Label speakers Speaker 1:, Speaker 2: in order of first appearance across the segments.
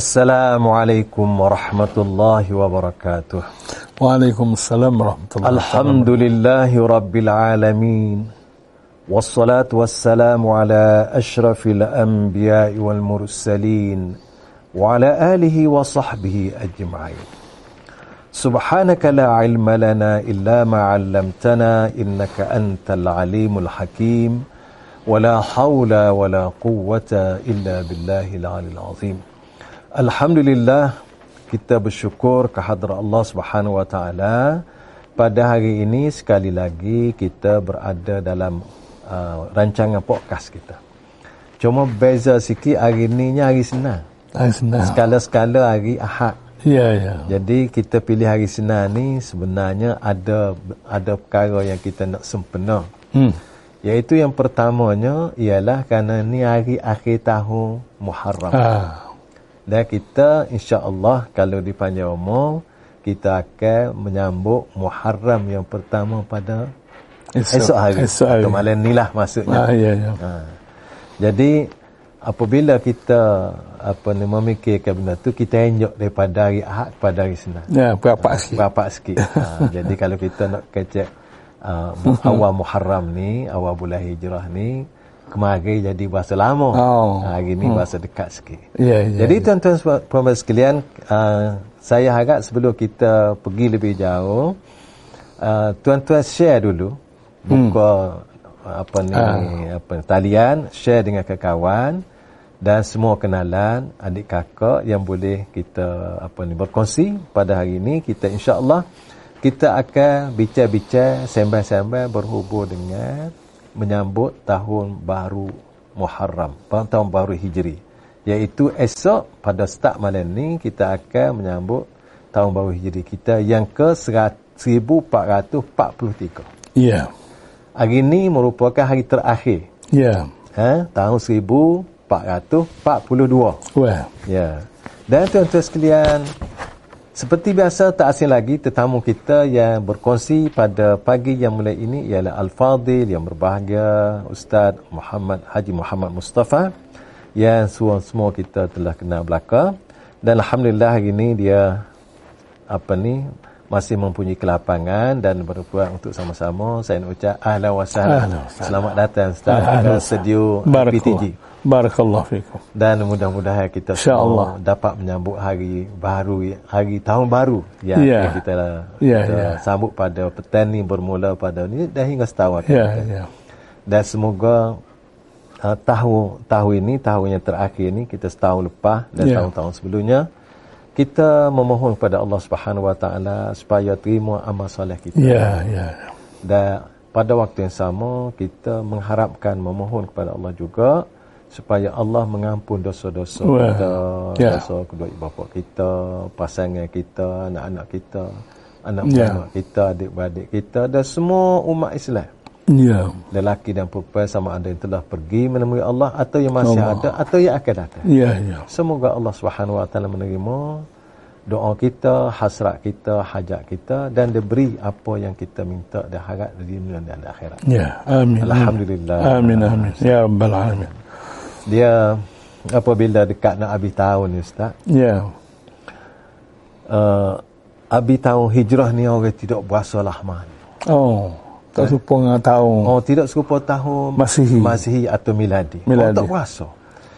Speaker 1: السلام عليكم ورحمة الله وبركاته
Speaker 2: وعليكم السلام ورحمة الله
Speaker 1: الحمد لله رب العالمين والصلاة والسلام على أشرف الأنبياء والمرسلين وعلى آله وصحبه أجمعين سبحانك لا علم لنا إلا ما علمتنا إنك أنت العليم الحكيم ولا حول ولا قوة إلا بالله العلي العظيم Alhamdulillah kita bersyukur kehadrat Allah Subhanahu Wa Taala pada hari ini sekali lagi kita berada dalam uh, rancangan podcast kita. Cuma beza sikit hari ni nya hari Senin.
Speaker 2: Hari Senin.
Speaker 1: Sekala-sekala hari Ahad.
Speaker 2: Ya ya.
Speaker 1: Jadi kita pilih hari Senin ni sebenarnya ada ada perkara yang kita nak sempena.
Speaker 2: Hmm.
Speaker 1: Iaitu yang pertamanya ialah kerana ni hari akhir tahun Muharram.
Speaker 2: Ah.
Speaker 1: Dan kita insya-Allah kalau dipanjang umur kita akan menyambut Muharram yang pertama pada esok, esok hari.
Speaker 2: Esok hari.
Speaker 1: Atau malam inilah maksudnya.
Speaker 2: Ah ya ya.
Speaker 1: Ha. Jadi apabila kita apa ni memikirkan benda tu kita enjok daripada hari Ahad kepada hari Senin.
Speaker 2: Ya, berapa sikit?
Speaker 1: Bapak sikit. Ha, jadi kalau kita nak kecek uh, mu- awal Muharram ni, awal bulan Hijrah ni, kemarin jadi bahasa lama. Ha,
Speaker 2: Oh.
Speaker 1: Hari ni bahasa dekat sikit.
Speaker 2: Ya ya.
Speaker 1: Jadi tuan-tuan sebab- puan-puan sekalian, uh, saya harap sebelum kita pergi lebih jauh, uh, tuan-tuan share dulu buka uh, apa ni apa talian, share dengan kawan dan semua kenalan adik kakak yang boleh kita apa ni berkongsi pada hari ini kita insya-Allah kita akan bincang-bincang sembang-sembang berhubung dengan menyambut tahun baru Muharram, tahun baru Hijri iaitu esok pada start malam ni kita akan menyambut tahun baru Hijri kita yang ke serat- 1443.
Speaker 2: Ya.
Speaker 1: Hari ini merupakan hari terakhir
Speaker 2: Ya.
Speaker 1: ha? tahun 1442.
Speaker 2: Wah.
Speaker 1: Ya. Dan tuan-tuan sekalian, seperti biasa tak asing lagi tetamu kita yang berkongsi pada pagi yang mulia ini ialah Al-Fadil yang berbahagia Ustaz Muhammad Haji Muhammad Mustafa yang semua, semua kita telah kenal belaka dan alhamdulillah hari ini dia apa ni masih mempunyai kelapangan dan berbuat untuk sama-sama saya nak ucap ahlan wa sahlan
Speaker 2: Ahlan wa sahlan.
Speaker 1: selamat datang Ustaz
Speaker 2: Ahlan wa
Speaker 1: ke studio
Speaker 2: Barakallah.
Speaker 1: PTG
Speaker 2: Barakallah fikum.
Speaker 1: dan mudah-mudahan kita
Speaker 2: InsyaAllah.
Speaker 1: semua dapat menyambut hari baru hari tahun baru yang
Speaker 2: Ya.
Speaker 1: yeah. kita, lah,
Speaker 2: Ya,
Speaker 1: kita
Speaker 2: ya.
Speaker 1: sambut pada petang ni bermula pada ni dan hingga setahun akan
Speaker 2: Ya
Speaker 1: datang.
Speaker 2: ya.
Speaker 1: dan semoga uh, tahun tahun ini tahun yang terakhir ini kita setahun lepas dan
Speaker 2: Ya.
Speaker 1: tahun-tahun sebelumnya kita memohon kepada Allah Subhanahu Wa Taala supaya terima amal soleh kita
Speaker 2: Ya ya.
Speaker 1: dan pada waktu yang sama kita mengharapkan memohon kepada Allah juga supaya Allah mengampun dosa-dosa
Speaker 2: Wah,
Speaker 1: kita,
Speaker 2: ya.
Speaker 1: dosa kedua ibu bapa kita, pasangan kita, anak-anak kita,
Speaker 2: Ya.
Speaker 1: anak-anak kita, adik-beradik kita dan semua umat Islam.
Speaker 2: Ya.
Speaker 1: Lelaki dan perempuan sama ada yang telah pergi menemui Allah atau yang masih
Speaker 2: Allah.
Speaker 1: ada atau yang akan datang.
Speaker 2: Ya ya.
Speaker 1: Semoga Allah Subhanahu Wa Taala menerima doa kita, hasrat kita, hajat kita dan diberi apa yang kita minta dan harap dari dunia dan akhirat.
Speaker 2: Ya. Amin.
Speaker 1: Alhamdulillah.
Speaker 2: Amin amin. Ya rabbal alamin.
Speaker 1: Dia apabila dekat nak habis tahun ni ustaz,
Speaker 2: Ya.
Speaker 1: uh, habis tahun hijrah ni orang tidak berasa lah man.
Speaker 2: Oh. Tak serupa dengan tahun.
Speaker 1: Eh? Oh tidak serupa tahun
Speaker 2: Masihi.
Speaker 1: Masihi atau miladi. Orang
Speaker 2: Miladi. Hmm.
Speaker 1: tak berasa.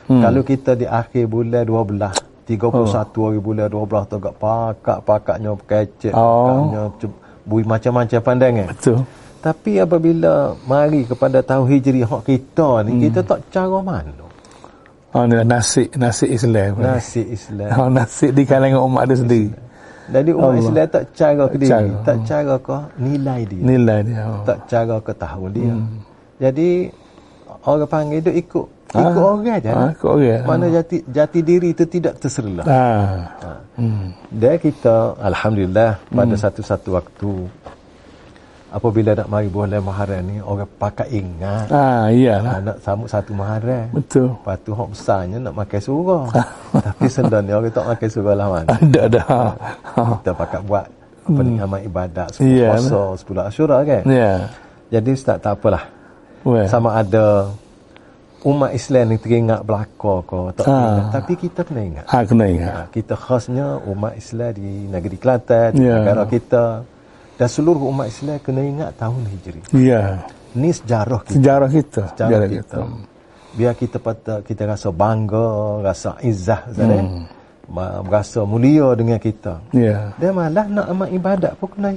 Speaker 1: Kalau kita di akhir bulan 12 31 hari bulan 12 tu agak pakak-pakaknya kecek,
Speaker 2: Oh.
Speaker 1: pakaknya cem- bui macam-macam kan? pandangan.
Speaker 2: Betul.
Speaker 1: Tapi apabila mari kepada tahun hijri hak kita ni hmm. kita tak cara mana.
Speaker 2: Oh, ni nasi nasi Islam.
Speaker 1: Nasi Islam.
Speaker 2: Oh, nasi di kalangan umat dia sendiri.
Speaker 1: Jadi umat
Speaker 2: Allah.
Speaker 1: Islam tak cara ke
Speaker 2: Tak
Speaker 1: diri,
Speaker 2: cara.
Speaker 1: tak cara ke nilai dia,
Speaker 2: Nilai dia. Oh.
Speaker 1: tak cara ke tahu dia. Hmm. Jadi orang panggil dia ikut ikut orang je.
Speaker 2: Ah, ikut orang.
Speaker 1: Mana jati jati diri itu tidak terserlah.
Speaker 2: Ah.
Speaker 1: Dan kita alhamdulillah pada satu-satu waktu apabila nak mari bulan Muharram ni orang pakai ingat
Speaker 2: Ah, iyalah.
Speaker 1: ah, nak sambut satu Muharram.
Speaker 2: Betul.
Speaker 1: Lepas tu hak besarnya nak makan surah. Tapi sendan ni orang tak makan surah lah man.
Speaker 2: Ada ada. Ha. Ha.
Speaker 1: Kita pakat buat apa ni amal ibadat, sepuluh
Speaker 2: Ya,
Speaker 1: puasa, sepuluh asyura kan.
Speaker 2: Ya.
Speaker 1: Jadi ustaz tak apalah.
Speaker 2: Well.
Speaker 1: Sama ada umat Islam ni teringak belaka ke tak
Speaker 2: Ah.
Speaker 1: teringat. Tapi kita kena ingat.
Speaker 2: Ha, kena ingat.
Speaker 1: Ha, Kita khasnya umat Islam di negeri Kelantan, di
Speaker 2: Ya.
Speaker 1: negara kita dan seluruh umat Islam kena ingat tahun Hijri.
Speaker 2: Ya.
Speaker 1: Ni sejarah kita.
Speaker 2: Sejarah kita.
Speaker 1: Sejarah kita. Biar kita patut kita rasa bangga, rasa izzah sebenarnya. Ma- Rasa mulia dengan kita.
Speaker 2: Ya.
Speaker 1: Dan malah nak amat ibadat pun kena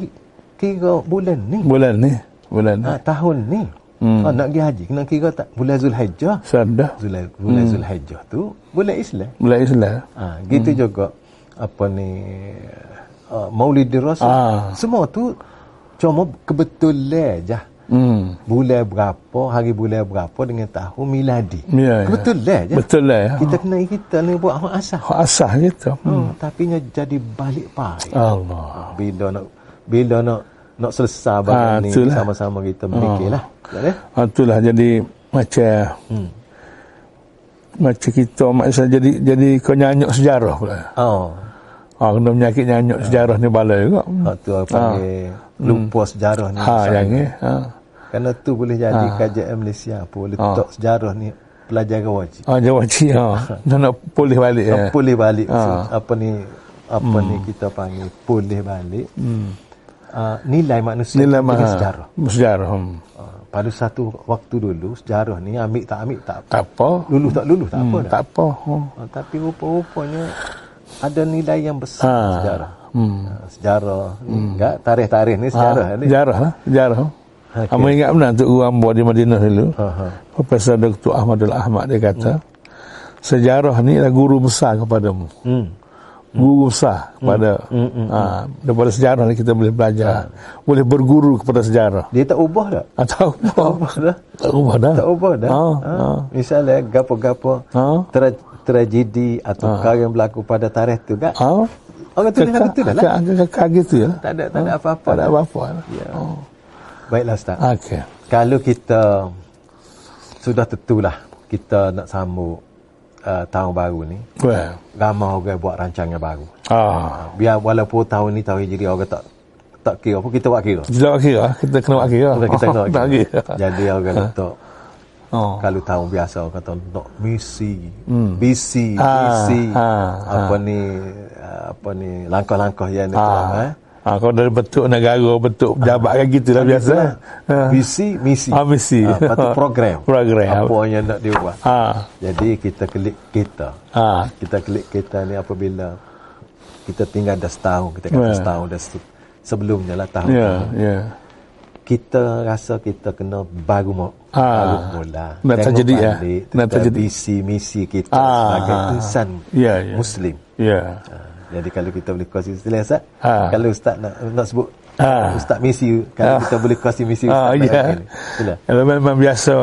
Speaker 1: kira bulan ni.
Speaker 2: Bulan ni. Bulan ni.
Speaker 1: Ha, tahun ni.
Speaker 2: Hmm.
Speaker 1: Ha, nak pergi haji kena kira tak bulan Zulhijjah.
Speaker 2: Sadah.
Speaker 1: Zulai- Bulan Zulhijjah tu bulan Islam.
Speaker 2: Bulan Islam.
Speaker 1: Ha, gitu hmm. juga apa ni uh, Maulid Rasul.
Speaker 2: Ah.
Speaker 1: Semua tu cuma kebetulan je.
Speaker 2: Hmm.
Speaker 1: Bulan berapa, hari bulan berapa dengan tahun miladi.
Speaker 2: Ya, ya.
Speaker 1: kebetulan je.
Speaker 2: Betul lah. Ya.
Speaker 1: Kita kena kita ni buat hak asal.
Speaker 2: Hak Asah kita. Hmm.
Speaker 1: Hmm. Tapi nya jadi balik pari.
Speaker 2: Allah.
Speaker 1: Bila nak bila nak nak selesai barang
Speaker 2: Ah,
Speaker 1: ni
Speaker 2: itulah.
Speaker 1: sama-sama kita ya? memikirlah. Tak ada?
Speaker 2: Ha, itulah jadi macam hmm. macam kita maksudnya jadi jadi kau nyanyuk sejarah pula.
Speaker 1: Oh.
Speaker 2: Ha, kena menyakit
Speaker 1: Ya.
Speaker 2: nyanyuk sejarah ni balai juga.
Speaker 1: Hak tu orang panggil lupa sejarah ni.
Speaker 2: Ha,
Speaker 1: Ustaz.
Speaker 2: Ah. yang ni. Ah. Ha.
Speaker 1: Kerana tu boleh jadi kajian Malaysia
Speaker 2: Ah.
Speaker 1: pun letak sejarah ni pelajaran wajib.
Speaker 2: Ha, jawab cik. Ha. Nak, nak pulih balik. Ya. Hmm.
Speaker 1: Yeah. Ya. Pulih balik ha. apa ni apa ni kita panggil pulih balik. Hmm. Uh, nilai manusia
Speaker 2: Nilai
Speaker 1: dengan
Speaker 2: maha.
Speaker 1: sejarah.
Speaker 2: ah. Sejarah. Hmm.
Speaker 1: Uh, pada satu waktu dulu sejarah ni ambil tak ambil tak apa.
Speaker 2: Tak apa.
Speaker 1: Lulus tak lulus tak apa dah.
Speaker 2: Tak apa. Ha.
Speaker 1: Uh, tapi rupa-rupanya ada nilai yang besar
Speaker 2: Ah.
Speaker 1: sejarah. Hmm. Uh, sejarah ni enggak tarikh-tarikh ni sejarah
Speaker 2: Hmm. Ha,
Speaker 1: ni.
Speaker 2: Sejarah. Ha. Sejarah.
Speaker 1: Okey.
Speaker 2: Okay. Amu ingat benar tu Ambo di Madinah dulu.
Speaker 1: Ha ha.
Speaker 2: Profesor Dr. Ahmadul Ahmad dia kata, sejarah ni adalah guru besar kepadamu.
Speaker 1: Hmm.
Speaker 2: Guru besar kepada
Speaker 1: Hmm, Ha.
Speaker 2: ha, daripada sejarah ni kita boleh belajar, boleh berguru kepada sejarah.
Speaker 1: Dia tak ubah dah.
Speaker 2: Atau
Speaker 1: Tak
Speaker 2: apa?
Speaker 1: ubah dah.
Speaker 2: Tak ubah dah.
Speaker 1: Tak ubah dah.
Speaker 2: Ha,
Speaker 1: ha. Misalnya gapo-gapo
Speaker 2: Ha.
Speaker 1: tra- tragedi atau perkara yang berlaku pada tarikh tu kan.
Speaker 2: Ha.
Speaker 1: Orang tu dah betul dah lah.
Speaker 2: Kakak gitu ya.
Speaker 1: Tak ada Ah, tak ada apa-apa. Ah.
Speaker 2: Tak ada apa-apa.
Speaker 1: Ya.
Speaker 2: Oh.
Speaker 1: Baiklah ustaz.
Speaker 2: Okey.
Speaker 1: Kalau kita sudah tentulah kita nak sambut uh, tahun baru ni,
Speaker 2: Well.
Speaker 1: ramai orang buat rancangan baru.
Speaker 2: Ah.
Speaker 1: Biar walaupun tahun ni tahun hijri orang tak tak kira pun kita buat kira.
Speaker 2: Kita buat kira. Kita kena lah. buat kira.
Speaker 1: Bukan kita tak
Speaker 2: Tak
Speaker 1: kira. Ah.
Speaker 2: kira.
Speaker 1: Jadi orang letak
Speaker 2: Oh.
Speaker 1: kalau tahun biasa orang kata nak misi Hmm. BC
Speaker 2: Ah,
Speaker 1: BC
Speaker 2: ah,
Speaker 1: apa ni apa ni langkah-langkah yang ni
Speaker 2: Ah.
Speaker 1: ah. eh
Speaker 2: Ha, kalau dari bentuk negara, bentuk pejabat kan gitu lah biasa. Ha.
Speaker 1: BC misi
Speaker 2: Ah, misi.
Speaker 1: Ah, lepas tu program
Speaker 2: Program.
Speaker 1: apa yang nak diubah
Speaker 2: Ha.
Speaker 1: jadi kita klik kita
Speaker 2: Ha.
Speaker 1: kita klik kita ni apabila kita tinggal dah setahun kita kata
Speaker 2: Ya.
Speaker 1: setahun dah se- sebelumnya lah tahun
Speaker 2: Ya, ya.
Speaker 1: kita rasa kita kena baru mau
Speaker 2: Ah.
Speaker 1: baru mula
Speaker 2: Nak terjadi, ya.
Speaker 1: balik
Speaker 2: Nak
Speaker 1: tentang
Speaker 2: terjadi.
Speaker 1: visi misi kita
Speaker 2: Ah.
Speaker 1: sebagai insan
Speaker 2: Ya, ya.
Speaker 1: muslim
Speaker 2: Ya.
Speaker 1: Ah, jadi kalau kita boleh kongsi istilah Ustaz
Speaker 2: Ah.
Speaker 1: kalau Ustaz nak, nak sebut
Speaker 2: Ah.
Speaker 1: Ustaz misi kalau kita boleh kongsi misi Ustaz nak
Speaker 2: Ah, Ha. ya.
Speaker 1: panggil. sila
Speaker 2: Kalau memang biasa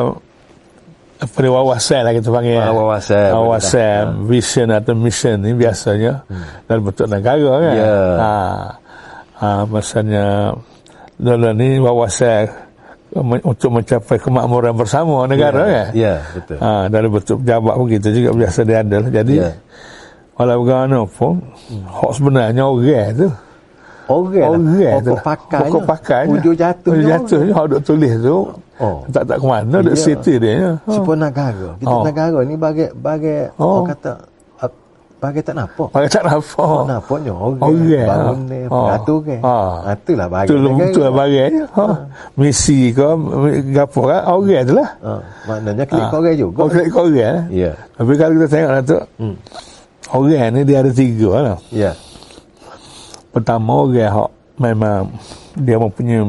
Speaker 2: apa ni wawasan lah kita panggil.
Speaker 1: Ah, wawasan. Ah.
Speaker 2: Wawasan, vision atau mission ni biasanya dalam bentuk negara kan.
Speaker 1: Hmm. Ya.
Speaker 2: Ha. Ha, maksudnya dalam ni wawasan me- untuk mencapai kemakmuran bersama negara kan.
Speaker 1: ya betul
Speaker 2: Ha, dari bentuk pejabat pun kita juga biasa dia ada lah. Jadi,
Speaker 1: Ya. Hmm.
Speaker 2: yeah. walau bagaimana pun, hak sebenarnya orang tu.
Speaker 1: Orang
Speaker 2: Oh,
Speaker 1: lah.
Speaker 2: Orang tu.
Speaker 1: Pokok pakai.
Speaker 2: Pokok pakai. lah.
Speaker 1: Ujung jatuh.
Speaker 2: Ujung jatuh. je, Hak duk tulis tu.
Speaker 1: Oh.
Speaker 2: Tak tak ke mana.
Speaker 1: Ya.
Speaker 2: Duk situ dia. ya. Ha.
Speaker 1: Sepuluh negara. Kita
Speaker 2: Oh.
Speaker 1: negara ni bagai, bagai,
Speaker 2: Oh.
Speaker 1: orang kata, ah, bagai tak nampak.
Speaker 2: Orang tak nampak.
Speaker 1: Oh. Nampaknya orang
Speaker 2: Ha. Orang,
Speaker 1: bangun
Speaker 2: ha.
Speaker 1: ni,
Speaker 2: Ha.
Speaker 1: peratur kan.
Speaker 2: Ha.
Speaker 1: Ha. Itulah barang.
Speaker 2: Tu lah betul lah barangnya. Ha. Misi ke, gapo kan, orang tu lah.
Speaker 1: Ha. Maknanya klik ha. orang juga.
Speaker 2: Oh, klik ke orang lah.
Speaker 1: Ya.
Speaker 2: Tapi kalau kita tengok lah tu,
Speaker 1: Hmm.
Speaker 2: orang ni dia ada tiga lah.
Speaker 1: Ya.
Speaker 2: Pertama orang hak memang dia mempunyai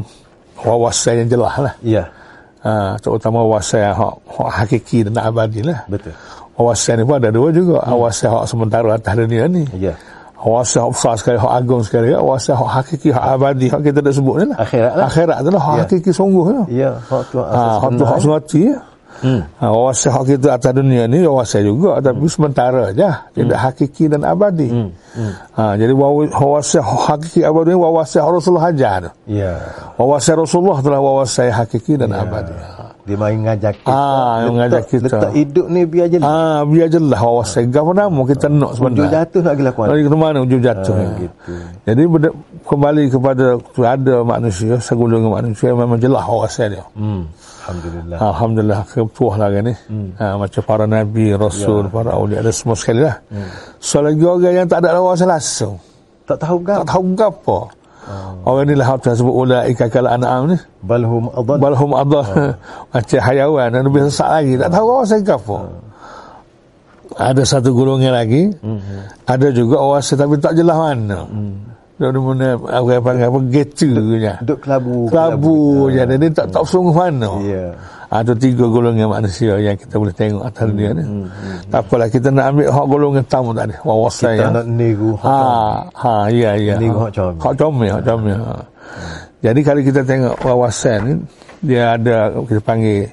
Speaker 2: wawasan yang jelas lah.
Speaker 1: Ya.
Speaker 2: Ha, terutama wawasan hak, hak hakiki dan abadi lah.
Speaker 1: Betul.
Speaker 2: Wawasan ni pun ada dua juga. Hmm. Wawasan hak sementara atas dunia ni.
Speaker 1: Ya.
Speaker 2: Wawasan hak besar sekali, hak agung sekali. Wawasan hak hakiki, hak abadi, hak kita dah sebut ni lah.
Speaker 1: Akhirat lah.
Speaker 2: Akhirat tu lah, hak
Speaker 1: Ya.
Speaker 2: hakiki sungguh lah.
Speaker 1: Ya. Hak tu
Speaker 2: Ha,
Speaker 1: asas
Speaker 2: hak tu hak
Speaker 1: benar.
Speaker 2: sengati ya.
Speaker 1: Hmm.
Speaker 2: Ha, wawasan hak kita atas dunia ni wawasan juga tapi sementara je
Speaker 1: Hmm.
Speaker 2: tidak hakiki dan abadi hmm. Hmm. Ha, jadi wawa- wawasan hak hakiki abadi ni wawasan hak Rasulullah ajar tu.
Speaker 1: Ya.
Speaker 2: wawasan Rasulullah telah wawasan hakiki dan abadi
Speaker 1: Dia main ngajar kita.
Speaker 2: Ah, yang ngajar
Speaker 1: Letak-
Speaker 2: kita.
Speaker 1: Letak hidup ni biar je.
Speaker 2: Ah, biar je lah awak segah pun nama kita nak
Speaker 1: Ujung
Speaker 2: sebenarnya.
Speaker 1: jatuh nak gila kuat.
Speaker 2: Lagi ke mana ujung jatuh.
Speaker 1: Ah,
Speaker 2: ya.
Speaker 1: gitu.
Speaker 2: Jadi benda, kembali kepada kepada manusia segulung dengan manusia memang jelas wawasan dia
Speaker 1: Hmm. Alhamdulillah.
Speaker 2: Ah. Alhamdulillah kepuah lah kan ni hmm. ha, macam para nabi rasul ya. para awliya ada semua sekali lah hmm. so lagi orang yang tak ada wawasan langsung
Speaker 1: Tak tahu gam.
Speaker 2: tak
Speaker 1: Ah.
Speaker 2: tahu apa orang ni lah hak tersebut ulaika kal an'am ni
Speaker 1: Balhum adhan.
Speaker 2: balhum
Speaker 1: Ah.
Speaker 2: adah macam hayawan dan lebih sesak lagi tak tahu wawasan ke apa
Speaker 1: Ah.
Speaker 2: ada satu golongan lagi
Speaker 1: Mhm.
Speaker 2: ada juga wawasan tapi tak jelas mana dia hmm. mana apa yang panggil apa geta punya
Speaker 1: Duk kelabu.
Speaker 2: kelabu je dia ni tak tak sungguh mana
Speaker 1: Hmm. Ya.
Speaker 2: ada tiga golongan manusia yang kita boleh tengok atas dia
Speaker 1: Hmm,
Speaker 2: ni tak apalah kita nak ambil hak golongan tamu tadi wawasan
Speaker 1: Kita
Speaker 2: yang
Speaker 1: nak niru.
Speaker 2: Ha, ha, ya, ya.
Speaker 1: Ni hak comel.
Speaker 2: Hak comel, hak comel. Ha. Jadi kalau kita tengok wawasan ni, dia ada, kita panggil,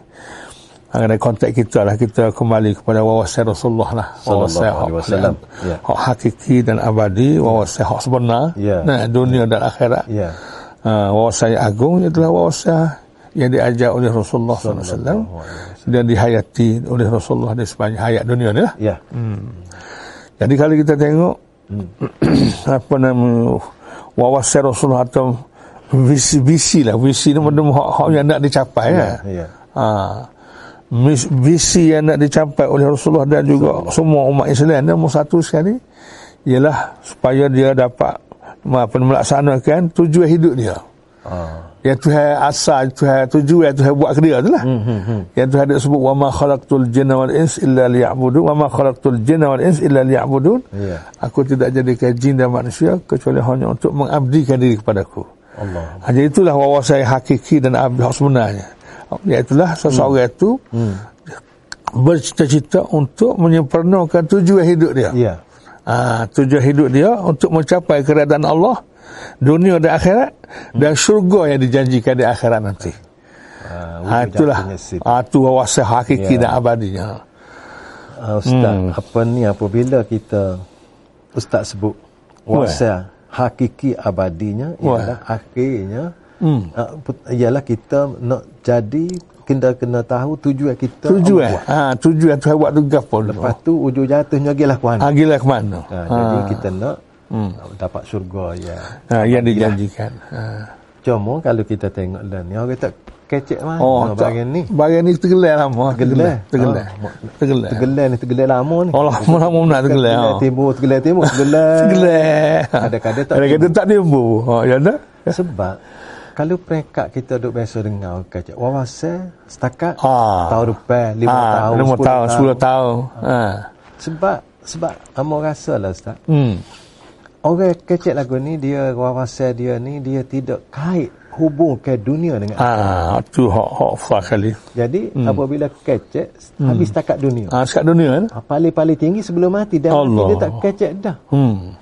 Speaker 2: mengenai kontak kita lah, kita kembali kepada wawasan Rasulullah lah. Wawasan
Speaker 1: Sallallahu
Speaker 2: hak,
Speaker 1: alaihi wasallam. Ya.
Speaker 2: hak hakiki dan abadi, wawasan hak sebenar,
Speaker 1: Ya.
Speaker 2: nah, dunia dan akhirat.
Speaker 1: Ya.
Speaker 2: Ha, wawasan yang agung itulah wawasan yang diajar oleh Rasulullah SAW
Speaker 1: Sallallahu alaihi
Speaker 2: dan dihayati oleh Rasulullah di sepanjang hayat dunia ni lah.
Speaker 1: Ya.
Speaker 2: Jadi kalau kita tengok apa nama wawasan Rasulullah atau visi visi lah visi ni benda hak, hak yang nak dicapai ya.
Speaker 1: Ya.
Speaker 2: Ha. Mis- Visi yang nak dicapai oleh Rasulullah dan juga semua umat Islam dan satu sekali ialah supaya dia dapat apa melaksanakan tujuan hidup dia.
Speaker 1: Ah.
Speaker 2: Yang Tuhan asal, Tuhan tujuan yang Tuhan buat ke dia tu lah. Mm-hmm. Yang Tuhan ada sebut, وَمَا خَلَقْتُ الْجِنَّ وَالْإِنْسِ إِلَّا لِيَعْبُدُونَ وَمَا خَلَقْتُ الْجِنَّ وَالْإِنْسِ إِلَّا لِيَعْبُدُونَ
Speaker 1: Ya.
Speaker 2: Aku tidak jadikan jin dan manusia kecuali hanya untuk mengabdikan diri kepadaku.
Speaker 1: Allah.
Speaker 2: Hanya itulah wawasan yang hakiki dan abdi hak sebenarnya. Iaitulah seseorang itu hmm. bercita-cita untuk menyempurnakan tujuan hidup dia.
Speaker 1: Ya.
Speaker 2: Ha, tujuan hidup dia untuk mencapai keredaan Allah, dunia dan akhirat
Speaker 1: Hmm.
Speaker 2: dan syurga yang dijanjikan di akhirat nanti.
Speaker 1: Ah,
Speaker 2: Ha,
Speaker 1: wujud
Speaker 2: itulah
Speaker 1: dan penyesit.
Speaker 2: ha, tu wawasan hakiki
Speaker 1: Ya.
Speaker 2: dan abadinya.
Speaker 1: Ah, Ustaz, hmm. apa ni apabila kita Ustaz sebut wasa hakiki abadinya
Speaker 2: Wah.
Speaker 1: ialah akhirnya hmm. ialah kita nak jadi kena kena tahu tujuan kita
Speaker 2: Tujuan,
Speaker 1: Allah.
Speaker 2: ha, tujuan Tuhan buat tu gapo dulu.
Speaker 1: Lepas tu ujung jatuhnya gilah kuan. Ha,
Speaker 2: Ha, gila ke mana?
Speaker 1: ha,
Speaker 2: Ha,
Speaker 1: jadi kita nak hmm. dapat syurga ya.
Speaker 2: ha, yang dijanjikan. Ha.
Speaker 1: Cuma kalau kita tengok lah ni orang tak kecek mah
Speaker 2: Oh,
Speaker 1: oh,
Speaker 2: tak-
Speaker 1: bagian ni.
Speaker 2: Bagian ni lah, tergelai lama.
Speaker 1: Tergelai.
Speaker 2: Tergelai.
Speaker 1: Ah, mak-
Speaker 2: Tergelai.
Speaker 1: Tegelan ni tegelan lama ni.
Speaker 2: Oh, lama-lama nak tergelai.
Speaker 1: Tegelan
Speaker 2: ha.
Speaker 1: timur, tegelan timur, tegelan.
Speaker 2: Tergelai.
Speaker 1: Kadang-kadang tak
Speaker 2: Kadang-kadang tak timbul. Ha, ya dah.
Speaker 1: Sebab kalau peringkat kita duk biasa dengar orang kata wawasan setakat
Speaker 2: Ah.
Speaker 1: tahun depan 5
Speaker 2: Ah,
Speaker 1: tahun
Speaker 2: lima
Speaker 1: 10
Speaker 2: tahun, sepuluh tahun. Ha.
Speaker 1: sebab sebab amo rasalah ustaz
Speaker 2: Hmm.
Speaker 1: orang kecil lagu ni dia wawasan dia ni dia tidak kait hubung ke dunia dengan
Speaker 2: Ah, tu hak hak fah kali.
Speaker 1: jadi
Speaker 2: Hmm.
Speaker 1: apabila kecil habis setakat dunia Ha,
Speaker 2: Ah, sekat dunia kan?
Speaker 1: paling-paling tinggi sebelum mati dan mati
Speaker 2: Allah.
Speaker 1: dia tak kecil dah
Speaker 2: Hmm.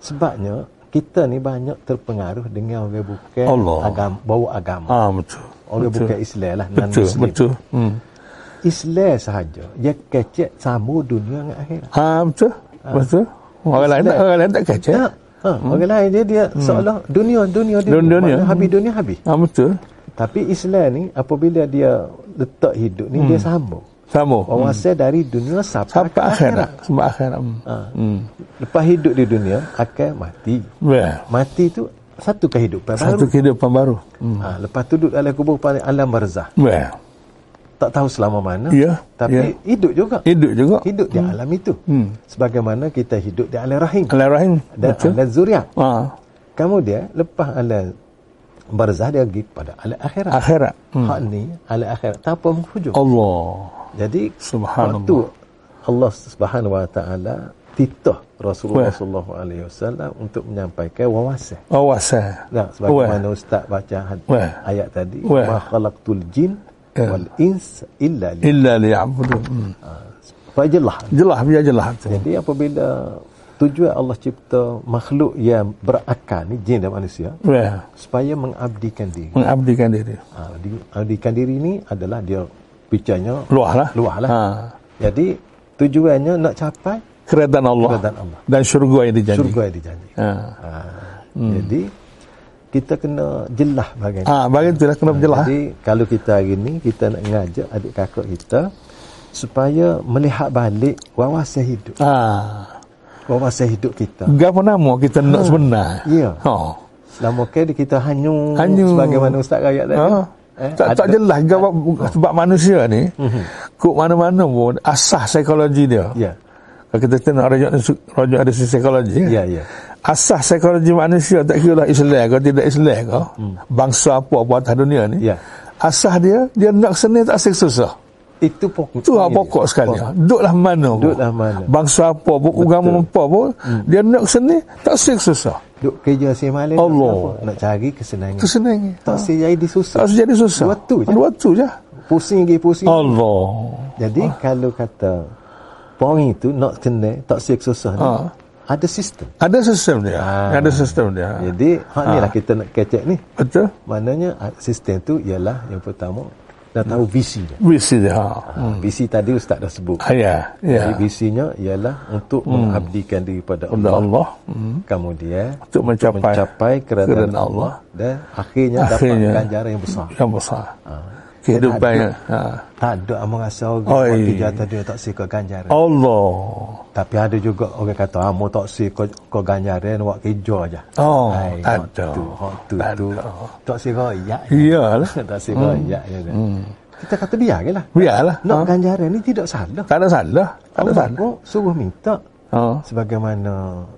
Speaker 1: sebabnya kita ni banyak terpengaruh dengan orang bukan
Speaker 2: Allah.
Speaker 1: agama bawa agama
Speaker 2: Ah, betul.
Speaker 1: orang
Speaker 2: betul.
Speaker 1: bukan Islam lah
Speaker 2: Betul,
Speaker 1: non-Muslim.
Speaker 2: betul. Hmm.
Speaker 1: Islam sahaja dia kecek sama dunia dengan akhirat.
Speaker 2: Ah, Ya. betul. Betul. Orang lain tak, orang lain tak eh? kacau.
Speaker 1: Tak. Ha, hmm. orang lain dia dia seolah dunia dunia dia
Speaker 2: Dunia, dunia.
Speaker 1: habis dunia habis.
Speaker 2: Ah, betul.
Speaker 1: Tapi Islam ni apabila dia letak hidup ni dia sama.
Speaker 2: Sama.
Speaker 1: Wawasan dari dunia sampai,
Speaker 2: Hmm. Sampai akhirat. Sampai akhirat. Hmm.
Speaker 1: Ha. Lepas hidup di dunia akan mati.
Speaker 2: Well,
Speaker 1: Mati tu satu kehidupan
Speaker 2: satu
Speaker 1: baru.
Speaker 2: kehidupan baru. Hmm.
Speaker 1: Ha, lepas tu duduk dalam kubur pada alam barzah.
Speaker 2: Well,
Speaker 1: Tak tahu selama mana.
Speaker 2: Ya,
Speaker 1: Tapi
Speaker 2: ya. Hmm.
Speaker 1: hidup juga.
Speaker 2: hidup juga.
Speaker 1: Hidup di alam itu. Sebagaimana kita hidup di alam rahim
Speaker 2: Al-Rahim.
Speaker 1: dan
Speaker 2: Betul.
Speaker 1: alam zuriat.
Speaker 2: Ah,
Speaker 1: Kemudian lepas alam barzah dia pergi pada alam akhirat.
Speaker 2: akhirat. Hmm.
Speaker 1: Hak ni alam akhirat tanpa menghujung.
Speaker 2: Allah.
Speaker 1: Jadi
Speaker 2: Subhanallah.
Speaker 1: waktu Allah Subhanahu wa taala titah Rasulullah
Speaker 2: Wah.
Speaker 1: sallallahu alaihi wasallam untuk menyampaikan wawasan.
Speaker 2: Awasan.
Speaker 1: Nah, sebagaimana ustaz baca had-
Speaker 2: Wah.
Speaker 1: ayat tadi, "Ma
Speaker 2: Wah.
Speaker 1: khalaqtul jin
Speaker 2: Ya.
Speaker 1: wal ins illa li."
Speaker 2: Illa liya'budun. Hmm.
Speaker 1: Fajalah.
Speaker 2: Jelah, biar jelah tu.
Speaker 1: Jadi apabila tujuan Allah cipta makhluk yang berakal ni jin dan manusia
Speaker 2: Well,
Speaker 1: supaya mengabdikan diri.
Speaker 2: mengabdikan diri.
Speaker 1: Ha, di, abdikan diri ni adalah dia picanya
Speaker 2: Luah lah.
Speaker 1: luah lah.
Speaker 2: Ha.
Speaker 1: Jadi tujuannya nak capai
Speaker 2: Keredaan Allah.
Speaker 1: Keredaan Allah.
Speaker 2: Dan syurga yang dijanji.
Speaker 1: syurga yang dijanji.
Speaker 2: Ha.
Speaker 1: Ha, Jadi kita kena jelah bagian.
Speaker 2: Hmm. Ah, bagi itulah kena berjelah.
Speaker 1: Jadi kalau kita hari ni kita nak ngajak adik kakak kita supaya melihat balik wawasan hidup.
Speaker 2: Ah.
Speaker 1: Wawasan hidup kita.
Speaker 2: Hmm. Gapo nama kita nak sebenar?
Speaker 1: Ah. Ya.
Speaker 2: Ha.
Speaker 1: Lama ke dia kita hanyung,
Speaker 2: Hanyung.
Speaker 1: sebagaimana Ustaz Rakyat tadi.
Speaker 2: Ha?
Speaker 1: Eh,
Speaker 2: tak, tak
Speaker 1: ada-
Speaker 2: jelas sebab, sebab manusia ni Kuk mana-mana pun Asas psikologi dia
Speaker 1: Ya.
Speaker 2: Kalau kita tengok rajuk, rajuk ada sisi psikologi kan?
Speaker 1: Ya, ya.
Speaker 2: Asas psikologi manusia Tak kira lah Islam ke tidak Islam ke Bangsa apa-apa atas dunia ni
Speaker 1: Hmm. Ya.
Speaker 2: Asas dia Dia nak senang tak asyik susah
Speaker 1: Itu pokok.
Speaker 2: Itu hak pokok sekali.
Speaker 1: Ya, Pokok.
Speaker 2: Duduklah mana pun.
Speaker 1: Duduklah mana. Hmm.
Speaker 2: Bangsa apa pun, agama apa pun, dia nak seni, tak sik susah.
Speaker 1: Duk kerja si malam.
Speaker 2: Allah.
Speaker 1: Nak, apa? nak cari kesenangan.
Speaker 2: Itu senang.
Speaker 1: tak
Speaker 2: Ha.
Speaker 1: si jadi susah.
Speaker 2: Tak usah jadi susah.
Speaker 1: Dua tu je.
Speaker 2: Dua Oh. tu je.
Speaker 1: Pusing lagi pusing.
Speaker 2: Allah.
Speaker 1: Jadi
Speaker 2: Ah.
Speaker 1: kalau kata Pong itu nak kena tak siap susah ni.
Speaker 2: Ha.
Speaker 1: Ada sistem.
Speaker 2: Ada sistem dia.
Speaker 1: Ah.
Speaker 2: Ada sistem dia.
Speaker 1: Jadi hak ni
Speaker 2: Ah.
Speaker 1: lah kita nak kecek ni.
Speaker 2: Betul?
Speaker 1: Maknanya ah, sistem tu ialah yang pertama dah tahu visi dia.
Speaker 2: Visi dia. Ha.
Speaker 1: Ha, Visi tadi ustaz dah sebut.
Speaker 2: Hmm. Ah, Ya. Ya.
Speaker 1: Jadi visinya ialah untuk mengabdikan diri pada
Speaker 2: Kepada
Speaker 1: Allah.
Speaker 2: Allah. Hmm.
Speaker 1: Kemudian
Speaker 2: Untuk mencapai,
Speaker 1: mencapai kerana
Speaker 2: kerana Allah.
Speaker 1: dan akhirnya,
Speaker 2: Akhirnya.
Speaker 1: dapat ganjaran yang besar.
Speaker 2: yang besar.
Speaker 1: Ah.
Speaker 2: Kehidupan.
Speaker 1: Kita
Speaker 2: yang- Ha.
Speaker 1: Tak ada orang rasa orang
Speaker 2: Oi.
Speaker 1: waktu jatuh dia tak sikap ganjaran.
Speaker 2: Allah.
Speaker 1: Tapi ada juga orang kata, ah, mu tak si kau, kau ganjaran, awak kerja je.
Speaker 2: Oh,
Speaker 1: hak
Speaker 2: ada.
Speaker 1: Tu, hak tu,
Speaker 2: Ada.
Speaker 1: tu. Tak si royak.
Speaker 2: Iyalah.
Speaker 1: tak si royak. je dah. Kita kata biar je lah.
Speaker 2: Biarlah.
Speaker 1: Nak
Speaker 2: Hmm. Ha.
Speaker 1: ganjaran ni tidak salah.
Speaker 2: Tak ada salah. Tak ada
Speaker 1: Allah
Speaker 2: salah.
Speaker 1: pun suruh minta.
Speaker 2: Ha.
Speaker 1: Sebagaimana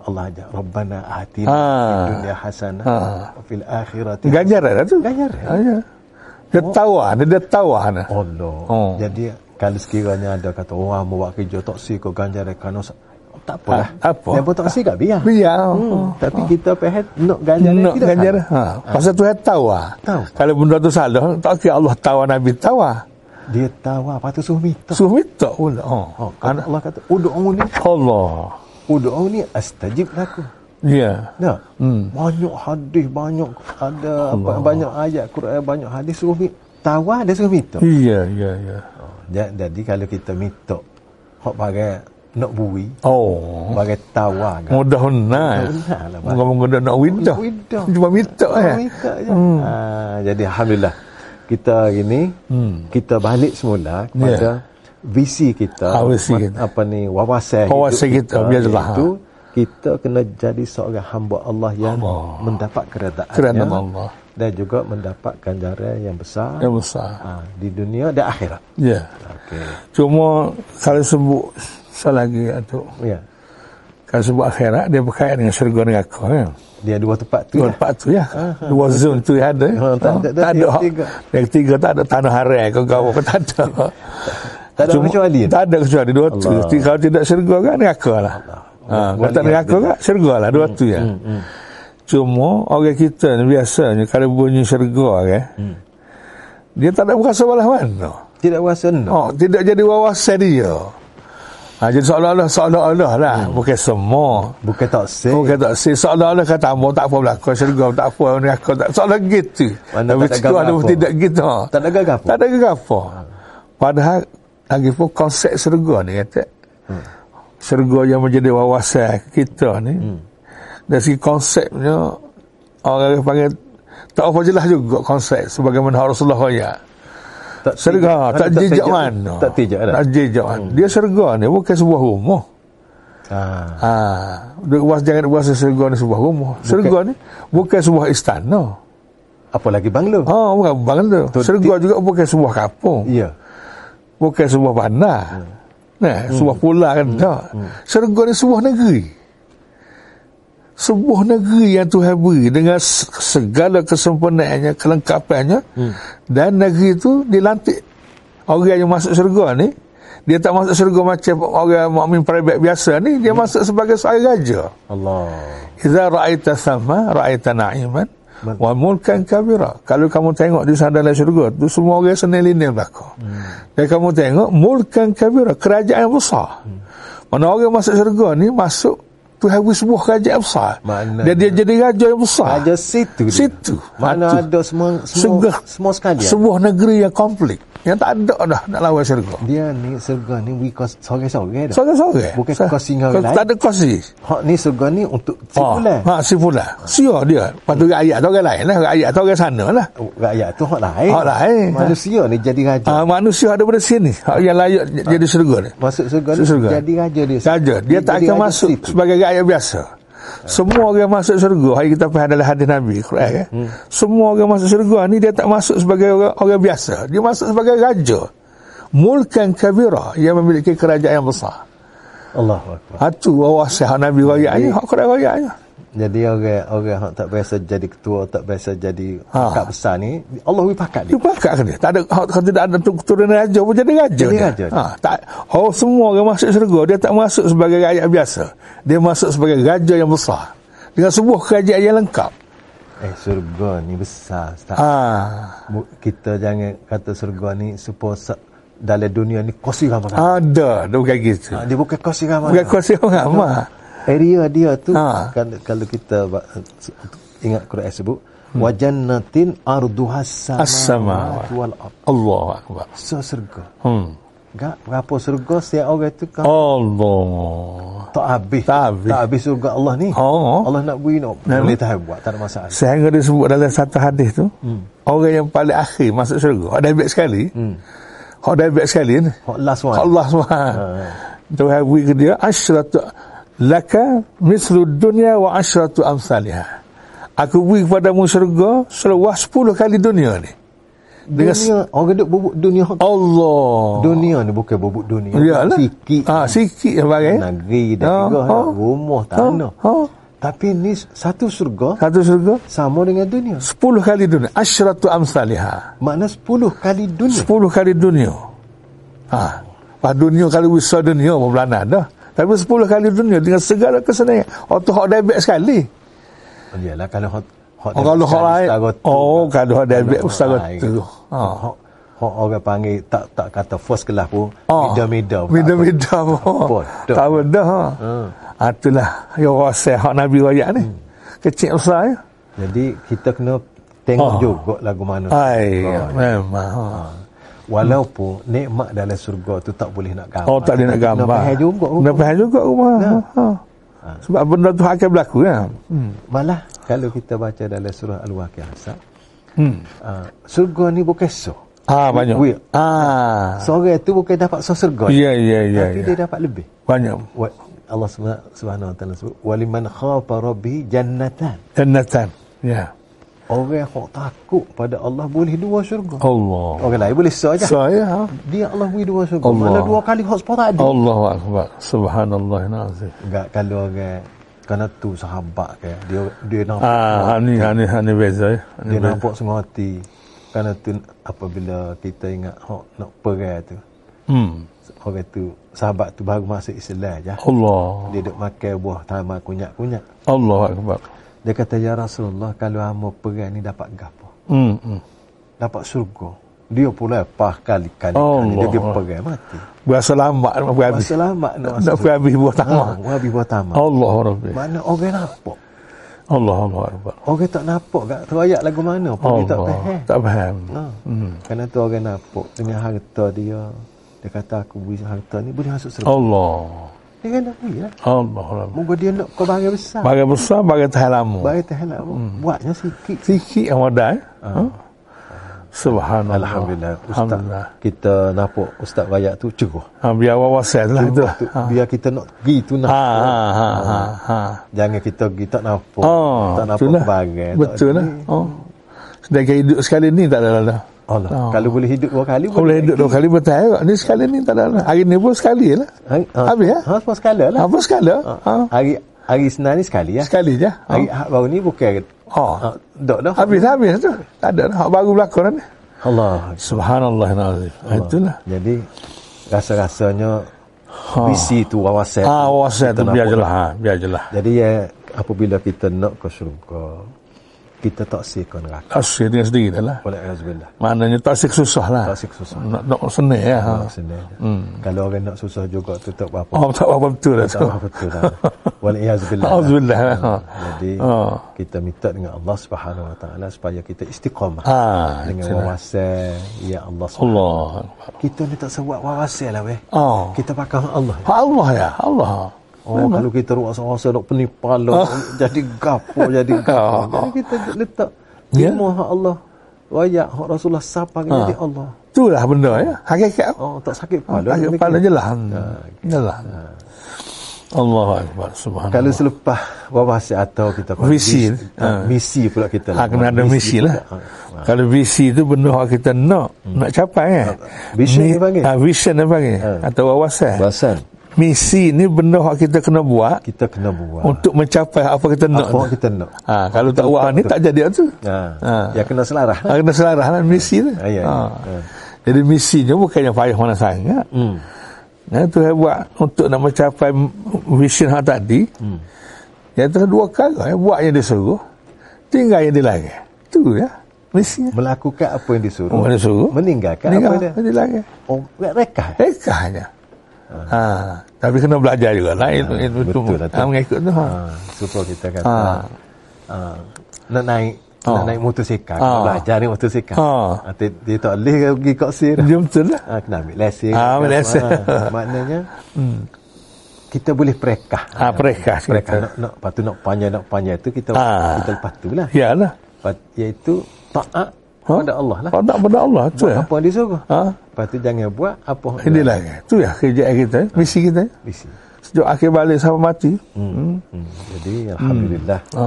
Speaker 1: Allah ajak, Rabbana atina
Speaker 2: Ha.
Speaker 1: fid dunia hasanah,
Speaker 2: Ha.
Speaker 1: wa fil akhirati.
Speaker 2: Ganjaran lah tu.
Speaker 1: Ganjaran. Oh.
Speaker 2: Ah, ya. Dia tawar, dia, dia tawar. Nah.
Speaker 1: Allah.
Speaker 2: Oh.
Speaker 1: Jadi, kalau sekiranya ada kata, orang mau buat kerja tak si kau ganjaran kerana sa- tak apalah.
Speaker 2: Ah, apa?
Speaker 1: Dia pun tak si kat biar.
Speaker 2: Biar.
Speaker 1: Hmm,
Speaker 2: Hmm.
Speaker 1: tapi kita pahit nak ganjaran
Speaker 2: Nak
Speaker 1: tidak
Speaker 2: ganjar.
Speaker 1: salah. Ah.
Speaker 2: Ha. Pasal Tuhan tawar.
Speaker 1: Tahu.
Speaker 2: Kalau benda tu salah, tak kira Allah tawar, Nabi tawar.
Speaker 1: Dia tahu apa tu suruh minta.
Speaker 2: Suruh minta pula. Oh.
Speaker 1: Oh, kata
Speaker 2: Anak-
Speaker 1: Allah kata, udu'uni,
Speaker 2: Allah.
Speaker 1: udu'uni astajib lakum.
Speaker 2: Ya.
Speaker 1: Nah, banyak hadis, banyak ada apa, banyak ayat Quran, banyak hadis suruh minta. Tawar dia suruh minta.
Speaker 2: Ya, ya, ya.
Speaker 1: Oh, ja- jadi kalau kita minta, hak bagai nak bui,
Speaker 2: Oh.
Speaker 1: bagai tawar kan.
Speaker 2: Mudah benar.
Speaker 1: Mudah lah, Pak.
Speaker 2: Moga-moga dia nak windah.
Speaker 1: Widah.
Speaker 2: Cuma minta eh.
Speaker 1: minta je. Ha, jadi alhamdulillah kita hari ni
Speaker 2: Hmm.
Speaker 1: kita balik semula kepada
Speaker 2: Yeah.
Speaker 1: visi kita,
Speaker 2: Ah, visi
Speaker 1: ma-
Speaker 2: Ya. kita.
Speaker 1: apa ni wawasan
Speaker 2: Wawasan kita, biarlah.
Speaker 1: itu kita kena jadi seorang hamba Allah yang
Speaker 2: Allah.
Speaker 1: mendapat keredaannya
Speaker 2: Kerana Allah. Ya
Speaker 1: dan juga mendapat ganjaran yang besar
Speaker 2: Yang besar.
Speaker 1: ha, di dunia dan akhirat.
Speaker 2: Ya.
Speaker 1: Okey.
Speaker 2: Cuma kalau sebut salah lagi atau
Speaker 1: Ya.
Speaker 2: Kalau sebut akhirat dia berkaitan dengan syurga neraka ya.
Speaker 1: Dia dua tempat tu.
Speaker 2: Dua
Speaker 1: lah.
Speaker 2: tempat tu ya. Dua zon tu yang ada.
Speaker 1: Ha, tak ada-
Speaker 2: tak ada.
Speaker 1: tiga.
Speaker 2: Yang tiga tak ada tanah harai kau kau kau tak ada.
Speaker 1: Tak ada
Speaker 2: Cuma-
Speaker 1: kecuali.
Speaker 2: Tak ada kecuali dua tu.
Speaker 1: Allah.
Speaker 2: Ti- Kalau tidak syurga kan neraka lah. Ha, kalau tak
Speaker 1: Wali Hmm,
Speaker 2: neraka
Speaker 1: ada.
Speaker 2: kan syurga lah dua tu ya. Cuma orang kita ni biasanya kalau bunyi syurga kan.
Speaker 1: Hmm.
Speaker 2: Dia tak ada berasa balas mana.
Speaker 1: Tidak rasa no.
Speaker 2: Oh, tidak jadi wawasan dia. Ha, jadi seolah-olah, seolah-olah lah.
Speaker 1: Hmm.
Speaker 2: Bukan semua.
Speaker 1: Bukan tak sah.
Speaker 2: Oh kata si seolah-olah kata ambo tak apa belakang syurga tak apa neraka tak seolah gitu.
Speaker 1: Mana
Speaker 2: Tapi
Speaker 1: tak ada
Speaker 2: tu ada
Speaker 1: gagal apa.
Speaker 2: tidak gitu. ha.
Speaker 1: Tak ada gagal apa.
Speaker 2: Tak ada gagal apa. Padahal lagi pun konsep syurga ni kata. Syurga yang menjadi wawasan kita ni. Dari segi konsepnya orang yang panggil tak apa jelas juga konsep sebagaimana Rasulullah royak.
Speaker 1: Tak tijak-
Speaker 2: Syurga tak
Speaker 1: tak
Speaker 2: jejak
Speaker 1: tijak-
Speaker 2: mana.
Speaker 1: Tak lah. tijak dah.
Speaker 2: Tak jejak mana. Dia syurga ni bukan sebuah rumah.
Speaker 1: Ha.
Speaker 2: Ha, duk was jangan was surga ni sebuah rumah. Surga ni bukan sebuah istana.
Speaker 1: Apa lagi banglo?
Speaker 2: Ha, bukan bangla.
Speaker 1: Tu-
Speaker 2: Surga juga bukan sebuah kampung,
Speaker 1: Ya.
Speaker 2: bukan sebuah bandar. Nah, sebuah pula kan tak. Surga ni sebuah negeri. Sebuah negeri yang Tuhan beri dengan se- segala kesempurnaannya, kelengkapannya. Dan negeri itu dilantik orang yang masuk surga ni dia tak masuk surga macam orang mukmin private biasa ni, dia masuk sebagai seorang raja.
Speaker 1: Allah.
Speaker 2: Iza ra'aita sama ra'aita na'iman
Speaker 1: Betul.
Speaker 2: wa mulkan kabira. Kalau kamu tengok di sana dalam syurga tu semua orang senilin belaka. Hmm. Dan kamu tengok mulkan kabira, kerajaan yang besar. Hmm. Mana orang masuk syurga ni masuk Tuhan beri sebuah kerajaan besar.
Speaker 1: Maknanya-
Speaker 2: Dan dia jadi raja yang besar.
Speaker 1: Ada situ. dia.
Speaker 2: Ah. Situ.
Speaker 1: Mana
Speaker 2: Ha, tu.
Speaker 1: ada semua semua
Speaker 2: Segah.
Speaker 1: semua sekali. ya?
Speaker 2: Sebuah negeri yang konflik. Yang tak ada dah nak lawan syurga.
Speaker 1: Dia ni surga ni we kos sorang-sorang dah.
Speaker 2: Sorang-sorang.
Speaker 1: Bukan
Speaker 2: Sa-
Speaker 1: kos singa orang
Speaker 2: Tak
Speaker 1: lain.
Speaker 2: ada kosi.
Speaker 1: Hak ni surga ni untuk lah.
Speaker 2: Sipulah.
Speaker 1: sebulan.
Speaker 2: Ha, sipulah. Sia dia. Lepas tu rakyat tu orang lain lah. Rakyat tu orang sana lah.
Speaker 1: Oh, Rakyat tu hak lain.
Speaker 2: Hak lain.
Speaker 1: Manusia ni jadi raja.
Speaker 2: Ah, manusia ada pada sini Hak yang layak j- jadi syurga ni.
Speaker 1: Masuk surga ni
Speaker 2: Surga.
Speaker 1: Ah. jadi raja dia.
Speaker 2: Saja dia tak
Speaker 1: jadi
Speaker 2: akan
Speaker 1: raja
Speaker 2: masuk
Speaker 1: situ. Ah.
Speaker 2: sebagai rakyat biasa. Semua orang masuk syurga. Hari kita faham adalah hadis Nabi Quran ya.
Speaker 1: Hmm.
Speaker 2: Semua orang masuk syurga ni dia tak masuk sebagai orang orang biasa. Dia masuk sebagai raja. Mulkan kabira yang memiliki kerajaan yang besar.
Speaker 1: Allahu akbar.
Speaker 2: Itu wasiat hak Nabi royak ni, hak Quran royak ni.
Speaker 1: Jadi orang orang hak tak biasa jadi ketua, tak biasa jadi
Speaker 2: Ha.
Speaker 1: kakak besar ni, Allah bagi pakat
Speaker 2: Dia
Speaker 1: dia.
Speaker 2: pakat ke dia. Tak ada hak hak tidak ada tu- keturunan raja pun jadi raja.
Speaker 1: Jadi
Speaker 2: dia.
Speaker 1: raja.
Speaker 2: Ha, tak oh semua orang masuk syurga dia tak masuk sebagai rakyat biasa. Dia masuk sebagai raja yang besar dengan sebuah kerajaan yang lengkap.
Speaker 1: Eh surga ni besar. Ustaz.
Speaker 2: Ha.
Speaker 1: Bu- Kita jangan kata surga ni supaya se- dalam dunia ni kosi ramai.
Speaker 2: Ada, dia bukan gitu.
Speaker 1: Dia bukan kosi ramai.
Speaker 2: Ah. Bukan kuasa orang mah.
Speaker 1: area dia tu
Speaker 2: Ha.
Speaker 1: kalau, kalau kita ba- ingat Quran sebut wa jannatin arduha
Speaker 2: As-samawati.
Speaker 1: samawati wal ard.
Speaker 2: Allah akbar.
Speaker 1: So surga.
Speaker 2: Hmm.
Speaker 1: Gak berapa surga setiap orang tu kan
Speaker 2: Allah.
Speaker 1: tak habis.
Speaker 2: Oh. Tak habis.
Speaker 1: tak habis surga Allah ni.
Speaker 2: Oh.
Speaker 1: Allah nak beri nak boleh tahan buat tak ada masalah.
Speaker 2: Sehingga dia sebut dalam satu hadis tu, hmm. orang yang paling akhir masuk syurga, hak dah baik sekali. Hmm. Hak dah baik sekali ni.
Speaker 1: Hot last one.
Speaker 2: Allah SWT.
Speaker 1: Ha,
Speaker 2: Tuhan beri ke dia asyratu laka mislu dunia wa asyratu amsalihah. Aku beri kepadamu syurga seluas 10 kali dunia ni. Dengan
Speaker 1: dunia
Speaker 2: Oh.
Speaker 1: orang duk bubuk dunia hak
Speaker 2: Allah.
Speaker 1: dunia ni bukan bubuk dunia.
Speaker 2: Yalah.
Speaker 1: Sikit.
Speaker 2: Ah, sikit sebagai.
Speaker 1: Negeri dan
Speaker 2: Ha,
Speaker 1: juga
Speaker 2: ha.
Speaker 1: rumah tanah. Tapi ni satu surga
Speaker 2: Satu syurga
Speaker 1: sama dengan dunia.
Speaker 2: 10 kali dunia. Asyratu amsalihah.
Speaker 1: Makna 10 kali dunia.
Speaker 2: 10 kali dunia. Ha. Wah, dunia kali besar dunia pun Belanda dah. Tapi 10 kali dunia dengan segala kesenangan. Oh, tu hak debek sekali.
Speaker 1: Yalah kalau hot hot
Speaker 2: Oh, kalau hak lain. Oh, kalau hak debek
Speaker 1: Ah,
Speaker 2: ustaz tu. Ha.
Speaker 1: Ha. Hok orang panggil tak tak kata first kelas pun
Speaker 2: Ah,
Speaker 1: mida-mida. pun tak Hmm.
Speaker 2: Mida-mida pun.
Speaker 1: Bodoh.
Speaker 2: Tak benda. Ha. Ha. Itulah. Ya rasa hak Nabi Raya ni.
Speaker 1: Hmm.
Speaker 2: Kecil besar ya.
Speaker 1: apa. Jadi kita kena tengok
Speaker 2: Ah.
Speaker 1: juga lagu mana.
Speaker 2: Hai,
Speaker 1: Ah.
Speaker 2: memang. Ha.
Speaker 1: Walaupun nikmat dalam surga tu tak boleh nak gambar.
Speaker 2: Oh, tak boleh nak
Speaker 1: Tapi
Speaker 2: gambar.
Speaker 1: Kena faham juga.
Speaker 2: Kena faham juga rumah.
Speaker 1: Ya.
Speaker 2: Ha. Sebab benda tu akan berlaku ya. Hmm.
Speaker 1: Malah kalau kita baca dalam surah Al-Waqiah Ustaz,
Speaker 2: Hmm.
Speaker 1: ah, surga ni bukan so.
Speaker 2: Ah banyak.
Speaker 1: Wait.
Speaker 2: Ah.
Speaker 1: Seorang tu bukan dapat so surga.
Speaker 2: Ya ya ya.
Speaker 1: Tapi
Speaker 2: ya.
Speaker 1: dia dapat lebih.
Speaker 2: Banyak.
Speaker 1: Wa- Allah Subhanahu Subhanahu Wa Taala sebut waliman khafa rabbi jannatan.
Speaker 2: Jannatan. Ya.
Speaker 1: Orang yang takut pada Allah boleh dua syurga.
Speaker 2: Allah.
Speaker 1: Orang lain boleh saja. So,
Speaker 2: Saya
Speaker 1: dia Allah beri dua syurga.
Speaker 2: Allah.
Speaker 1: Mana dua kali hot spot tak ada.
Speaker 2: Allah akbar. Subhanallah nazim.
Speaker 1: Enggak kalau orang kerana tu sahabat ke dia dia nampak
Speaker 2: Ah hani hani hani beza. ya. Hani
Speaker 1: dia
Speaker 2: beza.
Speaker 1: nampak sengati. Kerana tu apabila kita ingat hok nak perang tu
Speaker 2: Hmm.
Speaker 1: orang tu sahabat tu baru masuk Islam je.
Speaker 2: Allah.
Speaker 1: Dia duk makan buah tamar kunyak-kunyak.
Speaker 2: Allah akbar.
Speaker 1: Dia kata ya Rasulullah kalau hamba perang ni dapat gapo?
Speaker 2: Hmm. hmm.
Speaker 1: dapat surga. Dia pula lepas kali-kali.
Speaker 2: Allah.
Speaker 1: Dia, dia perang mati.
Speaker 2: Berasa lambat nak berhabis.
Speaker 1: Selamat nak
Speaker 2: Nak
Speaker 1: masuk.
Speaker 2: berhabis buah
Speaker 1: Ha,
Speaker 2: tamah.
Speaker 1: Wabi buat tamat.
Speaker 2: Allah Rabbi.
Speaker 1: Mana orang nampak?
Speaker 2: Allah Allah akbar.
Speaker 1: Orang tak nampak kat terayak lagu mana pun dia tak
Speaker 2: Allah. Hmm.
Speaker 1: faham.
Speaker 2: Tak faham.
Speaker 1: Ha. Kerana tu orang nampak dengan harta dia. Dia kata aku beri harta ni boleh masuk surga.
Speaker 2: Allah.
Speaker 1: Dia kan nak beri lah.
Speaker 2: Allah Rabbi.
Speaker 1: Moga dia nak kau barang besar.
Speaker 2: Bagai besar, bagai tahan lama.
Speaker 1: Barang tak nak
Speaker 2: Hmm.
Speaker 1: buatnya sikit.
Speaker 2: Sikit yang wadah. eh? Ha? Subhanallah.
Speaker 1: Alhamdulillah. Ustaz,
Speaker 2: Alhamdulillah.
Speaker 1: kita nampak Ustaz Rayak tu cerah.
Speaker 2: Ha, biar awak wasiat lah itu.
Speaker 1: Tu, Biar kita nak pergi tu nak.
Speaker 2: Ha, ha, ha, ha, ha.
Speaker 1: Jangan kita pergi tak nampak.
Speaker 2: Oh,
Speaker 1: tak nampak
Speaker 2: itulah.
Speaker 1: barang.
Speaker 2: Betul
Speaker 1: tak
Speaker 2: lah. Oh. Sedangkan hidup sekali ni tak ada lah.
Speaker 1: Allah.
Speaker 2: Oh.
Speaker 1: Kalau boleh hidup dua kali
Speaker 2: Kau boleh hidup dua kali bertahun kot. Ni sekali ni tak ada lah. Hari ni pun sekali lah.
Speaker 1: Ha, ha,
Speaker 2: Habis ya?
Speaker 1: Ha, semua sekala lah.
Speaker 2: Apa sekali? Ha.
Speaker 1: Hari hari Senin ni sekali ya.
Speaker 2: Sekali je. Ha.
Speaker 1: Hari Ahad baru ni bukan.
Speaker 2: Oh.
Speaker 1: Ha, dok dah.
Speaker 2: Habis habis tu. Tak ada lah. Hak Baru berlaku lah ni. Ah, lah.
Speaker 1: Allah.
Speaker 2: Subhanallah nazif. Itulah.
Speaker 1: Jadi rasa-rasanya
Speaker 2: Ha.
Speaker 1: visi tu wawasan.
Speaker 2: Ah, wasiat tu
Speaker 1: Kita
Speaker 2: biar
Speaker 1: nampak.
Speaker 2: je lah. Ha, biar je lah.
Speaker 1: Jadi ya apabila kita nak ke syurga kita tak siakan neraka.
Speaker 2: Tafsir dia sendiri dah lah.
Speaker 1: Walak azbillah.
Speaker 2: Maknanya tafsir susah lah.
Speaker 1: Tak siakan susah.
Speaker 2: Nak, nak seni ya. Ha.
Speaker 1: Hmm. Kalau orang nak susah juga tu tak apa-apa.
Speaker 2: Oh, tak apa betul lah tu.
Speaker 1: Tak betul lah. Wal iyaz billah.
Speaker 2: Auzubillah.
Speaker 1: Ha.
Speaker 2: Ha.
Speaker 1: Jadi
Speaker 2: Ha.
Speaker 1: kita minta dengan Allah Subhanahu Wa Taala supaya kita istiqamah
Speaker 2: Ha.
Speaker 1: dengan wawasan ya Allah. Subhanahu.
Speaker 2: Allah.
Speaker 1: Kita ni tak sebut wawasan lah weh.
Speaker 2: Oh.
Speaker 1: Kita pakai hak Allah.
Speaker 2: Ha, Allah ya. Allah.
Speaker 1: Oh, kalau kita ruasa-ruasa nak penipal jadi gapo jadi gapo. Jadi kita letak
Speaker 2: Ya.
Speaker 1: ilmu hak Allah. Wayak hak Rasulullah siapa jadi Allah.
Speaker 2: Itulah benda ya. Hakikat.
Speaker 1: Oh, tak sakit kepala.
Speaker 2: Ha, Hakikat
Speaker 1: Dia
Speaker 2: kepala
Speaker 1: fikir.
Speaker 2: je lah. Je lah. Allah Akbar Subhanallah
Speaker 1: ah. Kalau selepas wabah atau kita panggil
Speaker 2: Visi.
Speaker 1: vis- ah,
Speaker 2: Ha.
Speaker 1: Misi pula kita.
Speaker 2: ha, kena ada misi lah
Speaker 1: pula. Ha, ha.
Speaker 2: kalau visi tu benda yang kita nak nak capai kan
Speaker 1: Hmm. Ah, Vision
Speaker 2: Ni-
Speaker 1: dia panggil.
Speaker 2: ah, vision dia panggil atau wawasan
Speaker 1: Bahasan
Speaker 2: misi ni benda yang kita kena buat
Speaker 1: kita kena buat.
Speaker 2: untuk mencapai apa kita Oh, nak
Speaker 1: Apa
Speaker 2: tu.
Speaker 1: kita nak.
Speaker 2: ha, kalau tak buat ni tak jadi tu
Speaker 1: Ha.
Speaker 2: Ha.
Speaker 1: Ya kena selarah.
Speaker 2: ha, kena selarah lah misi tu
Speaker 1: Ha, ya, ya.
Speaker 2: Ha.
Speaker 1: Ha.
Speaker 2: jadi misinya bukannya payah mana sangat
Speaker 1: Hmm.
Speaker 2: Ya, Tuhan buat untuk nak mencapai vision hang tadi. Hmm. Ya Tuhan dua perkara. Ya. Buat yang dia suruh. Tinggal yang dia larang. Tu ya. Misinya.
Speaker 1: Melakukan apa yang disuruh.
Speaker 2: Orang dia suruh.
Speaker 1: Hmm. Meninggalkan apa
Speaker 2: Tinggal
Speaker 1: dia.
Speaker 2: yang dia larang.
Speaker 1: Oh, rekah.
Speaker 2: Eh. Rekahnya. Ha. Tapi kena belajar juga lah. Ilmu, ilmu tu.
Speaker 1: Ah. betul lah tu.
Speaker 2: Ha, mengikut tu. Ha.
Speaker 1: Ha, supaya kita kata.
Speaker 2: Ha.
Speaker 1: Ha. Nak naik nak
Speaker 2: Ha.
Speaker 1: naik motosikal.
Speaker 2: Ha.
Speaker 1: Ha. Belajar naik motosikal.
Speaker 2: Ha.
Speaker 1: Ha. Dia, dia tak boleh pergi kat sini.
Speaker 2: Dia betul lah.
Speaker 1: Ha, kena ambil lesen.
Speaker 2: Ah, ambil
Speaker 1: Kan?
Speaker 2: lesen. Hmm.
Speaker 1: Ah, maknanya, kita boleh perekah.
Speaker 2: Ha, perekah.
Speaker 1: Perekah. Nak, nak, lepas tu nak panjang, nak panjang tu kita,
Speaker 2: Ah.
Speaker 1: kita lepas tu lah.
Speaker 2: Ya lah.
Speaker 1: Lepas, iaitu ta'at
Speaker 2: Ha?
Speaker 1: pada Allah lah.
Speaker 2: Tak pada Allah. Tu
Speaker 1: Buat
Speaker 2: ya.
Speaker 1: apa yang disuruh.
Speaker 2: Ha.
Speaker 1: Lepas tu jangan buat apa yang
Speaker 2: Ini larang. Tu ya kerjaan kita. Misi kita.
Speaker 1: Bisi.
Speaker 2: Sejak akhir balik sampai mati.
Speaker 1: Hmm. Hmm. Jadi, Alhamdulillah.
Speaker 2: Ha.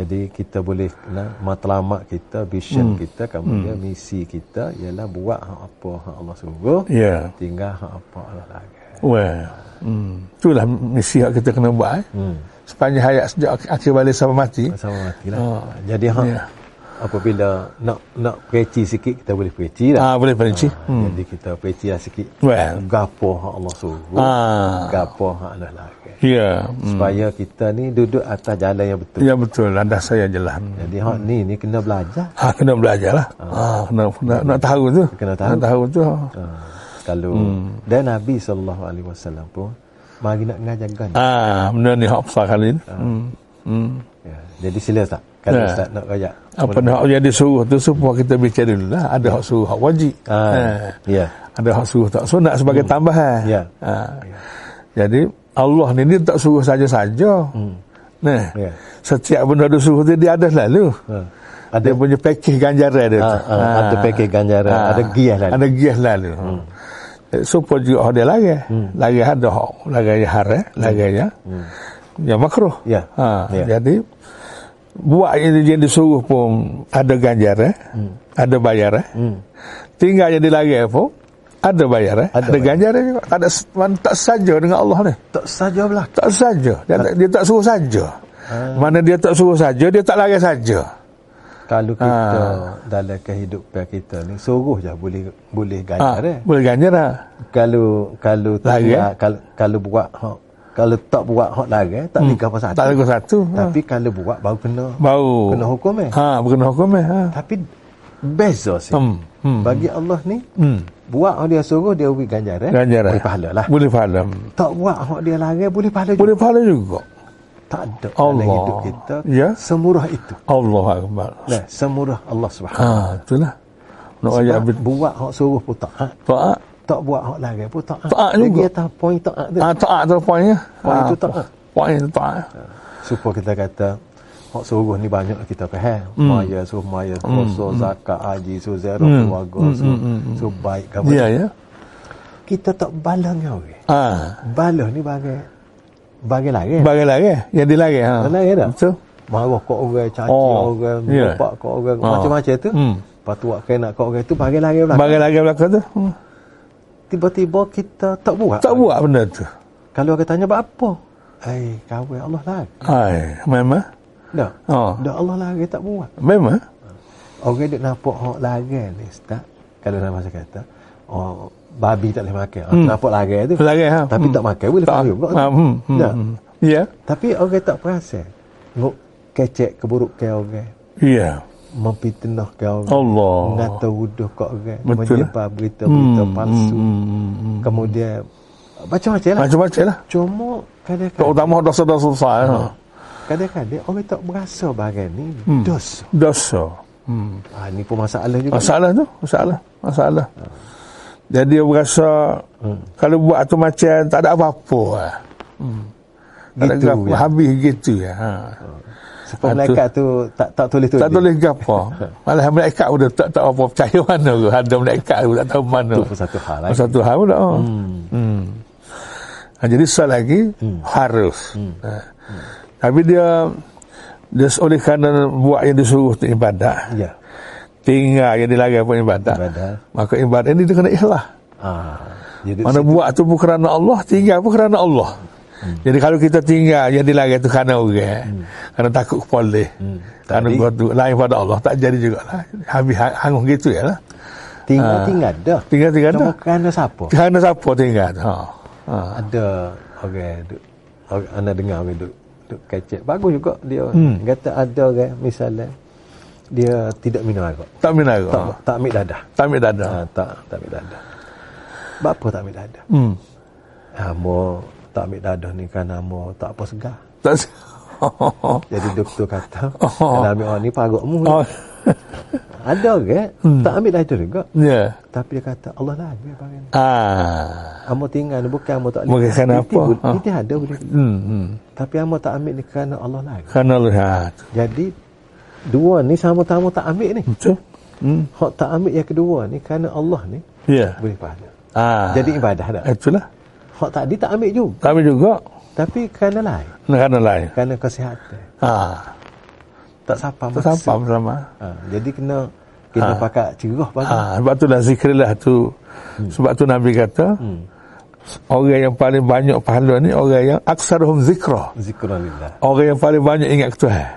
Speaker 1: Jadi kita boleh nah, matlamat kita, vision
Speaker 2: Hmm.
Speaker 1: kita, kemudian misi kita ialah buat hak apa hak Allah suruh,
Speaker 2: Ya.
Speaker 1: tinggal hak apa Allah lagi.
Speaker 2: Well, hmm. itulah misi yang kita kena buat. Eh.
Speaker 1: Hmm.
Speaker 2: Sepanjang hayat sejak ak- akhir balik sampai mati.
Speaker 1: sama mati lah.
Speaker 2: Oh.
Speaker 1: Jadi hak
Speaker 2: Ya.
Speaker 1: apabila nak nak perinci sikit kita boleh perinci lah.
Speaker 2: Ah boleh perinci.
Speaker 1: Ha, Jadi kita perinci lah sikit.
Speaker 2: Well,
Speaker 1: Gapo hak Allah suruh.
Speaker 2: Ah.
Speaker 1: Gapo hak Allah lagi.
Speaker 2: ya. Yeah.
Speaker 1: Supaya kita ni duduk atas jalan yang betul.
Speaker 2: Ya betul, landas saya je lah.
Speaker 1: Jadi hak ni ni kena belajar.
Speaker 2: Ha, kena belajar lah. Ha, kena, nak, nak tahu tu.
Speaker 1: Ah. Kena tahu.
Speaker 2: Nak tahu tu.
Speaker 1: Ha, kalau hmm. dan Nabi sallallahu alaihi wasallam pun mari nak ngajar gan.
Speaker 2: Ha, benda ni hak besar
Speaker 1: Ah.
Speaker 2: kali ni. Hmm. Hmm.
Speaker 1: Ya. Jadi sila ustaz. Kalau
Speaker 2: Ya.
Speaker 1: ustaz nak ngajar.
Speaker 2: Apa nak yang disuruh tu semua kita bicara dulu lah.
Speaker 1: Ya.
Speaker 2: Ada hak suruh, hak wajib.
Speaker 1: Ha.
Speaker 2: Ha.
Speaker 1: Ya.
Speaker 2: Ada hak suruh tak sunat sebagai hmm. tambahan.
Speaker 1: Ya.
Speaker 2: Ha. Jadi Allah ni dia tak suruh saja-saja. Hmm. Nah.
Speaker 1: Ya.
Speaker 2: Setiap benda dia suruh dia, dia ada selalu.
Speaker 1: Ha.
Speaker 2: Ada
Speaker 1: Ada
Speaker 2: dia punya pakej ganjaran dia
Speaker 1: Ha,
Speaker 2: tu. Ha.
Speaker 1: ha, ada pakej ganjaran, ada lah giah lalu.
Speaker 2: Ada giah lalu. Hmm. Supaya juga hak dia lari. Hmm. Lari ada hak, lari yang haram, lari yang hmm. yang makruh.
Speaker 1: Ya.
Speaker 2: Ha.
Speaker 1: Ya.
Speaker 2: Jadi buat yang dia yang disuruh pun ada ganjaran, hmm. ada bayaran. Hmm. Tinggal yang dilari pun ada bayaran,
Speaker 1: Ada
Speaker 2: ada,
Speaker 1: bayaran.
Speaker 2: ganjaran juga. Tak ada tak saja dengan Allah ni.
Speaker 1: tak saja belaka.
Speaker 2: Tak saja. Dia, tak, dia tak suruh saja.
Speaker 1: Ah.
Speaker 2: Mana dia tak suruh saja, dia tak lari saja.
Speaker 1: Kalau kita
Speaker 2: Ah.
Speaker 1: dalam kehidupan kita ni suruh je boleh boleh
Speaker 2: Ha,
Speaker 1: ganjar eh.
Speaker 2: boleh ganjaran.
Speaker 1: Kalau kalau tak
Speaker 2: Larang.
Speaker 1: buat, kalau kalau buat hak kalau tak buat hak larang tak hmm. apa satu.
Speaker 2: Tak lagu satu. Ha.
Speaker 1: Tapi kalau buat baru kena
Speaker 2: Baru.
Speaker 1: kena hukum eh.
Speaker 2: Ha, kena hukum eh. Ha.
Speaker 1: Tapi beza sih.
Speaker 2: Hmm. Hmm.
Speaker 1: Bagi Allah ni
Speaker 2: Hmm. eh?
Speaker 1: buat hak dia suruh dia beri ganjaran.
Speaker 2: Ganjaran.
Speaker 1: Boleh pahala lah.
Speaker 2: Boleh pahala.
Speaker 1: Tak buat hak dia larang boleh pahala
Speaker 2: Boleh
Speaker 1: boleh.
Speaker 2: pahala juga.
Speaker 1: Tak ada
Speaker 2: Allah.
Speaker 1: dalam hidup kita
Speaker 2: Ya.
Speaker 1: semurah itu.
Speaker 2: Allah Akbar.
Speaker 1: Nah, semurah Allah Subhanahu.
Speaker 2: Ha, itulah. Nak
Speaker 1: Lah. Sebab
Speaker 2: ajak bit-
Speaker 1: buat hak suruh pun taat.
Speaker 2: taat.
Speaker 1: Tak buat hak larang pun taat.
Speaker 2: Taat
Speaker 1: Dia
Speaker 2: juga.
Speaker 1: Dia Ah, tahu poin taat tu.
Speaker 2: Ha, taat tu poin ya.
Speaker 1: Poin tu Ah, taat.
Speaker 2: Poin tu taat.
Speaker 1: Supaya kita kata hak suruh ni banyak kita faham. Hmm. Maya suruh maya, puasa,
Speaker 2: hmm.
Speaker 1: zakat, haji, suruh ziarah keluarga, suruh, suruh baik kamu.
Speaker 2: Ya, ya.
Speaker 1: Kita tak balas dengan orang.
Speaker 2: Ha.
Speaker 1: Balas ni bagai bagai larang.
Speaker 2: Bagi lagi. Yang dia lagi. Ha.
Speaker 1: Benar ke tak?
Speaker 2: Betul.
Speaker 1: Marah kau orang, caci
Speaker 2: Oh,
Speaker 1: orang,
Speaker 2: ya.
Speaker 1: bapak kau orang,
Speaker 2: Ah.
Speaker 1: macam-macam tu.
Speaker 2: Hmm.
Speaker 1: Lepas tu awak kena kau orang tu bagai lari belakang.
Speaker 2: Bagi lagi belakang tu. Hmm.
Speaker 1: Tiba-tiba kita tak buat.
Speaker 2: Tak buat benda tu.
Speaker 1: Kalau orang tanya buat apa? Hai, kawin Allah lah.
Speaker 2: Hai, memang.
Speaker 1: Dah.
Speaker 2: Oh.
Speaker 1: Dah Allah lah tak buat.
Speaker 2: Memang.
Speaker 1: Orang duk nampak hok larang ni, Ustaz. Kalau dalam masa kata, oh, babi tak boleh makan. Hmm. Nampak larang tu.
Speaker 2: Lagi ha.
Speaker 1: Tapi
Speaker 2: Hmm.
Speaker 1: tak makan boleh
Speaker 2: Tak.
Speaker 1: panggil pula tu.
Speaker 2: Ha, hmm, hmm,
Speaker 1: Dah.
Speaker 2: hmm. Ya.
Speaker 1: Tapi orang tak perasan. Ngok kecek keburukan orang.
Speaker 2: Ya.
Speaker 1: memfitnah kau orang
Speaker 2: Allah.
Speaker 1: mengata wuduh kau orang
Speaker 2: Betul.
Speaker 1: menyebar berita-berita
Speaker 2: Hmm,
Speaker 1: palsu
Speaker 2: hmm, hmm, hmm.
Speaker 1: kemudian macam-macam lah
Speaker 2: Macam-macam lah.
Speaker 1: cuma kadang-kadang
Speaker 2: Terutama dosa-dosa besar. Ha.
Speaker 1: kadang-kadang orang tak berasa barang ni
Speaker 2: Hmm.
Speaker 1: dosa
Speaker 2: Dosa. Hmm.
Speaker 1: ha, ni pun masalah juga
Speaker 2: Masalah tu, masalah, masalah. Jadi dia berasa
Speaker 1: Hmm.
Speaker 2: kalau buat tu macam tak ada apa-apa lah. Hmm. Tak
Speaker 1: Gitu,
Speaker 2: ada apa,
Speaker 1: ya.
Speaker 2: habis gitu ya. Ha.
Speaker 1: sebab
Speaker 2: Ah, tu.
Speaker 1: malaikat tu tak tak tulis tulis
Speaker 2: Tak tulis gapo. Malah malaikat pun dia tak tahu apa percaya mana tu. Ada malaikat pun tak tahu mana.
Speaker 1: lah. tu pun satu hal lagi
Speaker 2: Satu hal pula. Hmm. hmm. oh. Ha, jadi sah lagi harus. Ha. Tapi dia dia oleh kerana buat yang disuruh untuk ibadah.
Speaker 1: Ya.
Speaker 2: Tinggal yang dilarang pun ibadah.
Speaker 1: Ibadah.
Speaker 2: Maka ibadah ini dia kena ikhlas.
Speaker 1: Ah. Jadi
Speaker 2: Mana buat tu pun kerana Allah, tinggal pun kerana Allah. Jadi kalau kita tinggal yang dilarang tu kerana orang, kerana takut kepala. Kerana
Speaker 1: Tadi-
Speaker 2: buat tu lain pada Allah, tak jadi jugalah. Habis hang- hangus gitu ya lah.
Speaker 1: tinggal
Speaker 2: Ah.
Speaker 1: tinggal dah.
Speaker 2: Tinggal-tinggal dah.
Speaker 1: Kerana siapa?
Speaker 2: Kerana siapa tinggal tu? Ha. ha.
Speaker 1: Ada orang duk orang- anda dengar orang duk duk kecek. Bagus juga dia. Hmm. Kata ada orang misalnya dia tidak minum arak.
Speaker 2: Tak minat
Speaker 1: Tak,
Speaker 2: tak.
Speaker 1: tak ambil dadah.
Speaker 2: tak minat dadah.
Speaker 1: Ha, tak, tak ambil dadah. Buat apa tak ambil dadah?
Speaker 2: Hmm.
Speaker 1: Ha, mo, tak ambil dadah ni kan mo, tak apa segar.
Speaker 2: Tak
Speaker 1: Jadi doktor kata,
Speaker 2: Oh.
Speaker 1: kalau ambil orang ni parokmu.
Speaker 2: Oh.
Speaker 1: Oh. Ada ke? Hmm. Tak ambil dadah juga.
Speaker 2: Ya.
Speaker 1: Tapi dia kata, Allah lah ambil barang ni.
Speaker 2: Ah.
Speaker 1: Amo tinggal ni bukan amo tak
Speaker 2: Bukan kerana
Speaker 1: Itu
Speaker 2: apa?
Speaker 1: bu-
Speaker 2: Ha.
Speaker 1: Itu ada boleh.
Speaker 2: Hmm. hmm.
Speaker 1: Tapi amo tak ambil ni kerana Allah lah.
Speaker 2: Kerana lihat.
Speaker 1: Jadi dua ni sama-sama tak ambil ni.
Speaker 2: Betul? Hmm.
Speaker 1: Hak tak ambil yang kedua ni kerana Allah ni
Speaker 2: Ya.
Speaker 1: boleh pahala.
Speaker 2: Ah.
Speaker 1: Jadi ibadah dah.
Speaker 2: itulah.
Speaker 1: Hak tadi tak ambil juga.
Speaker 2: Kami juga
Speaker 1: Tapi kerana lain.
Speaker 2: kerana lain.
Speaker 1: Kerana kesihatan.
Speaker 2: Ah.
Speaker 1: Tak sapa
Speaker 2: Tak
Speaker 1: maksud.
Speaker 2: sampai bersama.
Speaker 1: Ha, jadi kena kena ha. pakai cerah pakai.
Speaker 2: Ah, sebab itulah zikirlah tu.
Speaker 1: Hmm.
Speaker 2: Sebab tu Nabi kata, orang yang paling banyak pahala ni orang yang aksaruhum zikra.
Speaker 1: Zikrulillah.
Speaker 2: Orang yang paling banyak ingat ke Tuhan.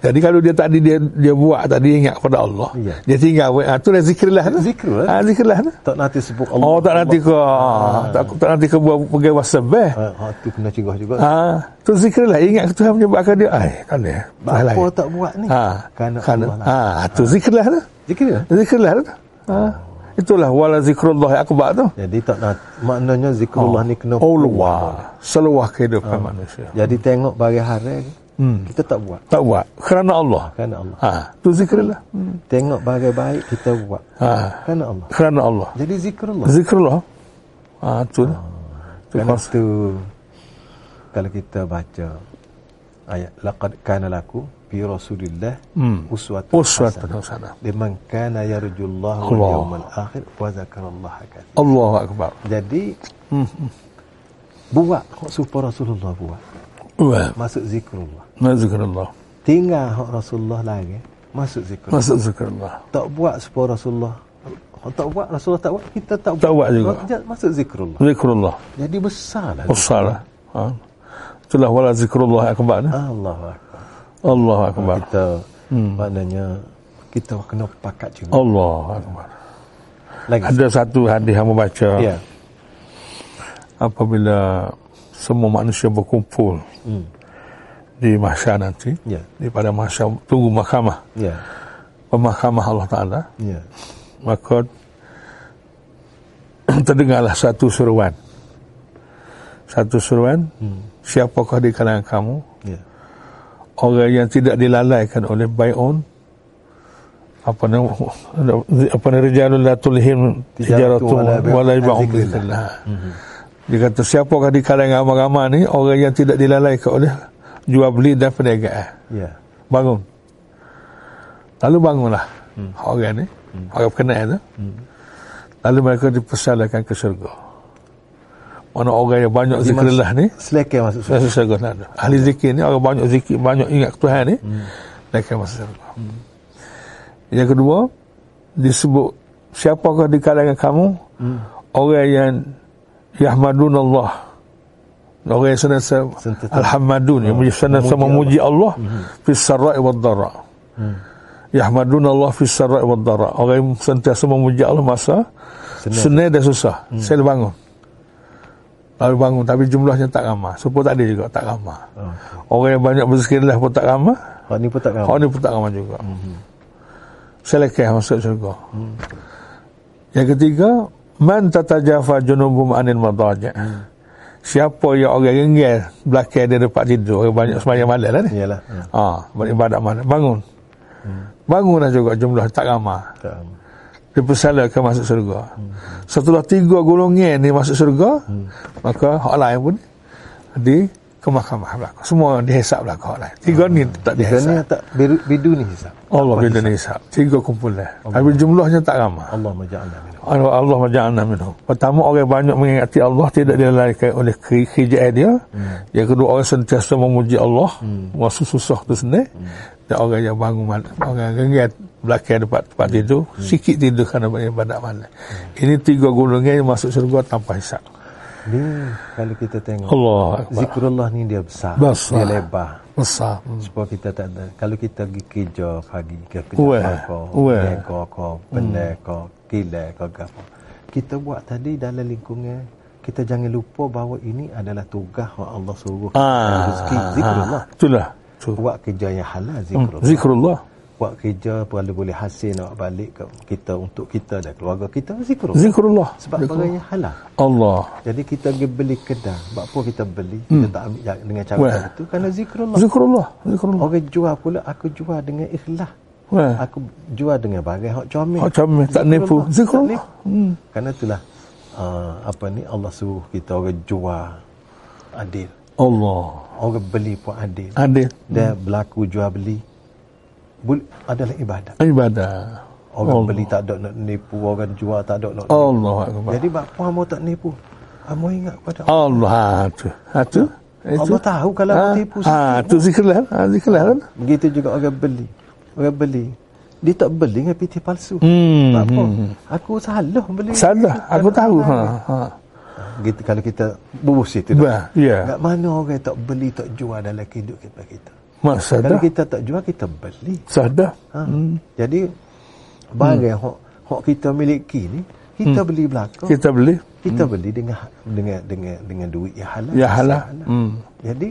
Speaker 2: Jadi kalau dia tadi dia dia buat tadi ingat pada Allah.
Speaker 1: Ya. eh?
Speaker 2: Dia tinggal buat. Ah, itulah zikirlah tu.
Speaker 1: Zikrullah.
Speaker 2: Ah, zikirlah tu.
Speaker 1: Tak nanti sebut Allah.
Speaker 2: Oh tak nanti ke
Speaker 1: Ah.
Speaker 2: tak, tak nanti ke buat pegai wasabah.
Speaker 1: Ha, ha, tu kena cerah juga. Ha.
Speaker 2: Ah, tu zikirlah ingat ke Tuhan menyebabkan dia. Ai, tak boleh. Tuhan
Speaker 1: Apa
Speaker 2: lain.
Speaker 1: tak buat ni?
Speaker 2: Ha,
Speaker 1: Kerana,
Speaker 2: kerana
Speaker 1: Allah lah.
Speaker 2: ah, tu zikirlah tu.
Speaker 1: Zikirlah.
Speaker 2: Zikirlah tu. Ha. Itulah wala zikrullah akbar tu.
Speaker 1: Jadi tak nak maknanya zikrullah ni kena
Speaker 2: Oh.
Speaker 1: Ah.
Speaker 2: Allah seluah kehidupan manusia.
Speaker 1: Jadi tengok bagi hari hmm. kita tak buat
Speaker 2: Tak buat kerana Allah.
Speaker 1: kerana Allah.
Speaker 2: Ha, tu zikirlah. Hmm.
Speaker 1: Tengok bagi baik kita buat
Speaker 2: Ha,
Speaker 1: kerana Allah.
Speaker 2: kerana Allah.
Speaker 1: Jadi zikrullah.
Speaker 2: Zikrullah. Ha, tu. Tu
Speaker 1: Kerana
Speaker 2: konsep.
Speaker 1: itu kalau kita baca ayat laqad kana lakum fi rasulillah
Speaker 2: Hmm.
Speaker 1: uswatun
Speaker 2: Uswatun
Speaker 1: hasanah
Speaker 2: hasanah.
Speaker 1: liman kana yarjullaha wal
Speaker 2: Allah.
Speaker 1: yawmal akhir wa zakarallaha katsiran.
Speaker 2: Allahu akbar.
Speaker 1: Jadi
Speaker 2: Hmm.
Speaker 1: buat hak supaya Rasulullah buat.
Speaker 2: Wah,
Speaker 1: Masuk zikrullah.
Speaker 2: zikrullah.
Speaker 1: Tinggal hak Rasulullah lagi eh. masuk zikrullah.
Speaker 2: Masuk zikrullah.
Speaker 1: tak buat supaya Rasulullah Orang tak buat Rasulullah tak buat kita tak,
Speaker 2: Tak buat juga. Hmm.
Speaker 1: Maksudnya Masuk zikrullah
Speaker 2: Zikrullah.
Speaker 1: jadi besar lah
Speaker 2: Ussalah. Ha. Itulah wala zikrullah akbar. ni.
Speaker 1: Allah Akbar
Speaker 2: Allahu akbar.
Speaker 1: kita hmm. maknanya kita kena pakat juga
Speaker 2: Allahu akbar.
Speaker 1: lagi
Speaker 2: Oh, Ada satu hadis yang membaca.
Speaker 1: ya
Speaker 2: apabila semua manusia berkumpul
Speaker 1: hmm.
Speaker 2: di mahsyar nanti
Speaker 1: ya
Speaker 2: di pada mahsyar tunggu mahkamah
Speaker 1: ya
Speaker 2: pemahkamah Allah Taala
Speaker 1: ya
Speaker 2: maka terdengarlah satu seruan satu seruan
Speaker 1: hmm.
Speaker 2: siapakah di kalangan kamu
Speaker 1: ya
Speaker 2: orang yang tidak dilalaikan oleh bayun apa nama apa nama rijalul la tulhim tijaratun
Speaker 1: Tijaratun wala
Speaker 2: wala yabum
Speaker 1: zikrillah.
Speaker 2: dia kata siapakah di kalangan agama ni orang yang tidak dilalaikan oleh jual beli dan perniagaan
Speaker 1: ya
Speaker 2: bangun lalu bangunlah orang ni orang berkenal tu lalu mereka dipersalahkan ke syurga mana orang yang banyak
Speaker 1: Jadi
Speaker 2: zikrillah ni Eh,
Speaker 1: selekeh masuk surga
Speaker 2: Masuk syurga tak ada. Ahli zikir ni orang banyak zikir, banyak ingat ke Tuhan ni, hmm. mereka masuk syurga. Hmm. Yang kedua, disebut siapakah di kalangan kamu? Hmm. Orang yang yahmadunallah. Orang yang senantiasa
Speaker 1: Sentiasa.
Speaker 2: alhamdun, yang senantiasa memuji Allah fi sarra'i wad dharra.
Speaker 1: Hmm.
Speaker 2: Yahmadunallah fi sarra'i wad dharra. Orang yang sentiasa memuji Allah masa
Speaker 1: Senang.
Speaker 2: Senai dah susah. Hmm. Sel bangun. Lalu bangun. Tapi jumlahnya tak ramah. Supaya tak ada juga. Tak ramah.
Speaker 1: oh.
Speaker 2: Orang yang banyak berzikirlah pun tak ramah.
Speaker 1: Hak ni pun tak
Speaker 2: Orang
Speaker 1: ramai
Speaker 2: ni pun tak ramah juga. Hmm. Selekeh masuk syurga. Hmm. Yang ketiga. Man tatajafa junubum anil madaja. Hmm. Siapa yang orang genggel belakang dia dapat tidur. Orang banyak semayang malam lah ni.
Speaker 1: iyalah ya.
Speaker 2: Ha, beribadat malam. Bangun. Hmm. Bangunlah juga jumlah tak ramah
Speaker 1: tak ramai
Speaker 2: dipersalahkan masuk syurga. lah Setelah tiga golongan ni masuk syurga, maka hak lain pun di ke mahkamah belaka. Semua dihisap belaka lah. Tiga ni tak
Speaker 1: Tiga ni
Speaker 2: dihisap.
Speaker 1: tak bidu, bidu ni hisap.
Speaker 2: Allah bila ni hisap. Tiga kumpul dah. Tapi jumlahnya tak ramah.
Speaker 1: Allah maja'alna minum.
Speaker 2: Allah Allah maja'alna minhum. Pertama orang banyak mengingati Allah tidak dilalaikan oleh ke- kejayaan dia. Yang kedua orang sentiasa memuji Allah masa susah tu sendiri. Dan orang yang bangun malam, orang yang gengat belakang tempat tempat tidur, sikit tidur kerana banyak ibadat malam. Ini tiga golongan yang masuk syurga tanpa hisap.
Speaker 1: Ni kalau kita tengok
Speaker 2: Allah Akbar.
Speaker 1: zikrullah ni dia besar,
Speaker 2: Besar.
Speaker 1: dia lebar.
Speaker 2: Besar. Hmm.
Speaker 1: Sebab kita tak ada Kalau kita pergi kerja pagi ke
Speaker 2: Weh,
Speaker 1: kerja kau
Speaker 2: weh.
Speaker 1: Leka kau Pendek
Speaker 2: Hmm.
Speaker 1: kau Gila kau ke apa Kita buat tadi dalam lingkungan Kita jangan lupa bahawa ini adalah tugas yang Allah suruh kita
Speaker 2: Ah,
Speaker 1: Rezeki
Speaker 2: ah,
Speaker 1: zikrullah
Speaker 2: itulah. Tu.
Speaker 1: Buat kerja yang halal
Speaker 2: Hmm.
Speaker 1: zikrullah
Speaker 2: Zikrullah.
Speaker 1: Buat kerja kalau boleh hasil nak balik ke kita Untuk kita dan keluarga kita zikrullah
Speaker 2: Zikrullah.
Speaker 1: Sebab barang yang halal
Speaker 2: Allah.
Speaker 1: jadi kita pergi beli kedai. Buat apa kita beli?
Speaker 2: Hmm.
Speaker 1: Kita tak ambil ja- dengan cara
Speaker 2: Weh.
Speaker 1: itu. Kerana zikrullah.
Speaker 2: Zikrullah. Zikrullah. Eh.
Speaker 1: Orang jual pula aku jual dengan ikhlas.
Speaker 2: Wah.
Speaker 1: Aku jual dengan barang hak comel.
Speaker 2: Hak comel, tak nipu. Zikrullah.
Speaker 1: Hmm. Karena itulah uh, apa ni Allah suruh kita orang jual adil.
Speaker 2: Allah.
Speaker 1: Orang beli pun adil.
Speaker 2: Adil.
Speaker 1: Dan berlaku jual beli bul- adalah ibadat.
Speaker 2: Ibadah.
Speaker 1: Orang
Speaker 2: Allah. Oh.
Speaker 1: beli tak ada nak nipu, orang jual tak ada nak nipu.
Speaker 2: Allah Akbar.
Speaker 1: Jadi bapa hamo tak nipu. Hamo ingat pada Allah.
Speaker 2: Allah ha, tu. Ha, tu.
Speaker 1: Allah tahu kalau
Speaker 2: ha,
Speaker 1: aku tipu
Speaker 2: Ha,
Speaker 1: sikit.
Speaker 2: tu zikrullah. Ha, zikrullah kan?
Speaker 1: Begitu juga orang beli. Orang beli. Dia tak beli dengan PT palsu.
Speaker 2: Hmm,
Speaker 1: Tak apa. Aku salah beli.
Speaker 2: Salah. Aku
Speaker 1: Tak
Speaker 2: tahu. Ha,
Speaker 1: salah.
Speaker 2: ha.
Speaker 1: Gitu, kalau kita berus itu.
Speaker 2: Bah,
Speaker 1: Kat
Speaker 2: ya.
Speaker 1: mana orang tak beli, tak jual dalam hidup kita. kita. Kalau
Speaker 2: Masa dah.
Speaker 1: Kan
Speaker 2: Hmm.
Speaker 1: kita tak jual, kita beli.
Speaker 2: Sadah.
Speaker 1: Ha. Jadi, barang hok hok kita miliki ni, kita beli belakang.
Speaker 2: Hmm. Kita beli.
Speaker 1: Kita beli dengan ha- dengan dengan dengan duit yang halal.
Speaker 2: Ya halal.
Speaker 1: Hasil
Speaker 2: Hmm.
Speaker 1: Jadi,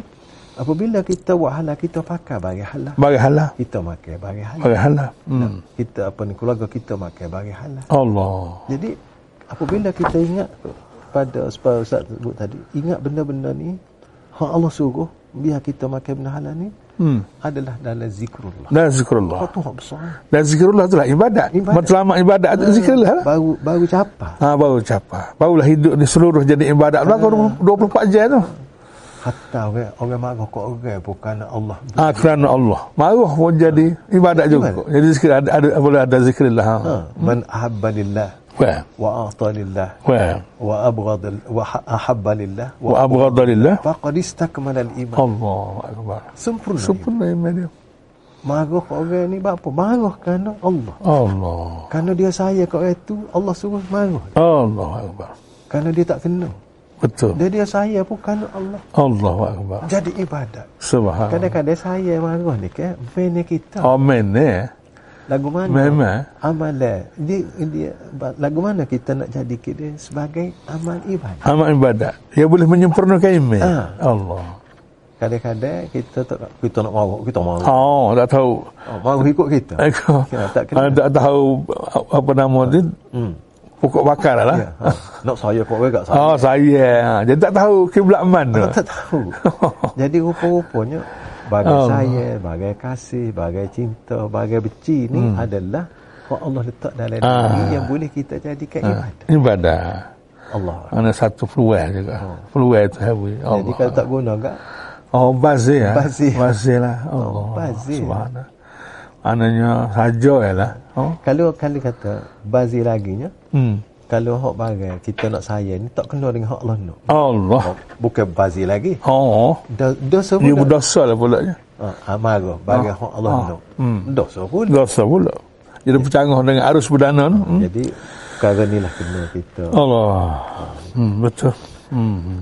Speaker 1: apabila kita buat halal, kita pakai barang halal.
Speaker 2: Bagi halal.
Speaker 1: Kita makan barang halal.
Speaker 2: Bagi halal. Hmm.
Speaker 1: Kita apa ni keluarga kita makan barang halal.
Speaker 2: Allah.
Speaker 1: Jadi apabila kita ingat pada sebab Ustaz sebut tadi, ingat benda-benda ni hak Allah suruh biar kita makan benda halal ni
Speaker 2: Hmm.
Speaker 1: adalah dalam zikrullah.
Speaker 2: Dan zikrullah.
Speaker 1: Hak tu hak besar.
Speaker 2: Dan zikrullah itulah ibadat.
Speaker 1: Ibadat. Eh.
Speaker 2: Matlamat ibadat itu zikrullah. lah.
Speaker 1: Baru baru capai.
Speaker 2: Ha, baru capai. Barulah hidup ni seluruh jadi ibadat.
Speaker 1: Eh.
Speaker 2: Belakang 24 jam tu.
Speaker 1: Hatta orang orang marah kat orang bukan Allah.
Speaker 2: Ha, kerana Allah. Marah pun jadi ibadat juga.
Speaker 1: Ibadat.
Speaker 2: Jadi zikir ada, ada boleh ada zikrullah. Ha.
Speaker 1: Ha, man ahabba lillah
Speaker 2: Wah.
Speaker 1: wa a'ta lillah
Speaker 2: Wah.
Speaker 1: wa abghada wa ha, ahabba lillah
Speaker 2: Wa
Speaker 1: wa
Speaker 2: abghadha lillah.
Speaker 1: faqad istakmala al-iman.
Speaker 2: Allah akbar.
Speaker 1: Sempurna. iman.
Speaker 2: Ha. Sempurna iman dia.
Speaker 1: Marah kat orang ni buat apa? Marah kerana Allah.
Speaker 2: Allah.
Speaker 1: Kerana dia sayang kat orang tu, Allah suruh marah.
Speaker 2: Allah akbar.
Speaker 1: Kerana dia tak kenal.
Speaker 2: Betul.
Speaker 1: Dia dia sayang pun kerana Allah.
Speaker 2: Allah akbar.
Speaker 1: Jadi ibadat.
Speaker 2: Subhanallah.
Speaker 1: Kadang-kadang saya marah ni kan, fan kita.
Speaker 2: Amin ni.
Speaker 1: Lagu mana?
Speaker 2: Memang. eh.
Speaker 1: Amalan. Dia, dia, lagu mana kita nak jadi dia sebagai amal ibadat.
Speaker 2: Amal ibadat. Dia boleh menyempurnakan iman.
Speaker 1: Ha.
Speaker 2: Allah.
Speaker 1: Kadang-kadang kita tak nak, kita nak marah, kita marah.
Speaker 2: Oh, tak tahu.
Speaker 1: Oh, marah ikut kita.
Speaker 2: Aku
Speaker 1: Ya, tak kenal.
Speaker 2: Ah, tak tahu apa nama dia. Pokok bakar lah.
Speaker 1: Ya, ha. Nak saya kat orang kat saya.
Speaker 2: Oh, saya. Dia tak tahu kiblat mana.
Speaker 1: Aku tak tahu. Jadi rupa-rupanya bagai
Speaker 2: Allah.
Speaker 1: saya, bagai kasih, bagai cinta, bagai benci ni adalah yang Allah letak dalam diri yang boleh kita jadikan ibadat.
Speaker 2: Ibadah.
Speaker 1: Ah. Allah.
Speaker 2: Ada satu peluang juga. Peluang tu hawi.
Speaker 1: Oh. Jadi
Speaker 2: Allah.
Speaker 1: kalau tak guna enggak
Speaker 2: Oh, bazir. ya?
Speaker 1: Bazir. Oh,
Speaker 2: Bazir lah. Allah.
Speaker 1: bazir.
Speaker 2: Subhanallah. Maknanya saja ya lah. Oh.
Speaker 1: kalau kalau kata bazir lagi nya
Speaker 2: Hmm.
Speaker 1: kalau hak bagai kita nak sayang ni tak kena dengan hak Allah nak.
Speaker 2: Allah.
Speaker 1: Ah. Bukan bazir lagi.
Speaker 2: Oh.
Speaker 1: Dah dosa
Speaker 2: Dia
Speaker 1: pula.
Speaker 2: berdosa lah pula. ya.
Speaker 1: Ha, amarah bagai hak Allah nak. Dosa pula.
Speaker 2: Dosa pula.
Speaker 1: Ya.
Speaker 2: Jadi bercanggah dengan arus berdana. ni. Hmm.
Speaker 1: Jadi perkara inilah kena kita
Speaker 2: Allah. Hmm, betul. Hmm.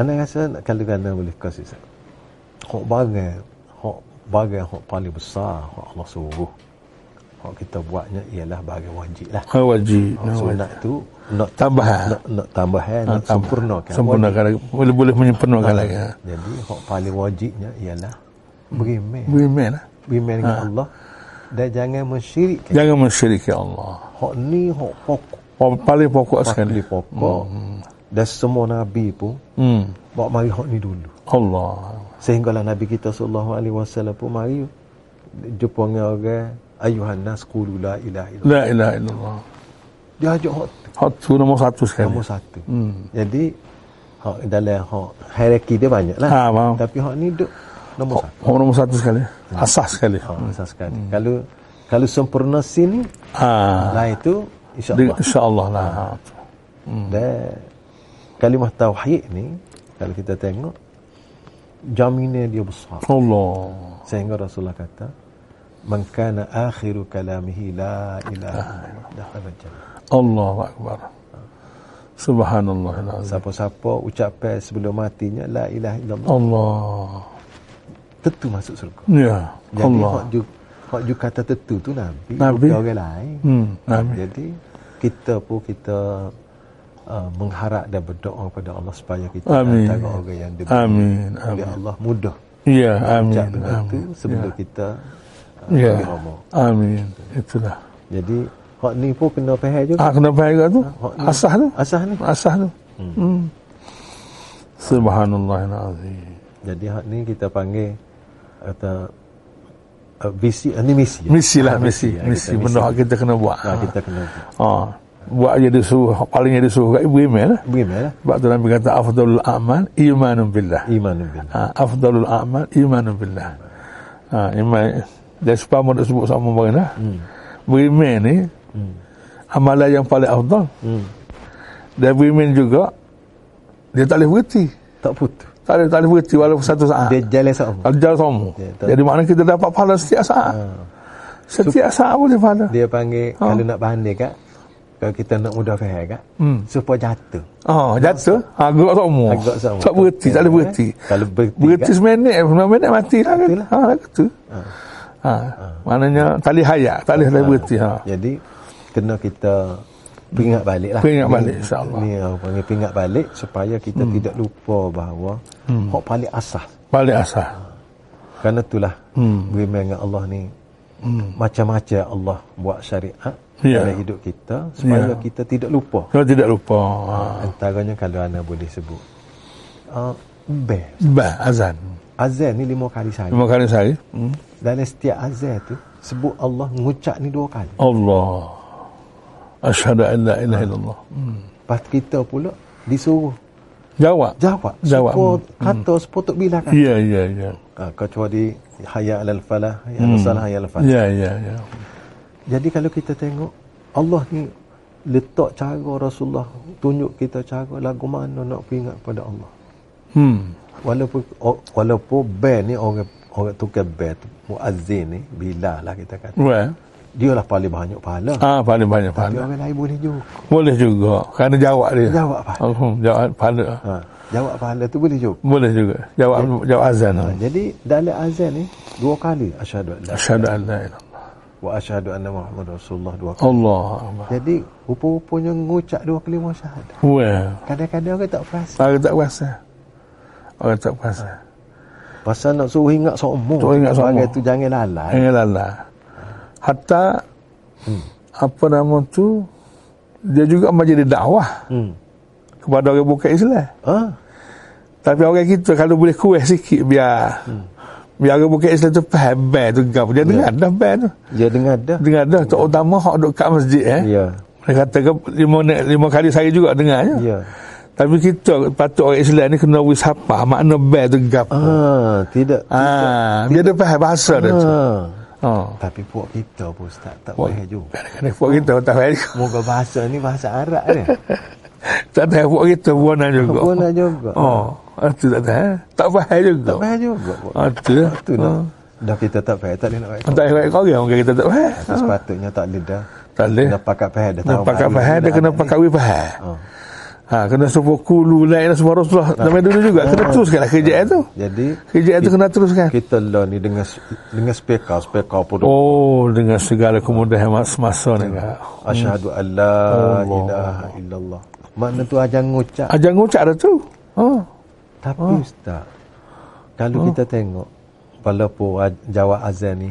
Speaker 1: Ana rasa nak- kalau kena boleh kasih saya. Hak barang, hak barang hak paling besar hak Allah suruh. Hak kita buatnya ialah barang wajib lah.
Speaker 2: Wajib.
Speaker 1: Hak sunat tu nak
Speaker 2: Tambahan.
Speaker 1: nak, nak tambahan, nak
Speaker 2: Tambah.
Speaker 1: sempurnakan.
Speaker 2: Sempurnakan lagi. Boleh, boleh menyempurnakan lagi. ha.
Speaker 1: Wajib. Jadi hak paling wajibnya ialah beriman.
Speaker 2: Beriman lah.
Speaker 1: Beriman dengan Allah dan jangan mensyirikkan.
Speaker 2: Jangan mensyiriki Allah.
Speaker 1: Hak ni hak pokok,
Speaker 2: Pok- Paling pokok sekali.
Speaker 1: paling pokok. Dan semua nabi pun
Speaker 2: Hmm.
Speaker 1: bawa mari hak ni dulu.
Speaker 2: Allah.
Speaker 1: Sehinggalah Nabi kita sallallahu alaihi wasallam pun mari jumpa dengan orang ayuhan nas qulu la ilaha illallah.
Speaker 2: La ilaha illallah.
Speaker 1: Dia ajak hak tu,
Speaker 2: Hak tu nombor satu sekali.
Speaker 1: nombor satu. Hmm. Jadi hak dalam hak hierarki dia banyak lah.
Speaker 2: Ha, faham.
Speaker 1: Tapi hak ni duk nomor satu.
Speaker 2: Hak nomor satu sekali. Asas sekali.
Speaker 1: Ha, besar sekali. Kalau kalau sempurna sini,
Speaker 2: Hmm. Ha.
Speaker 1: lah itu
Speaker 2: Dengan-
Speaker 1: insya-Allah.
Speaker 2: InsyaAllah lah. Ha.
Speaker 1: Dan kalimah tauhid ni kalau kita tengok jaminan dia besar.
Speaker 2: Allah.
Speaker 1: Sehingga Rasulullah kata, "Man kana akhiru kalamihi la ilaha illallah
Speaker 2: Ah,
Speaker 1: dakhala jannah."
Speaker 2: Allah Akbar. Subhanallah.
Speaker 1: Siapa-siapa ucapan sebelum matinya la ilaha
Speaker 2: Oh.
Speaker 1: illallah
Speaker 2: Allah.
Speaker 1: tentu masuk surga.
Speaker 2: Ya.
Speaker 1: Jadi
Speaker 2: Allah.
Speaker 1: hak ju hak ju kata tentu tu Nabi,
Speaker 2: Nabi.
Speaker 1: bukan orang lain.
Speaker 2: Hmm. Amin.
Speaker 1: Jadi kita pun kita uh, mengharap dan berdoa kepada Allah supaya kita
Speaker 2: Amin.
Speaker 1: antara orang yang diberi
Speaker 2: Amin.
Speaker 1: oleh
Speaker 2: Amin.
Speaker 1: Allah mudah
Speaker 2: Ya.
Speaker 1: ucap
Speaker 2: Amin.
Speaker 1: benda tu
Speaker 2: Amin.
Speaker 1: sebelum kita uh,
Speaker 2: Ya.
Speaker 1: pergi umur.
Speaker 2: Amin. Itulah.
Speaker 1: Jadi hak ni pun kena faham juga.
Speaker 2: Ah, kena bayar tu.
Speaker 1: hak ni.
Speaker 2: Asas tu.
Speaker 1: Asas ni.
Speaker 2: Asas tu. Hmm. Subhanallah azim.
Speaker 1: Jadi hak ni kita panggil kata uh, visi uh, ni misi. ya?
Speaker 2: Misi lah
Speaker 1: Ah,
Speaker 2: misi.
Speaker 1: ya,
Speaker 2: Misi
Speaker 1: kita,
Speaker 2: benda hak kita kena buat.
Speaker 1: Nah, kita kena buat.
Speaker 2: Ha. Buat je dia suruh, palingnya dia suruh kat ibu email lah.
Speaker 1: Bagaimana?
Speaker 2: Sebab tu Nabi kata afdalul a'mal imanun billah.
Speaker 1: Iman billah.
Speaker 2: Ha, afdalul a'mal imanun billah. Ha, iman dia sebab mau sebut sama orang dah. Hmm. Beriman ni amalan yang paling afdal.
Speaker 1: Hmm.
Speaker 2: Dan beriman juga dia tak boleh berhenti.
Speaker 1: Tak putus.
Speaker 2: Tak boleh, tak boleh berhenti walaupun satu saat.
Speaker 1: Dia jalan sama.
Speaker 2: Kalau jalan sama.
Speaker 1: Dia tak-
Speaker 2: Jadi maknanya kita dapat pahala setiap saat. Setiap saat boleh pahala.
Speaker 1: Dia panggil
Speaker 2: Oh.
Speaker 1: kalau nak pandai kak, kalau kita nak mudah faham kak,
Speaker 2: Hmm.
Speaker 1: supaya jatuh.
Speaker 2: Oh, jatuh. Ha, gerak tak umur.
Speaker 1: Agak sama. Ya,
Speaker 2: Tak berhenti, tak boleh berhenti.
Speaker 1: Kalau berhenti,
Speaker 2: Berhenti
Speaker 1: kan?
Speaker 2: seminit, sembilan minit mati lah kan.
Speaker 1: Matilah.
Speaker 2: Ha, gitu.
Speaker 1: Ha.
Speaker 2: Ha. Maknanya, tak boleh hayak, tak boleh berhenti. Ha.
Speaker 1: Jadi kena kita pingat balik lah.
Speaker 2: Pingat
Speaker 1: Ni-
Speaker 2: balik, insyaAllah. Hmm.
Speaker 1: Ni orang panggil pingat balik supaya kita tidak lupa bahawa hak paling asas.
Speaker 2: Balik asal.
Speaker 1: Kerana itulah hmm. beriman dengan Allah ni macam-macam Allah buat syariat
Speaker 2: Hmm. Ya.
Speaker 1: dalam hidup kita supaya
Speaker 2: Ya.
Speaker 1: kita tidak lupa.
Speaker 2: Kalau tidak lupa. Ha.
Speaker 1: Antaranya kalau anda boleh sebut. Uh, be.
Speaker 2: Bah, azan.
Speaker 1: Azan ni lima kali sehari.
Speaker 2: Lima kali sehari. Hmm.
Speaker 1: Dalam setiap azan tu sebut Allah ngucap ni dua kali.
Speaker 2: Allah. Asyhadu an la ilaha illallah. Hmm.
Speaker 1: Lepas tu kita pula disuruh
Speaker 2: Jawab.
Speaker 1: jawab.
Speaker 2: Jawab. Hmm.
Speaker 1: Sepuluh kata sepuluh tak bila kan.
Speaker 2: Ya, ya, ya.
Speaker 1: Ha, kecuali hayya alal falah, hayya alal salah, hayya alal falah.
Speaker 2: Ya, ya, ya.
Speaker 1: Jadi kalau kita tengok Allah ni letak cara Rasulullah tunjuk kita cara lagu mana nak pingat kepada Allah.
Speaker 2: Hmm.
Speaker 1: Walaupun o- walaupun band ni orang orang tukar band tu, muazzin ni bila lah kita kata.
Speaker 2: Well,
Speaker 1: Dia lah paling banyak pahala.
Speaker 2: ah, paling banyak
Speaker 1: Tapi
Speaker 2: pahala.
Speaker 1: orang lain boleh juga.
Speaker 2: Boleh juga. Kerana jawab dia.
Speaker 1: Jawab pahala.
Speaker 2: Alhum, jawab pahala.
Speaker 1: Ha, jawab pahala tu boleh juga.
Speaker 2: Boleh juga. Jawab jawab azan.
Speaker 1: Ha, jadi dalam azan ni dua kali asyhadu an la ilaha
Speaker 2: Asyhadu an la ilaha illallah.
Speaker 1: wa asyhadu anna Muhammad Rasulullah dua kali.
Speaker 2: Allah Akbar.
Speaker 1: Jadi rupa-rupanya ngucap dua kalimah syahadat.
Speaker 2: Well,
Speaker 1: Kadang-kadang orang tak perasan.
Speaker 2: orang tak puasa. Orang tak puasa.
Speaker 1: Pasal nak suruh ingat seumur.
Speaker 2: Suruh ingat Eh.
Speaker 1: Bagai
Speaker 2: seumur.
Speaker 1: tu jangan lalai.
Speaker 2: Ingat Allah. Hatta apa nama tu dia juga menjadi dakwah
Speaker 1: Hmm.
Speaker 2: kepada orang bukan Islam.
Speaker 1: Ha?
Speaker 2: Tapi orang kita kalau boleh kurang sikit biar biar orang bukan Islam tu faham bel tu gam. Dia dengar dah bel tu.
Speaker 1: Dia Ya, dengar dah.
Speaker 2: Dengar dah terutama hak duduk kat masjid eh.
Speaker 1: Ya.
Speaker 2: Dia kata ke lima, lima kali saya juga dengar je.
Speaker 1: Ya.
Speaker 2: Tapi kita patut orang Islam ni kena wis apa makna bel tu gap. Ah,
Speaker 1: Ah, tidak.
Speaker 2: dia ada faham bahasa dia tu.
Speaker 1: Ah.
Speaker 2: Ha.
Speaker 1: Tapi puak kita pun Ustaz tak
Speaker 2: Puak-
Speaker 1: boleh juga.
Speaker 2: Kadang-kadang buat kita tak faham. juga.
Speaker 1: Moga bahasa ni bahasa Arab ni.
Speaker 2: Tak tahu buat kita buana juga.
Speaker 1: Pun nak juga.
Speaker 2: Oh, itu tak tahu. Tak faham juga.
Speaker 1: Tak payah juga. puak.
Speaker 2: Ah, tu lah.
Speaker 1: Tu lah. Dah kita tak payah. Tak boleh nak
Speaker 2: Tak
Speaker 1: pakai.
Speaker 2: payah Eh. kau orang orang kita tak faham.
Speaker 1: Sepatutnya tak boleh dah.
Speaker 2: Tak boleh.
Speaker 1: Dah pakai payah dah.
Speaker 2: Dia
Speaker 1: tahu
Speaker 2: pakai
Speaker 1: baru
Speaker 2: faham,
Speaker 1: ni
Speaker 2: dia
Speaker 1: dah
Speaker 2: kena
Speaker 1: ada ni.
Speaker 2: pakai wih faham.
Speaker 1: Ah.
Speaker 2: Ha, kena sepuh kulu, lain semua Rasulullah. Namanya dulu juga. Kena teruskan lah kerjaan tu.
Speaker 1: Jadi
Speaker 2: Kerjaan tu
Speaker 1: kita-
Speaker 2: kena teruskan.
Speaker 1: Kita lah ni dengan dengan speaker, speaker pun
Speaker 2: Oh, dengan segala kemudahan semasa ni. kak.
Speaker 1: Asyhadu an la ilaha illallah. Makna tu ajar ngucap.
Speaker 2: Ajar ngucap ada tu. Ha.
Speaker 1: Tapi
Speaker 2: Ah.
Speaker 1: ustaz, kalau kita tengok walaupun aj- jawab azan ni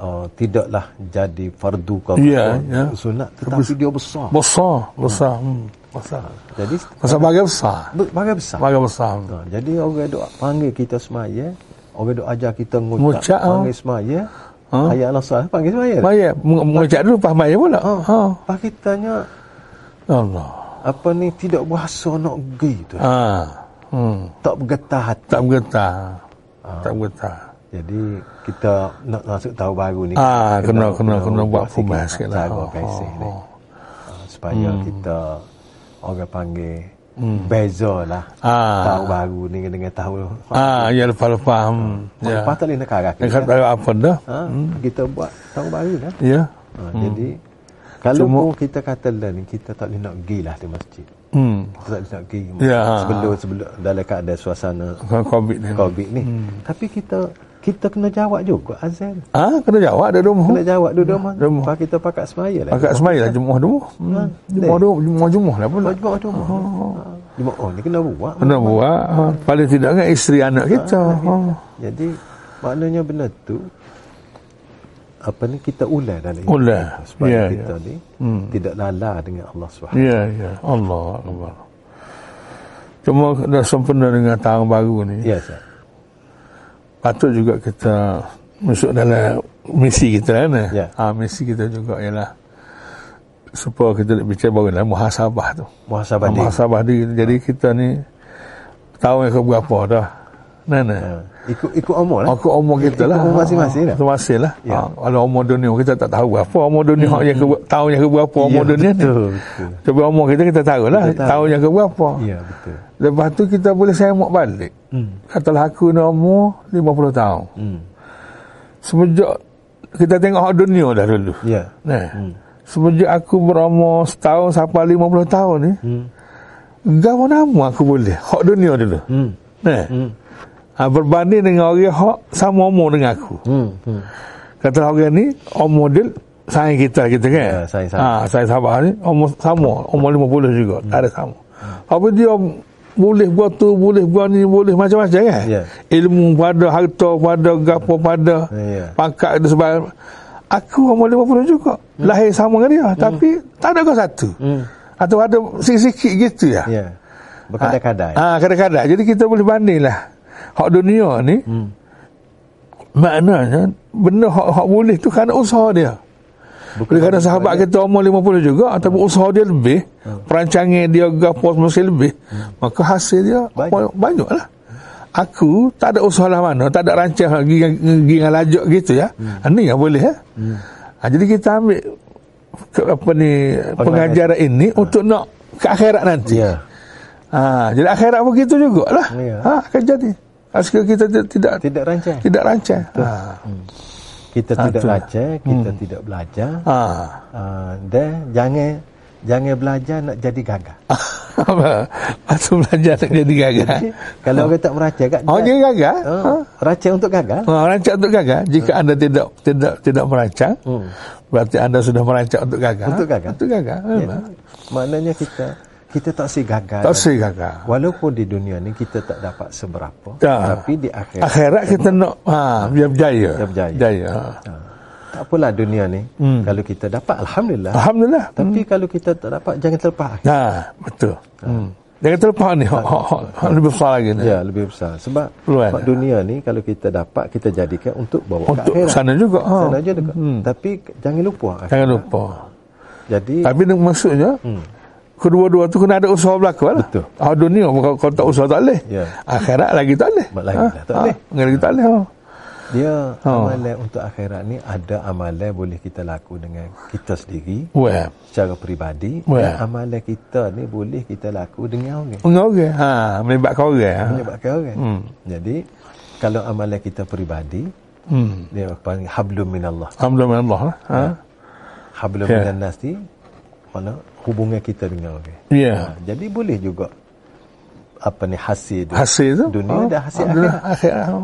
Speaker 1: uh, tidaklah jadi fardu ke
Speaker 2: Ya, ya.
Speaker 1: sunat tetapi dia besar.
Speaker 2: Besar, besar. Hmm. Besar.
Speaker 1: Jadi
Speaker 2: Besar bagai besar.
Speaker 1: be- bagai besar.
Speaker 2: Bagai besar.
Speaker 1: Ha, jadi orang dok panggil kita semaya, orang dok ajar kita ngucap,
Speaker 2: Ngucap, ah.
Speaker 1: panggil semaya. Ha? Ayat Allah panggil semaya.
Speaker 2: Maya, mengucap dulu pas maya pula. Ha.
Speaker 1: Pakitanya
Speaker 2: Allah.
Speaker 1: apa ni tidak berasa nak pergi tu.
Speaker 2: Ha. Hmm.
Speaker 1: Tak bergetar hati.
Speaker 2: Tak bergetar. Tak bergetar.
Speaker 1: Jadi kita nak masuk tahun baru ni.
Speaker 2: Ah,
Speaker 1: kita
Speaker 2: kena- kena- kena buat
Speaker 1: sikit.
Speaker 2: kumas sikit lah.
Speaker 1: Sabar
Speaker 2: Oh,
Speaker 1: pesih
Speaker 2: oh,
Speaker 1: ni.
Speaker 2: oh.
Speaker 1: Ah, Supaya
Speaker 2: Hmm.
Speaker 1: kita orang panggil beza lah.
Speaker 2: Ah.
Speaker 1: Tahun baru ni dengan tahun.
Speaker 2: Ah, ya lepas-lepas. Hmm. Ya.
Speaker 1: Lepas tak boleh nak karak.
Speaker 2: Dia kata apa dah?
Speaker 1: Ha, kita buat tahun baru kan.
Speaker 2: Ya.
Speaker 1: Ha, Jadi kalau pun kita kata lah ni kita tak boleh nak pergi lah di masjid.
Speaker 2: Hmm.
Speaker 1: Kita tak boleh nak pergi
Speaker 2: Ya. Hmm.
Speaker 1: sebelum sebelum dalam keadaan suasana
Speaker 2: Kau Covid ni.
Speaker 1: Covid ni.
Speaker 2: Hmm.
Speaker 1: Tapi kita kita kena jawab juga azan.
Speaker 2: Ah, kena jawab dah rumah.
Speaker 1: Kena jawab duduk rumah.
Speaker 2: Rumah.
Speaker 1: Lepas kita pakat semaya lah.
Speaker 2: Agak semai lah Jumaah dulu.
Speaker 1: Ha,
Speaker 2: Hmm. Jumaah
Speaker 1: deh.
Speaker 2: dulu, Jumaah Jumaah lah pun.
Speaker 1: Kau jumpa rumah. Ha, Jumpa oh ni kena buat.
Speaker 2: Kena buat. Ha. Paling tidak kan isteri anak kita. Ha.
Speaker 1: Jadi maknanya benda tu apa ni kita ular dalam hidup
Speaker 2: Ular.
Speaker 1: kita supaya
Speaker 2: Ya,
Speaker 1: kita
Speaker 2: ya.
Speaker 1: ni tidak lala dengan Allah Subhanahu
Speaker 2: Ya, ya. Allah Akbar. Cuma dah sempena dengan tahun baru ni.
Speaker 1: Ya, Ustaz.
Speaker 2: patut juga kita masuk dalam misi kita kan eh?
Speaker 1: Ya.
Speaker 2: ha, misi kita juga ialah supaya kita nak bicara baru dalam muhasabah tu
Speaker 1: Muhasabah
Speaker 2: Ha,
Speaker 1: diri.
Speaker 2: muhasabah diri jadi kita ni tahu yang keberapa dah nah nah
Speaker 1: Ha. Ikut ikut umur lah.
Speaker 2: Aku umur kita lah.
Speaker 1: Umur masing-masing lah.
Speaker 2: Itu masing lah.
Speaker 1: Ya.
Speaker 2: Ha, kalau umur dunia kita tak tahu apa umur dunia yang ke, tahun yang keberapa umur
Speaker 1: Ya,
Speaker 2: dunia ni.
Speaker 1: betul, betul.
Speaker 2: Tapi umur kita kita tahu lah
Speaker 1: Kita tahu.
Speaker 2: tahun yang keberapa.
Speaker 1: Ya, betul.
Speaker 2: Lepas tu kita boleh semak balik.
Speaker 1: Hmm.
Speaker 2: Katalah aku ni umur 50 tahun.
Speaker 1: Hmm.
Speaker 2: Semenjak kita tengok hak dunia dah dulu.
Speaker 1: Ya.
Speaker 2: Nah.
Speaker 1: Hmm.
Speaker 2: Semenjak aku berumur setahun sampai 50 tahun ni,
Speaker 1: Hmm.
Speaker 2: gawa nama aku boleh. Hak dunia dulu.
Speaker 1: Hmm.
Speaker 2: Nah.
Speaker 1: Hmm.
Speaker 2: Ha, berbanding dengan orang hak sama umur dengan aku.
Speaker 1: Hmm. Hmm.
Speaker 2: Kata orang ni umur dia sayang kita kita kan.
Speaker 1: Ya, sayang sama.
Speaker 2: ha, sayang sahabat ni umur sama, umur 50 juga.
Speaker 1: Hmm.
Speaker 2: Tak ada sama. Apa dia boleh buat tu, boleh buat ni, boleh macam-macam kan?
Speaker 1: Ya.
Speaker 2: Ilmu pada, harta pada, gapo pada,
Speaker 1: Ya.
Speaker 2: pangkat dan sebagainya. Aku umur 50 juga. Lahir sama dengan dia, tapi tak ada kau satu.
Speaker 1: Hmm.
Speaker 2: Atau ada sikit-sikit gitu ya.
Speaker 1: Ya. Berkadang-kadang.
Speaker 2: Ah, kadang-kadang. Jadi kita boleh banding lah. Hak dunia ni,
Speaker 1: Hmm.
Speaker 2: maknanya benda hak-hak boleh tu kerana usaha dia.
Speaker 1: Bukan
Speaker 2: Oleh kerana sahabat kita umur 50 juga Tapi
Speaker 1: Hmm.
Speaker 2: usaha dia lebih Perancangan dia Gapos masih lebih Maka hasil dia
Speaker 1: Hmm. Banyak.
Speaker 2: Banyak, banyak lah Aku tak ada usaha lah mana Tak ada rancang Pergi dengan lajak gitu ya
Speaker 1: Hmm.
Speaker 2: Ini yang boleh ya ha, Jadi kita ambil ke, apa ni pengajaran ini untuk nak ke akhirat nanti.
Speaker 1: Hmm. Ya.
Speaker 2: Ha, jadi akhirat pun gitu jugalah.
Speaker 1: Ya.
Speaker 2: Ha akan jadi. Asyik kita tidak tidak,
Speaker 1: Tidak rancang.
Speaker 2: tidak rancang. Ha.
Speaker 1: Kita
Speaker 2: Ah,
Speaker 1: tidak
Speaker 2: itulah.
Speaker 1: rancang, kita tidak belajar.
Speaker 2: Ha.
Speaker 1: Ah, dan jangan jangan belajar nak jadi gagal.
Speaker 2: Apa? Atau belajar tak jadi gagal.
Speaker 1: Kalau orang tak merancang kan.
Speaker 2: Oh, dia gagal. Ha.
Speaker 1: Ah, rancang untuk gagal.
Speaker 2: Ha, rancang untuk gagal. Jika anda tidak tidak tidak merancang,
Speaker 1: Hmm.
Speaker 2: berarti anda sudah merancang untuk gagal.
Speaker 1: Untuk Ya. gagal.
Speaker 2: Untuk gagal.
Speaker 1: Jadi,
Speaker 2: Memang.
Speaker 1: maknanya kita kita tak si gagal.
Speaker 2: ya. Tak usah gagal.
Speaker 1: Walaupun di dunia ni kita tak dapat seberapa,
Speaker 2: Ya.
Speaker 1: tapi di akhirat
Speaker 2: Akhirat kita nak ha, biar berjaya.
Speaker 1: Biar berjaya.
Speaker 2: Ha.
Speaker 1: Ha. Tak apalah dunia ni. Hmm. Kalau kita dapat alhamdulillah.
Speaker 2: Alhamdulillah.
Speaker 1: Tapi kalau kita tak dapat jangan terlepas.
Speaker 2: Ha, betul. Hmm. Jangan terlepas ni. Hak, hak, hak, hak lebih besar lagi ni.
Speaker 1: Ah. Ya, lebih besar. Sebab
Speaker 2: Peluang.
Speaker 1: sebab dunia ni kalau kita dapat kita jadikan untuk bawa
Speaker 2: Untuk
Speaker 1: ke akhirat.
Speaker 2: sana juga. Ha.
Speaker 1: Sana je dekat. Hmm. Tapi k- jangan lupa. eh.
Speaker 2: Jangan lupa.
Speaker 1: Jadi
Speaker 2: Tapi ni maksudnya, kedua-dua tu kena ada usaha berlaku lah.
Speaker 1: Hmm. Betul.
Speaker 2: Ha, dunia pun kalau kalau tak usaha tak boleh.
Speaker 1: Ya.
Speaker 2: Akhirat lagi tak boleh.
Speaker 1: Lagi dah tak boleh.
Speaker 2: Lagi tak boleh. Ha.
Speaker 1: dia
Speaker 2: Ha.
Speaker 1: amalan untuk akhirat ni ada amalan boleh kita laku dengan kita sendiri
Speaker 2: Wah.
Speaker 1: secara peribadi
Speaker 2: Wah.
Speaker 1: dan amalan kita ni boleh kita laku dengan orang.
Speaker 2: Dengan orang. Ha, melibatkan orang. Ha.
Speaker 1: Menyebabkan orang. Hmm. Jadi kalau amalan kita peribadi
Speaker 2: Hmm.
Speaker 1: dia panggil hablum minallah.
Speaker 2: Alhamdulillah lah. Ha.
Speaker 1: Hablum
Speaker 2: Ya.
Speaker 1: minan nas ni mana hubungan kita dengan orang.
Speaker 2: Ya.
Speaker 1: Ha, jadi boleh juga apa ni hasil dia.
Speaker 2: Hasil tu. Oh, Ha.
Speaker 1: Dunia dah hasil Ya.
Speaker 2: Alhamdulillah, akhirat. Ha.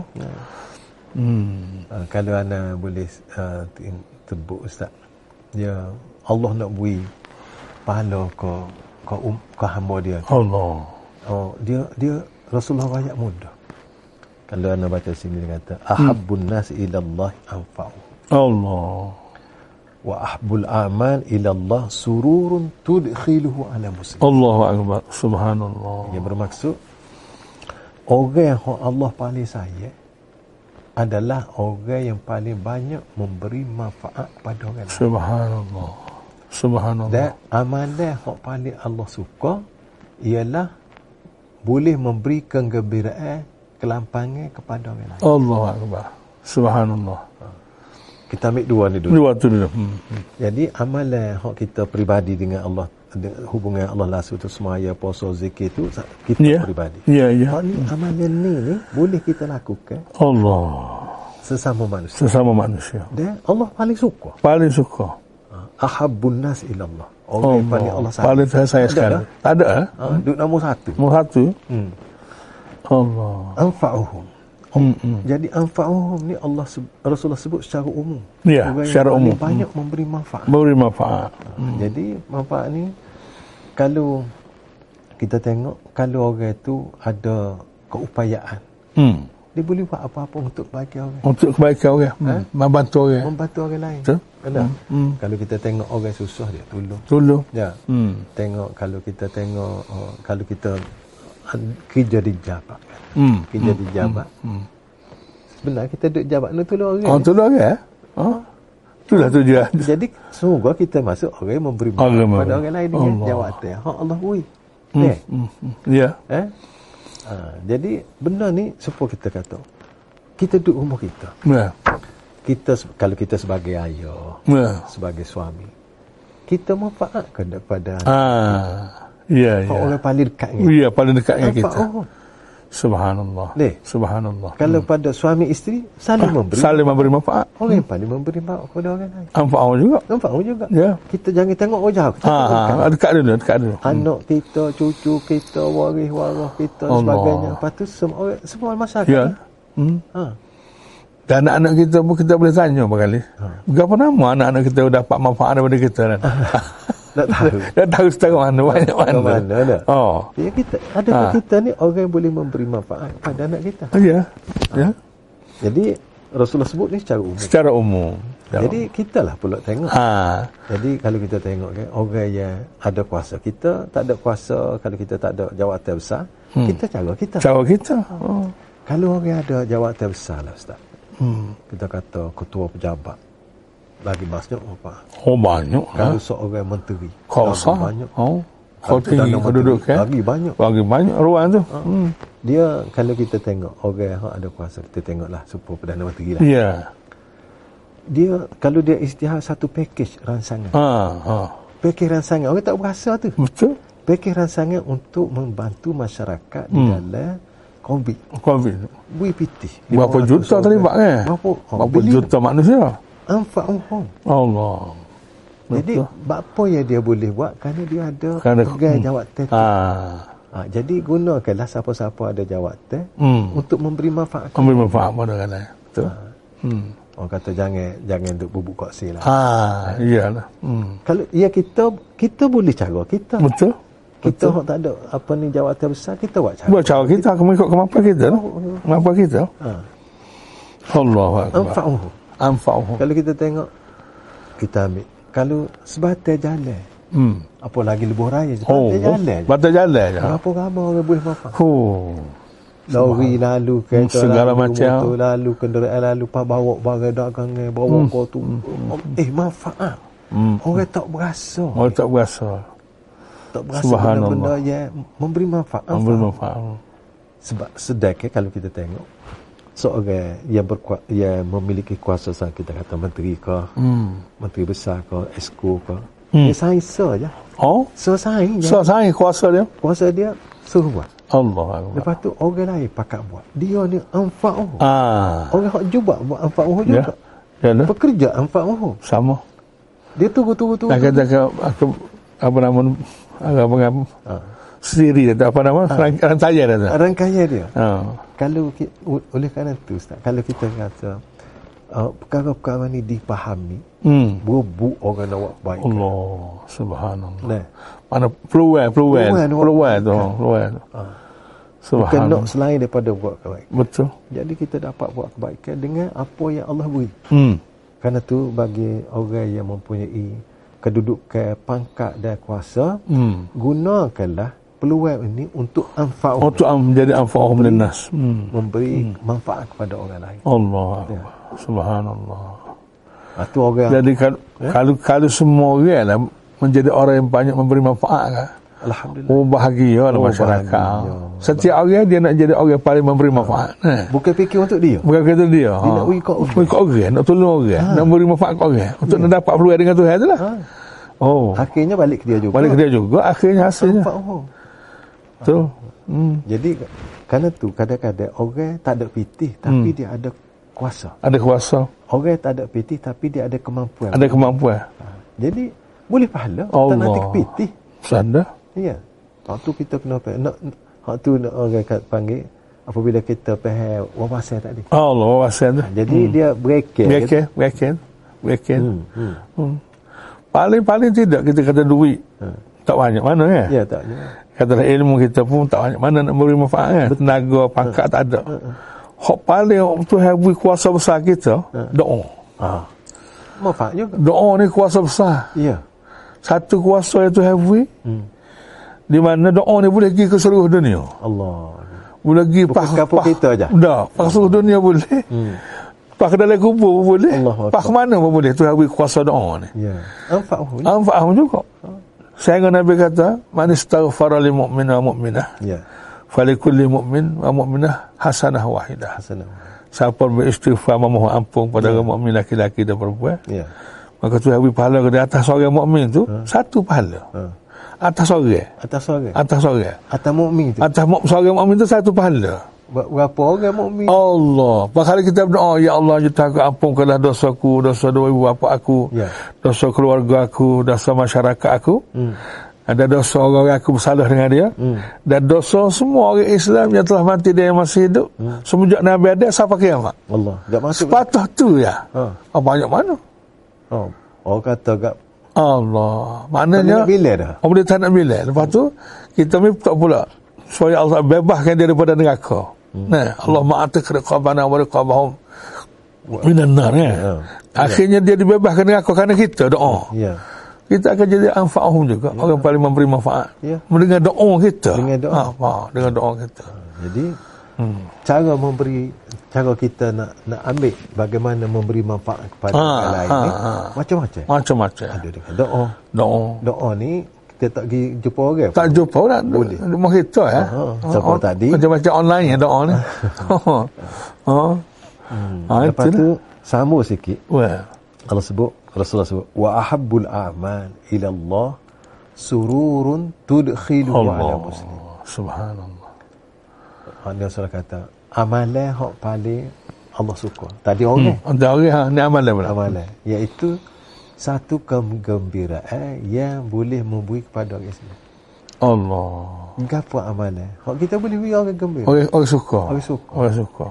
Speaker 2: Hmm.
Speaker 1: Ha, kalau ana boleh uh, tebuk ustaz. Ya Allah nak beri pahala ke ke um, ke hamba dia.
Speaker 2: Allah.
Speaker 1: Oh dia dia Rasulullah banyak muda. Kalau ana baca sini dia kata
Speaker 2: Hmm.
Speaker 1: ahabbun nas ila Allah anfa'u
Speaker 2: Allah.
Speaker 1: wa ahbul amal ila Allah sururun tudkhiluhu ala muslim.
Speaker 2: Allahu Akbar. Subhanallah.
Speaker 1: Yang bermaksud orang yang Allah paling sayang adalah orang yang paling banyak memberi manfaat pada orang lain.
Speaker 2: Subhanallah. Subhanallah.
Speaker 1: Dan amalan yang paling Allah suka ialah boleh memberi kegembiraan, kelampangan kepada orang lain.
Speaker 2: Allah Akbar. Subhanallah.
Speaker 1: Kita ambil dua ni dulu.
Speaker 2: Dua tu dulu. Hmm.
Speaker 1: Jadi amalan hak kita peribadi dengan Allah de- hubungan Allah langsung tu semaya puasa zikir tu sa- kita
Speaker 2: Ya.
Speaker 1: yeah. peribadi.
Speaker 2: Ya, ya.
Speaker 1: Hak ni amalan ni, ni boleh kita lakukan
Speaker 2: Allah.
Speaker 1: sesama manusia.
Speaker 2: Sesama manusia.
Speaker 1: Dan Eh? Allah paling suka.
Speaker 2: Paling suka.
Speaker 1: Ahabbun nas ila Allah. Orang
Speaker 2: Allah.
Speaker 1: yang paling Allah sayang.
Speaker 2: Paling saya sayang
Speaker 1: Ada
Speaker 2: sekali.
Speaker 1: dah.
Speaker 2: Tak ada eh?
Speaker 1: Ha, duk nombor satu.
Speaker 2: Nombor satu.
Speaker 1: Hmm.
Speaker 2: Allah.
Speaker 1: Anfa'uhum.
Speaker 2: Hmm. hmm.
Speaker 1: Jadi anfa'uhum ni Allah se- Rasulullah sebut secara umum.
Speaker 2: Ya,
Speaker 1: Orang yang
Speaker 2: secara
Speaker 1: paling
Speaker 2: umum.
Speaker 1: banyak memberi manfaat.
Speaker 2: Beri manfaat.
Speaker 1: Hmm. Jadi manfaat ni kalau kita tengok kalau orang tu ada keupayaan,
Speaker 2: Hmm.
Speaker 1: dia boleh buat apa-apa untuk bagi orang,
Speaker 2: Untuk kebaikan orang.
Speaker 1: Ha?
Speaker 2: Hmm. Membantu orang.
Speaker 1: membantu orang lain.
Speaker 2: Oh, Betul.
Speaker 1: Ada. Hmm. Kalau kita tengok orang susah dia tolong.
Speaker 2: Tolong.
Speaker 1: Ya.
Speaker 2: Hmm.
Speaker 1: Tengok kalau kita tengok oh, kalau kita ah, kerja di jabat.
Speaker 2: Hmm.
Speaker 1: Kerja di jabat.
Speaker 2: Hmm.
Speaker 1: Sebenarnya kita duduk jabat ni tolong orang.
Speaker 2: Oh, tolong orang eh? Oh. Itulah tujuan.
Speaker 1: Jadi semoga kita masuk orang yang memberi maaf
Speaker 2: Agama.
Speaker 1: pada orang lain dengan
Speaker 2: Allah.
Speaker 1: jawatan. Ha Allah wui.
Speaker 2: Hmm.
Speaker 1: Eh?
Speaker 2: Hmm. hmm. Ya.
Speaker 1: Eh? Ha, jadi benda ni supaya kita kata kita duduk rumah kita.
Speaker 2: Ya.
Speaker 1: Kita se- kalau kita sebagai ayah,
Speaker 2: Ya.
Speaker 1: sebagai suami, kita manfaat ke daripada
Speaker 2: Ah. Ya, ya.
Speaker 1: orang paling dekat dengan
Speaker 2: Ya, paling dekat dengan
Speaker 1: Nampak oh,
Speaker 2: kita.
Speaker 1: orang.
Speaker 2: Subhanallah.
Speaker 1: Ni. Kan
Speaker 2: Subhanallah.
Speaker 1: Kalau pada suami isteri saling memberi.
Speaker 2: Saling memberi manfaat.
Speaker 1: orang yang paling memberi maaf kepada orang lain.
Speaker 2: Manfaat orang juga.
Speaker 1: Nampak orang juga.
Speaker 2: Ya.
Speaker 1: Kita jangan tengok orang jauh. Kita
Speaker 2: Ha,
Speaker 1: tengok dekat.
Speaker 2: ha, dekat dulu, dekat dulu.
Speaker 1: anak kita, cucu kita, waris warah kita dan
Speaker 2: Allah.
Speaker 1: sebagainya. Lepas tu semua orang- semua masyarakat.
Speaker 2: Ya. Hmm.
Speaker 1: Ha.
Speaker 2: Dan anak-anak kita pun kita boleh tanya berkali.
Speaker 1: Ha.
Speaker 2: Berapa nama anak-anak kita dapat manfaat daripada kita kan?
Speaker 1: Nak tahu.
Speaker 2: Dia tahu setara mana, banyak mana.
Speaker 1: Ke mana dah?
Speaker 2: Oh.
Speaker 1: Ya kita ada
Speaker 2: Ha.
Speaker 1: kita ni orang yang boleh memberi manfaat pada anak kita.
Speaker 2: Ya. Ya.
Speaker 1: Jadi Rasulullah sebut ni secara umum.
Speaker 2: Secara umum. Ya.
Speaker 1: Jadi kita lah pula tengok.
Speaker 2: ha.
Speaker 1: Jadi kalau kita tengok kan orang yang ada kuasa kita tak ada kuasa kalau kita tak ada jawatan besar hmm. kita cara kita.
Speaker 2: Cara kita. Oh.
Speaker 1: Kalau orang ada jawatan besar lah Ustaz.
Speaker 2: Hmm.
Speaker 1: Kita kata ketua pejabat. Lagi masuk apa?
Speaker 2: Oh banyak. Ha?
Speaker 1: Kalau seorang menteri.
Speaker 2: Kau
Speaker 1: lagi
Speaker 2: sah.
Speaker 1: Banyak.
Speaker 2: Oh.
Speaker 1: Kalau
Speaker 2: Kau tinggi,
Speaker 1: Perdana
Speaker 2: kau
Speaker 1: Menteri,
Speaker 2: duduk kan?
Speaker 1: Lagi banyak. Ha.
Speaker 2: Bagi banyak ruang tu. Hmm.
Speaker 1: Dia kalau kita tengok orang yang ada kuasa kita tengoklah super Perdana Menteri lah.
Speaker 2: Ya.
Speaker 1: Dia kalau dia istihar satu package ransangan.
Speaker 2: Ha. Hmm. Ha.
Speaker 1: Package ransangan orang tak berasa tu.
Speaker 2: Betul.
Speaker 1: Package ransangan untuk membantu masyarakat
Speaker 2: Hmm.
Speaker 1: di dalam COVID.
Speaker 2: Covid.
Speaker 1: Bui piti.
Speaker 2: Berapa
Speaker 1: 500
Speaker 2: juta
Speaker 1: orang.
Speaker 2: terlibat kan?
Speaker 1: Berapa? Oh,
Speaker 2: Berapa juta manusia?
Speaker 1: Anfa'uhum.
Speaker 2: Allah.
Speaker 1: Jadi, apa yang dia boleh buat kerana dia ada
Speaker 2: Kerana-
Speaker 1: pegang jawatan tu.
Speaker 2: Ha.
Speaker 1: Ha, jadi, gunakanlah siapa-siapa ada jawatan
Speaker 2: Hmm.
Speaker 1: untuk memberi manfaat.
Speaker 2: Ambil manfaat pada orang lain. Betul. Hmm.
Speaker 1: Orang kata jangan jangan duk bubuk koksi lah. Ha.
Speaker 2: Ha, iyalah. Hmm.
Speaker 1: Kalau ya kita kita boleh cara kita.
Speaker 2: Betul.
Speaker 1: Kita hok tak ada apa ni jawatan besar kita buat cara.
Speaker 2: Buat cara kita akan mengikut kemampuan kita. lah. Kemampuan kita.
Speaker 1: Ha.
Speaker 2: Allah akbar.
Speaker 1: Anfa'uhu.
Speaker 2: Anfa'uhu.
Speaker 1: Kalau kita tengok kita ambil kalau sebatai jalan
Speaker 2: Hmm.
Speaker 1: apa lagi lebuh raya sebatai
Speaker 2: Oh.
Speaker 1: oh, jalan. je.
Speaker 2: Batas jalan je.
Speaker 1: Berapa ramai orang boleh manfaat?
Speaker 2: Oh.
Speaker 1: Lori lalu, kereta
Speaker 2: Segala
Speaker 1: lalu,
Speaker 2: macam.
Speaker 1: motor lalu, kenderaan lalu, pak bawa barang dagangan, bawa hmm. kau tu. Eh, manfaat.
Speaker 2: Hmm.
Speaker 1: Orang tak berasa.
Speaker 2: Orang tak berasa.
Speaker 1: tak berasa
Speaker 2: Subhanallah.
Speaker 1: benda-benda yang memberi manfaat.
Speaker 2: Ambil manfaat.
Speaker 1: Sebab sedekah kalau kita tengok seorang yang berkuat yang memiliki kuasa sangat kita kata menteri ke,
Speaker 2: Hmm.
Speaker 1: menteri besar ke, esko ke.
Speaker 2: Hmm.
Speaker 1: Dia saing so je.
Speaker 2: Oh.
Speaker 1: So saing je.
Speaker 2: So, saya kuasa dia.
Speaker 1: Kuasa dia suruh buat.
Speaker 2: Allah akbar.
Speaker 1: Lepas tu orang lain pakat buat. Dia ni anfa'uh.
Speaker 2: Ah.
Speaker 1: Orang hak jubah buat anfa'uh
Speaker 2: Ya.
Speaker 1: juga.
Speaker 2: Ya dah.
Speaker 1: Pekerja anfa'uh.
Speaker 2: Sama.
Speaker 1: Dia tunggu-tunggu-tunggu.
Speaker 2: Nak kata ke, aku, apa nama ni, agak mengapa
Speaker 1: Ha.
Speaker 2: sendiri dia tu, apa nama Rang- rantaian dia tu.
Speaker 1: Ah. Rangkaian dia.
Speaker 2: Ha.
Speaker 1: Kalau ki- o- oleh kerana tu Ustaz, kalau kita kata uh, perkara-perkara ni dipahami,
Speaker 2: Hmm.
Speaker 1: berebut orang nak buat baik.
Speaker 2: Allah subhanallah.
Speaker 1: Nah,
Speaker 2: Mana peluang peluang
Speaker 1: Peluang tu.
Speaker 2: peluang tu peluang tu.
Speaker 1: Ha. bukan nak
Speaker 2: Subhanallah.
Speaker 1: selain daripada buat kebaikan.
Speaker 2: Betul.
Speaker 1: Jadi kita dapat buat kebaikan dengan apa yang Allah beri.
Speaker 2: Hmm.
Speaker 1: Karena tu bagi orang yang mempunyai kedudukan, pangkat dan kuasa,
Speaker 2: Hmm.
Speaker 1: gunakanlah peluang ini untuk anfa'u,
Speaker 2: Untuk am jadi anfa'uhum linnas. Oh. Hmm. Oh.
Speaker 1: memberi manfaat kepada orang lain.
Speaker 2: Allah Subhanallah.
Speaker 1: Itu Ah, orang.
Speaker 2: Jadi kalau, eh? kalau kalau semua orang lah menjadi orang yang banyak memberi manfaat lah.
Speaker 1: Alhamdulillah.
Speaker 2: Oh bahagia lah
Speaker 1: Oh,
Speaker 2: masyarakat.
Speaker 1: bahagia.
Speaker 2: Setiap orang dia nak jadi orang yang paling memberi manfaat. Eh.
Speaker 1: Bukan fikir untuk dia.
Speaker 2: Bukan kata dia. Ha.
Speaker 1: Dia nak beri kat orang.
Speaker 2: Beri kat orang. Nak tolong orang. Nak beri manfaat kat orang. Untuk nak dapat peluang dengan Tuhan tu lah.
Speaker 1: Ha.
Speaker 2: Oh.
Speaker 1: Akhirnya balik ke dia juga.
Speaker 2: Balik dia juga akhirnya hasilnya.
Speaker 1: Nampak orang.
Speaker 2: Tu. Hmm.
Speaker 1: Jadi kerana tu kadang-kadang orang tak ada fitih tapi
Speaker 2: Hmm.
Speaker 1: dia ada kuasa.
Speaker 2: Ada kuasa.
Speaker 1: Orang tak ada fitih tapi dia ada kemampuan.
Speaker 2: Ada kemampuan.
Speaker 1: Jadi boleh pahala
Speaker 2: Allah.
Speaker 1: tak nanti kepitih.
Speaker 2: Sana.
Speaker 1: Ya. Hak tu kita kena pe- nak hak tu nak orang kat panggil apabila kita pahal wawasan tadi.
Speaker 2: Allah wasan tu.
Speaker 1: Jadi dia breaker.
Speaker 2: Weekend. Weekend. Weekend.
Speaker 1: Ya, Hmm. hmm.
Speaker 2: Hmm. Paling-paling tidak kita kata duit. Tak banyak mana kan?
Speaker 1: Ha. Ya tak. Ya.
Speaker 2: Kata ilmu kita pun tak banyak mana nak beri manfaat kan? Tenaga, pangkat
Speaker 1: Ha.
Speaker 2: tak ada. Hak paling Tuhan beri kuasa besar kita, doa.
Speaker 1: Ah. Manfaat juga.
Speaker 2: Doa ni kuasa besar.
Speaker 1: Ya. Hmm.
Speaker 2: Satu kuasa yang Tuhan beri, di mana doa ni boleh pergi ke seluruh dunia.
Speaker 1: Allah.
Speaker 2: Boleh pergi
Speaker 1: Bukan kampung kita je?
Speaker 2: Dah, pas seluruh dunia boleh. Hmm. Pas ke dalam kubur pun boleh.
Speaker 1: Allah
Speaker 2: Pas ke mana pun boleh. Tuhan beri kuasa doa ni.
Speaker 1: Ya. Manfaat pun.
Speaker 2: Manfaat pun juga. Sehingga Nabi kata, Man istaghfara li mu'mina mu'minah.
Speaker 1: Ya.
Speaker 2: Falikulli mu'min wa mu'minah hasanah wahidah.
Speaker 1: Hasanah.
Speaker 2: Siapa beristighfar memohon ampun pada orang mukmin laki-laki dan perempuan,
Speaker 1: Ya.
Speaker 2: maka Tuhan beri pahala ke atas orang mukmin tu satu pahala.
Speaker 1: Ha.
Speaker 2: Atas orang,
Speaker 1: Atas orang.
Speaker 2: atas orang.
Speaker 1: Atas mukmin tu.
Speaker 2: Atas mu- seorang mukmin tu satu pahala.
Speaker 1: Ber- Berapa orang mukmin?
Speaker 2: Oh. Allah. Pahala kita berdoa, ya Allah, ya Tuhan, aku ampunkanlah dosaku, dosa dua ibu bapa aku,
Speaker 1: Ya.
Speaker 2: dosa keluarga aku, dosa masyarakat aku.
Speaker 1: Hmm.
Speaker 2: Ada dosa orang yang aku bersalah dengan dia.
Speaker 1: Hmm.
Speaker 2: Dan dosa semua orang Islam yang telah mati dan yang masih hidup. Hmm. Semenjak Nabi ada sampai kiamat.
Speaker 1: Allah. Tak masuk.
Speaker 2: Sepatah tu ya.
Speaker 1: Ha.
Speaker 2: Ha. Banyak mana?
Speaker 1: Oh. Orang kata kat
Speaker 2: Allah.
Speaker 1: Tanya
Speaker 2: Maknanya
Speaker 1: bila dah?
Speaker 2: orang boleh tak nak bila. Lepas tu kita minta pula supaya Allah bebaskan dia daripada neraka. Hmm. Nah, Allah ma'atik riqabana wa riqabahum minan nar ya.
Speaker 1: Ya.
Speaker 2: Akhirnya dia dibebaskan neraka kerana kita doa.
Speaker 1: Ya.
Speaker 2: Kita akan jadi anfa'uhum juga. Orang paling memberi manfaat.
Speaker 1: Ya.
Speaker 2: Mendengar doa kita.
Speaker 1: Dengan doa.
Speaker 2: Ha, ha, dengan doa kita.
Speaker 1: Jadi hmm. cara memberi cara kita nak nak ambil bagaimana memberi manfaat kepada
Speaker 2: Ha,
Speaker 1: orang lain
Speaker 2: ha,
Speaker 1: ni
Speaker 2: ha.
Speaker 1: macam-macam.
Speaker 2: Macam-macam.
Speaker 1: Ada dengan doa.
Speaker 2: Doa.
Speaker 1: Doa ni kita tak pergi jumpa orang.
Speaker 2: Tak jumpa pula
Speaker 1: Boleh.
Speaker 2: rumah kita ya.
Speaker 1: Ha, siapa
Speaker 2: Oh,
Speaker 1: tadi?
Speaker 2: Macam-macam online ya doa ni. Ha. Ha.
Speaker 1: Hmm. Lepas tu sambung sikit.
Speaker 2: Wah.
Speaker 1: Allah sebut Rasulullah sebut wa ahabbul a'mal ila Allah sururun tudkhiluhu ala
Speaker 2: Allah.
Speaker 1: muslim.
Speaker 2: Subhanallah.
Speaker 1: Hak dia salah kata amalan hak paling Allah suka. Tadi orang hmm.
Speaker 2: Ada orang ha, ni amalan pula.
Speaker 1: amalan iaitu satu kegembiraan yang boleh memberi kepada orang Islam.
Speaker 2: Allah.
Speaker 1: Gapo amalan? Hak kita boleh beri orang gembira.
Speaker 2: Orang orang suka.
Speaker 1: Orang suka.
Speaker 2: Orang suka.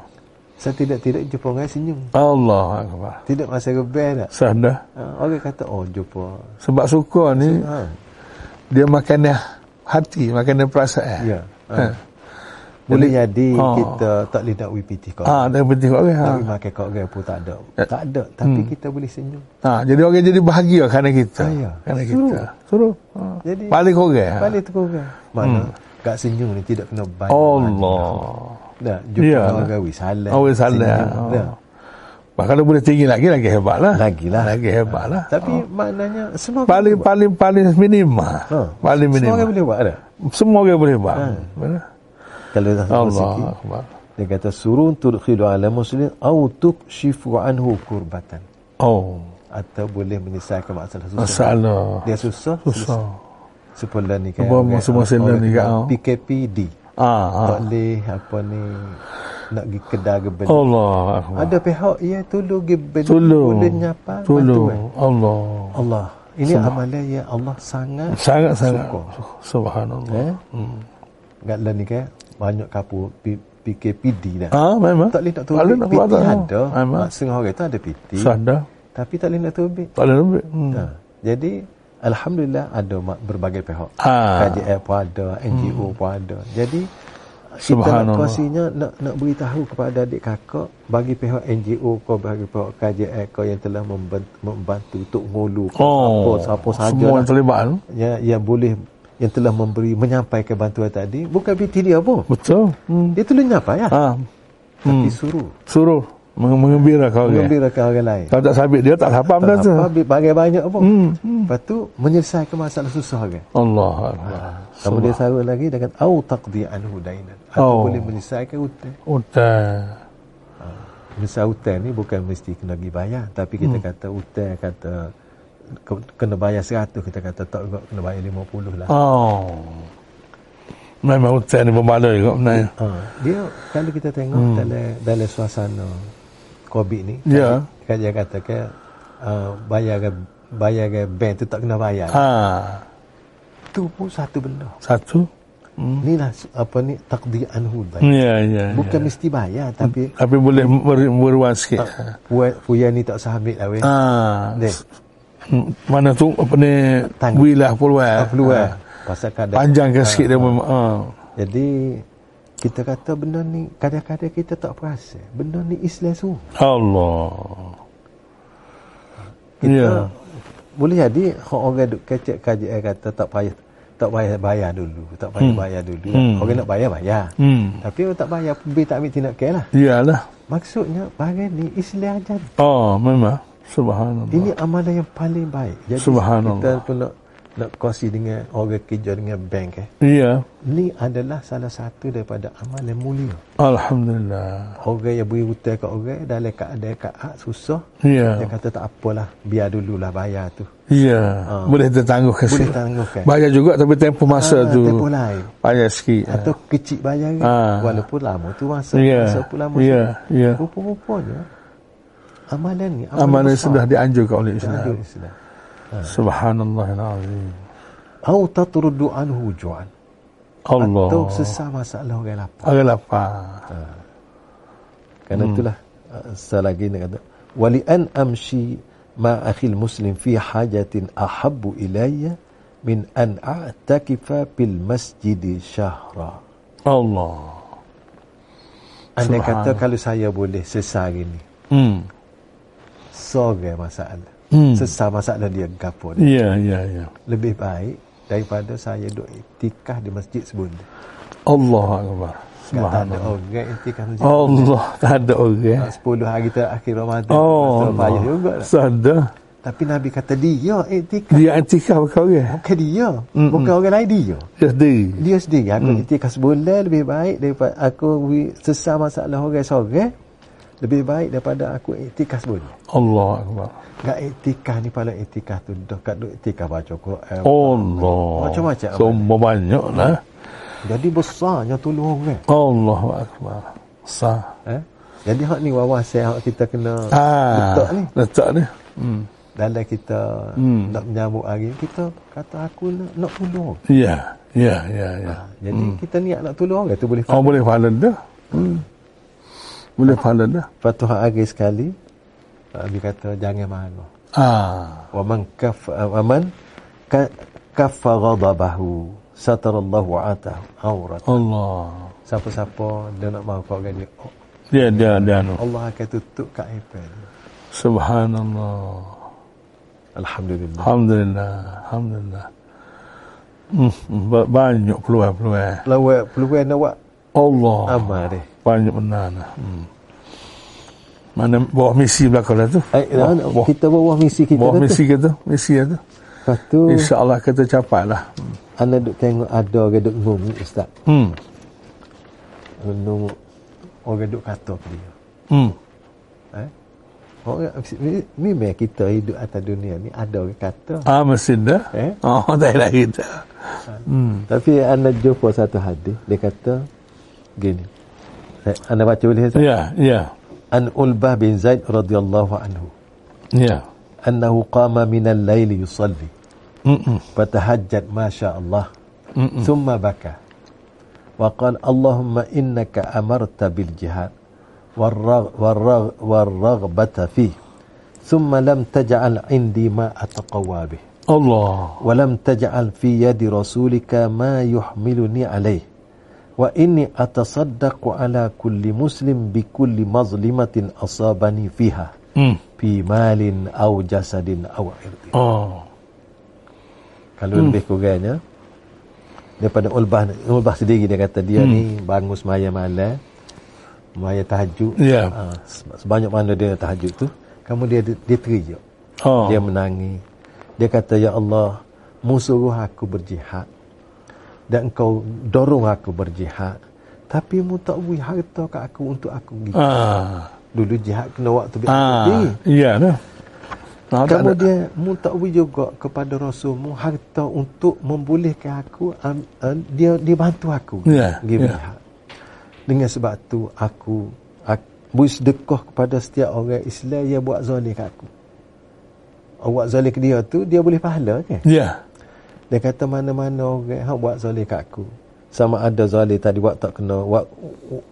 Speaker 1: Setidak-tidak jumpa orang senyum.
Speaker 2: Allah akbar.
Speaker 1: Tidak masa rebel tak?
Speaker 2: Sadah.
Speaker 1: Ha, orang kata, oh jumpa.
Speaker 2: Sebab suka ni
Speaker 1: Ha,
Speaker 2: dia makanan hati, makanan perasaan.
Speaker 1: ya. Ha.
Speaker 2: Ha.
Speaker 1: Boleh jadi
Speaker 2: Ha.
Speaker 1: kita tak boleh nak wipiti kau.
Speaker 2: Ha, Ya. ada penting orang. Ha.
Speaker 1: Tapi makan kau orang pun tak ada. Tak ada. Tapi
Speaker 2: Hmm.
Speaker 1: kita boleh senyum.
Speaker 2: ha. jadi orang jadi bahagia kerana kita.
Speaker 1: Ah, ya.
Speaker 2: Kerana
Speaker 1: Suruh.
Speaker 2: kita. Suruh. Ha.
Speaker 1: Jadi,
Speaker 2: Balik orang. Ha.
Speaker 1: Balik tu orang. Mana? Gak senyum ni tidak kena banyak.
Speaker 2: Hmm. Allah.
Speaker 1: Dah, jumpa
Speaker 2: Ya.
Speaker 1: orang wis salah.
Speaker 2: Oh, weh, salah.
Speaker 1: Senyum. Dah.
Speaker 2: Oh. Bah, kalau boleh tinggi lagi, lagi hebat lah.
Speaker 1: Lagilah.
Speaker 2: Lagi hebat lah.
Speaker 1: Tapi maknanya semua
Speaker 2: Paling, paling, paling minimal.
Speaker 1: Ha.
Speaker 2: Paling
Speaker 1: Semua orang
Speaker 2: minimal.
Speaker 1: boleh buat dah.
Speaker 2: Semua orang boleh buat.
Speaker 1: Kan?
Speaker 2: Benar?
Speaker 1: Kalau dah semua
Speaker 2: Allah
Speaker 1: sikit.
Speaker 2: Akbar.
Speaker 1: Dia kata surun tudkhilu ala muslim au tukshifu anhu kurbatan.
Speaker 2: Oh.
Speaker 1: Atau boleh menyelesaikan masalah susah.
Speaker 2: Masalah.
Speaker 1: Dia susah.
Speaker 2: Susah.
Speaker 1: Sepolah ni kan.
Speaker 2: Apa masa-masa
Speaker 1: orang-
Speaker 2: ni kan,
Speaker 1: orang
Speaker 2: oh.
Speaker 1: PKPD.
Speaker 2: Ah, ah.
Speaker 1: Tak boleh apa ni nak pergi kedai ke beli.
Speaker 2: Allah Akbar.
Speaker 1: Ada pihak ia tolong pergi beli.
Speaker 2: Tolong.
Speaker 1: Boleh nyapa. eh?
Speaker 2: Tolong.
Speaker 1: bantuan.
Speaker 2: Allah.
Speaker 1: Allah. Ini amalan yang Allah sangat
Speaker 2: Sangat-sangat.
Speaker 1: Syukur.
Speaker 2: Subhanallah. Hmm.
Speaker 1: Eh? Kat dalam ni kan banyak kapur P- PKPD dah.
Speaker 2: Ah, memang.
Speaker 1: Tak boleh nak
Speaker 2: Tak boleh
Speaker 1: terbit.
Speaker 2: nak
Speaker 1: PT
Speaker 2: buat. lah. Ah,
Speaker 1: ada.
Speaker 2: Memang.
Speaker 1: Setengah orang tu ada PT.
Speaker 2: Sadar.
Speaker 1: Tapi tak boleh nak terbit.
Speaker 2: Tak boleh lebih. Hmm.
Speaker 1: Ha. Jadi Alhamdulillah ada ma- berbagai pihak.
Speaker 2: Ah. Hmm.
Speaker 1: KJL pun ada, NGO pun ada. Jadi kita nak
Speaker 2: Subhanallah.
Speaker 1: kongsinya nak nak beritahu kepada adik kakak bagi pihak NGO kau bagi pihak KJL kau yang telah membantu, membantu untuk ngulu
Speaker 2: Oh.
Speaker 1: siapa saja
Speaker 2: Semua
Speaker 1: lah
Speaker 2: yang terlibat. tu.
Speaker 1: yang, yang boleh yang telah memberi menyampaikan bantuan tadi bukan PT dia pun
Speaker 2: Betul. Hmm.
Speaker 1: dia tolong nyampai ya
Speaker 2: Ah.
Speaker 1: tapi suruh
Speaker 2: Suruh. Meng- Mengembirakan orang.
Speaker 1: Mengembirakan orang lain.
Speaker 2: Kalau tak sabit dia tak apa benda tu.
Speaker 1: Apa ambil panggil banyak apa. Hmm. Lepas tu menyelesaikan masalah susah kan.
Speaker 2: Allah.
Speaker 1: Kamu dia sarut lagi dengan au taqdi anhu dainan. Atau
Speaker 2: Oh.
Speaker 1: boleh menyelesaikan hutang.
Speaker 2: Utang.
Speaker 1: Menyelesaikan hutang ni bukan mesti kena pergi bayar tapi kita
Speaker 2: Hmm.
Speaker 1: kata hutang kata ke- kena bayar 100 kita kata tak juga kena bayar 50 lah.
Speaker 2: Oh. Memang hutang ni berbaloi juga sebenarnya.
Speaker 1: Ha. Dia kalau kita tengok hmm. dalam dalam suasana COVID ni,
Speaker 2: Ya.
Speaker 1: kan dia kata ke uh, bayar ke bayar ke bank tu tak kena bayar. Ha.
Speaker 2: Ha.
Speaker 1: Tu pun satu benda.
Speaker 2: Satu.
Speaker 1: Hmm. Inilah su- apa ni taqdi anhu baik.
Speaker 2: Ya, ya. ya.
Speaker 1: Bukan mesti bayar tapi
Speaker 2: Tapi boleh ber, beruang sikit.
Speaker 1: puan puan ni tak sah ambil lah weh. Ha.
Speaker 2: Ha.
Speaker 1: Dek,
Speaker 2: Hmm, Mana tu apa ni
Speaker 1: Tang-
Speaker 2: wilah Ah, peluang. Ha.
Speaker 1: tak perlu eh. Pasal kadang
Speaker 2: Panjang ke sikit dia mem- ha.
Speaker 1: Jadi kita kata benda ni kadang-kadang kita tak perasan. Benda ni Islam semua.
Speaker 2: Allah. Ya.
Speaker 1: kita boleh jadi hak orang duk kecek kajian kata tak payah tak payah bayar dulu tak payah hmm. bayar dulu hmm. orang nak bayar bayar
Speaker 2: Hmm. Ya
Speaker 1: tapi orang tak bayar bil tak ambil tindak care lah
Speaker 2: Iyalah.
Speaker 1: maksudnya barang ni Islam ajar
Speaker 2: Oh, memang. Subhanallah.
Speaker 1: ini amalan yang paling baik jadi
Speaker 2: Subhanallah.
Speaker 1: kita pun nak nak kongsi dengan orang kerja dengan bank eh
Speaker 2: Iya.
Speaker 1: ni adalah salah satu daripada amalan mulia
Speaker 2: Alhamdulillah.
Speaker 1: orang yang beri hutang kat orang dalam keadaan keadaan susah
Speaker 2: Ya.
Speaker 1: dia kata tak apalah biar dululah bayar tu
Speaker 2: Ya. Boleh tertangguh
Speaker 1: Ah.
Speaker 2: ke
Speaker 1: Boleh
Speaker 2: sikit.
Speaker 1: tangguhkan.
Speaker 2: Bayar juga tapi tempoh masa
Speaker 1: Ah,
Speaker 2: tu.
Speaker 1: tempoh lain.
Speaker 2: Bayar sikit.
Speaker 1: Atau kecil bayar ha.
Speaker 2: Ah.
Speaker 1: Walaupun lama tu masa
Speaker 2: Ya.
Speaker 1: Masa pun lama
Speaker 2: Ya,
Speaker 1: tu.
Speaker 2: ya.
Speaker 1: Rupa-rupanya Amalan ni
Speaker 2: Amalan
Speaker 1: besar.
Speaker 2: sudah dianjurkan oleh Islam.
Speaker 1: Aduh, Islam
Speaker 2: Subhanallahilazim.
Speaker 1: Au tatrudu anhu ju'an
Speaker 2: Allah.
Speaker 1: Atau sesah masalah orang lapar
Speaker 2: Agak lapar.
Speaker 1: Ah. Kerana
Speaker 2: Hmm.
Speaker 1: itulah ah, Selagi dia kata Wali an amshi ma akhil muslim fi hajatin ahabbu ilayya min an a'takifa fil masjidi syahra.
Speaker 2: Allah.
Speaker 1: Anda kata kalau saya boleh sesah hari ni,
Speaker 2: Hmm.
Speaker 1: seorang masalah.
Speaker 2: Hmm.
Speaker 1: Sesah masalah dia gapo dia.
Speaker 2: Ya, ya, ya.
Speaker 1: Lebih baik daripada saya duduk iktikaf di masjid sebelum ni.
Speaker 2: Allah Akbar.
Speaker 1: Kan tak ada
Speaker 2: Subhanallah.
Speaker 1: orang iktikaf masjid. Oh.
Speaker 2: Allah. Tak ada orang. eh?
Speaker 1: 10 hari terakhir Ramadan.
Speaker 2: Oh.
Speaker 1: Masa payah juga lah.
Speaker 2: Sada.
Speaker 1: Tapi Nabi kata dia iktikaf.
Speaker 2: Dia antikah kau orang. eh?
Speaker 1: Bukan dia. Bukan orang lain dia.
Speaker 2: Dia sendiri.
Speaker 1: Dia sendiri. kan, Aku iktikaf sebulan lebih baik daripada aku sesah masalah orang seorang. Lebih baik daripada aku iktikaf sebulan.
Speaker 2: Allah Akbar.
Speaker 1: Gak iktikaf ni pala iktikaf tu. Dah kat duk iktikaf baca Quran.
Speaker 2: Oh, Allah.
Speaker 1: eh, Macam-macam. eh.
Speaker 2: Semua banyak lah.
Speaker 1: Jadi besarnya tolong orang.
Speaker 2: Allah Akbar. Sah.
Speaker 1: Eh? Jadi hak ni wawasan hak kita kena
Speaker 2: Ah.
Speaker 1: letak ni.
Speaker 2: Letak ni. Hmm.
Speaker 1: Dalam kita hmm. nak menyambut hari ni, kita kata aku nak, nak tolong.
Speaker 2: Ya. Ya, ya, ya.
Speaker 1: Jadi hmm. kita niat nak tolong orang tu boleh.
Speaker 2: Oh,
Speaker 1: Oh.
Speaker 2: boleh pahala dah. Hmm. Boleh pahala dah.
Speaker 1: Lepas tu hak hari sekali ah, dia kata jangan marah.
Speaker 2: Ah.
Speaker 1: Wa man kaf wa man ka- kaffa ghadabahu satarallahu atahu aurat.
Speaker 2: Allah.
Speaker 1: Siapa-siapa dia nak marah kat orang dia, oh,
Speaker 2: Dia dia dia anu.
Speaker 1: Allah akan tutup kat aib dia.
Speaker 2: Subhanallah.
Speaker 1: Alhamdulillah.
Speaker 2: Alhamdulillah. Alhamdulillah. Hmm, ba- banyak peluang-peluang.
Speaker 1: Lawak peluang nak buat
Speaker 2: Allah.
Speaker 1: amal dia.
Speaker 2: Banyak benar lah. Hmm. Mana bawa misi belakang lah tu.
Speaker 1: Eh, dah, nak-
Speaker 2: Bawa-
Speaker 1: kita bawa misi kita dah
Speaker 2: bawa
Speaker 1: tu.
Speaker 2: misi kita. Misi kita.
Speaker 1: Lepas tu,
Speaker 2: InsyaAllah kita capai lah. Hmm.
Speaker 1: anda duk tengok ada orang duk ngomong ustaz.
Speaker 2: Hmm.
Speaker 1: Ngomong orang duk kata ke dia.
Speaker 2: Hmm.
Speaker 1: Eh? Orang, ni- ni memang kita hidup atas dunia ni ada orang kata.
Speaker 2: Ah, mesti dah.
Speaker 1: Eh?
Speaker 2: Oh, tak ada kita. Hmm.
Speaker 1: Tapi anda jumpa satu hadis dia kata gini. Saya- Anda baca boleh Ustaz?
Speaker 2: Ya, ya.
Speaker 1: An Ulbah bin Zaid radhiyallahu anhu
Speaker 2: Ya.
Speaker 1: annahu qama min al-lail yusalli
Speaker 2: Mm-mm.
Speaker 1: فتهجد ما شاء الله ثم بكى وقال اللهم إنك أمرت بالجهاد والرغ والرغ والرغبة فيه ثم لم تجعل عندي ما أتقوى به
Speaker 2: Allah.
Speaker 1: ولم تجعل في يد رسولك ما يحملني عليه وإني أتصدق على كل مسلم بكل مظلمة أصابني فيها
Speaker 2: Hmm.
Speaker 1: في مال أو جسد أو عرض
Speaker 2: Oh.
Speaker 1: Kalau hmm. lebih kurangnya daripada Ulbah Ulbah sendiri dia kata dia hmm. ni bangun semaya malam Maya tahajud.
Speaker 2: Ya.
Speaker 1: Ha, sebanyak mana dia tahajud tu, kamu dia dia teriak.
Speaker 2: Oh.
Speaker 1: Dia menangis. Dia kata, Ya Allah, mu suruh aku berjihad. Dan engkau dorong aku berjihad. Tapi mu tak beri harta kat aku untuk aku pergi.
Speaker 2: Ah.
Speaker 1: Dulu jihad kena waktu biar aku
Speaker 2: Ah.
Speaker 1: pergi.
Speaker 2: Ya dah. Nah, tak
Speaker 1: Kamu
Speaker 2: ada.
Speaker 1: dia mu tak beri juga kepada Rasul mu harta untuk membolehkan aku um, uh, dia dia bantu aku.
Speaker 2: Ya,
Speaker 1: Pergi
Speaker 2: ya.
Speaker 1: berjihad. Dengan sebab tu aku, aku beri sedekah kepada setiap orang Islam yang buat zalim kat aku. Orang buat zalim ke dia tu dia boleh pahala kan?
Speaker 2: Ya.
Speaker 1: Dia kata mana-mana orang hak buat zalim kat aku. Sama ada zalim tadi buat tak kena, buat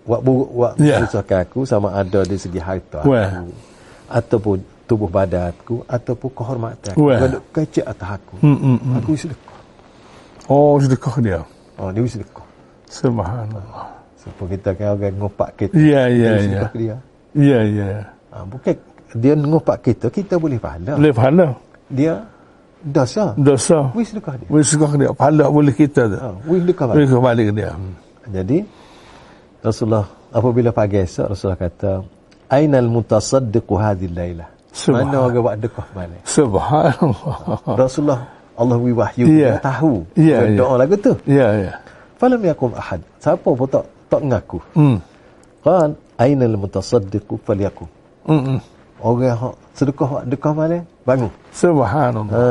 Speaker 1: buat buruk, buat
Speaker 2: Ya.
Speaker 1: yeah. susahkan aku sama ada di segi harta aku.
Speaker 2: Weh.
Speaker 1: Ataupun tubuh badan aku ataupun kehormatan aku.
Speaker 2: Weh.
Speaker 1: Kalau duk kecil atas aku.
Speaker 2: Hmm, hmm, hmm.
Speaker 1: Aku sedekah.
Speaker 2: Oh, sedekah dia.
Speaker 1: Oh, dia sedekah.
Speaker 2: Subhanallah.
Speaker 1: Siapa kita kan orang ngopak kita.
Speaker 2: Ya, ya,
Speaker 1: dia
Speaker 2: ya.
Speaker 1: sedekah ke dia.
Speaker 2: Ya, ya.
Speaker 1: Ha, bukan dia ngopak kita, kita boleh pahala.
Speaker 2: Boleh pahala.
Speaker 1: Dia dosa.
Speaker 2: Dosa.
Speaker 1: Wis sedekah dia.
Speaker 2: Boleh sedekah dia. Pahala boleh kita tu.
Speaker 1: Ha, wis sedekah balik.
Speaker 2: Boleh kembali ke dia. Oh, Hmm.
Speaker 1: Jadi Rasulullah apabila pagi esok Rasulullah kata Ainal mutasaddiqu hadhil lailah.
Speaker 2: Subhan-
Speaker 1: Mana orang buat dekah malam?
Speaker 2: Subhanallah.
Speaker 1: Rasulullah Allah wi wahyu yeah.
Speaker 2: Ya.
Speaker 1: tahu.
Speaker 2: Ya,
Speaker 1: Dia
Speaker 2: ya.
Speaker 1: Doa lagu tu.
Speaker 2: Ya, ya.
Speaker 1: Falam yakum ahad. Siapa pun tak tak mengaku.
Speaker 2: Hmm.
Speaker 1: Qan ainal mutasaddiqu falyakum.
Speaker 2: Hmm. hmm.
Speaker 1: Orang hak sedekah buat dekah malam bangun.
Speaker 2: Subhanallah.
Speaker 1: Ha.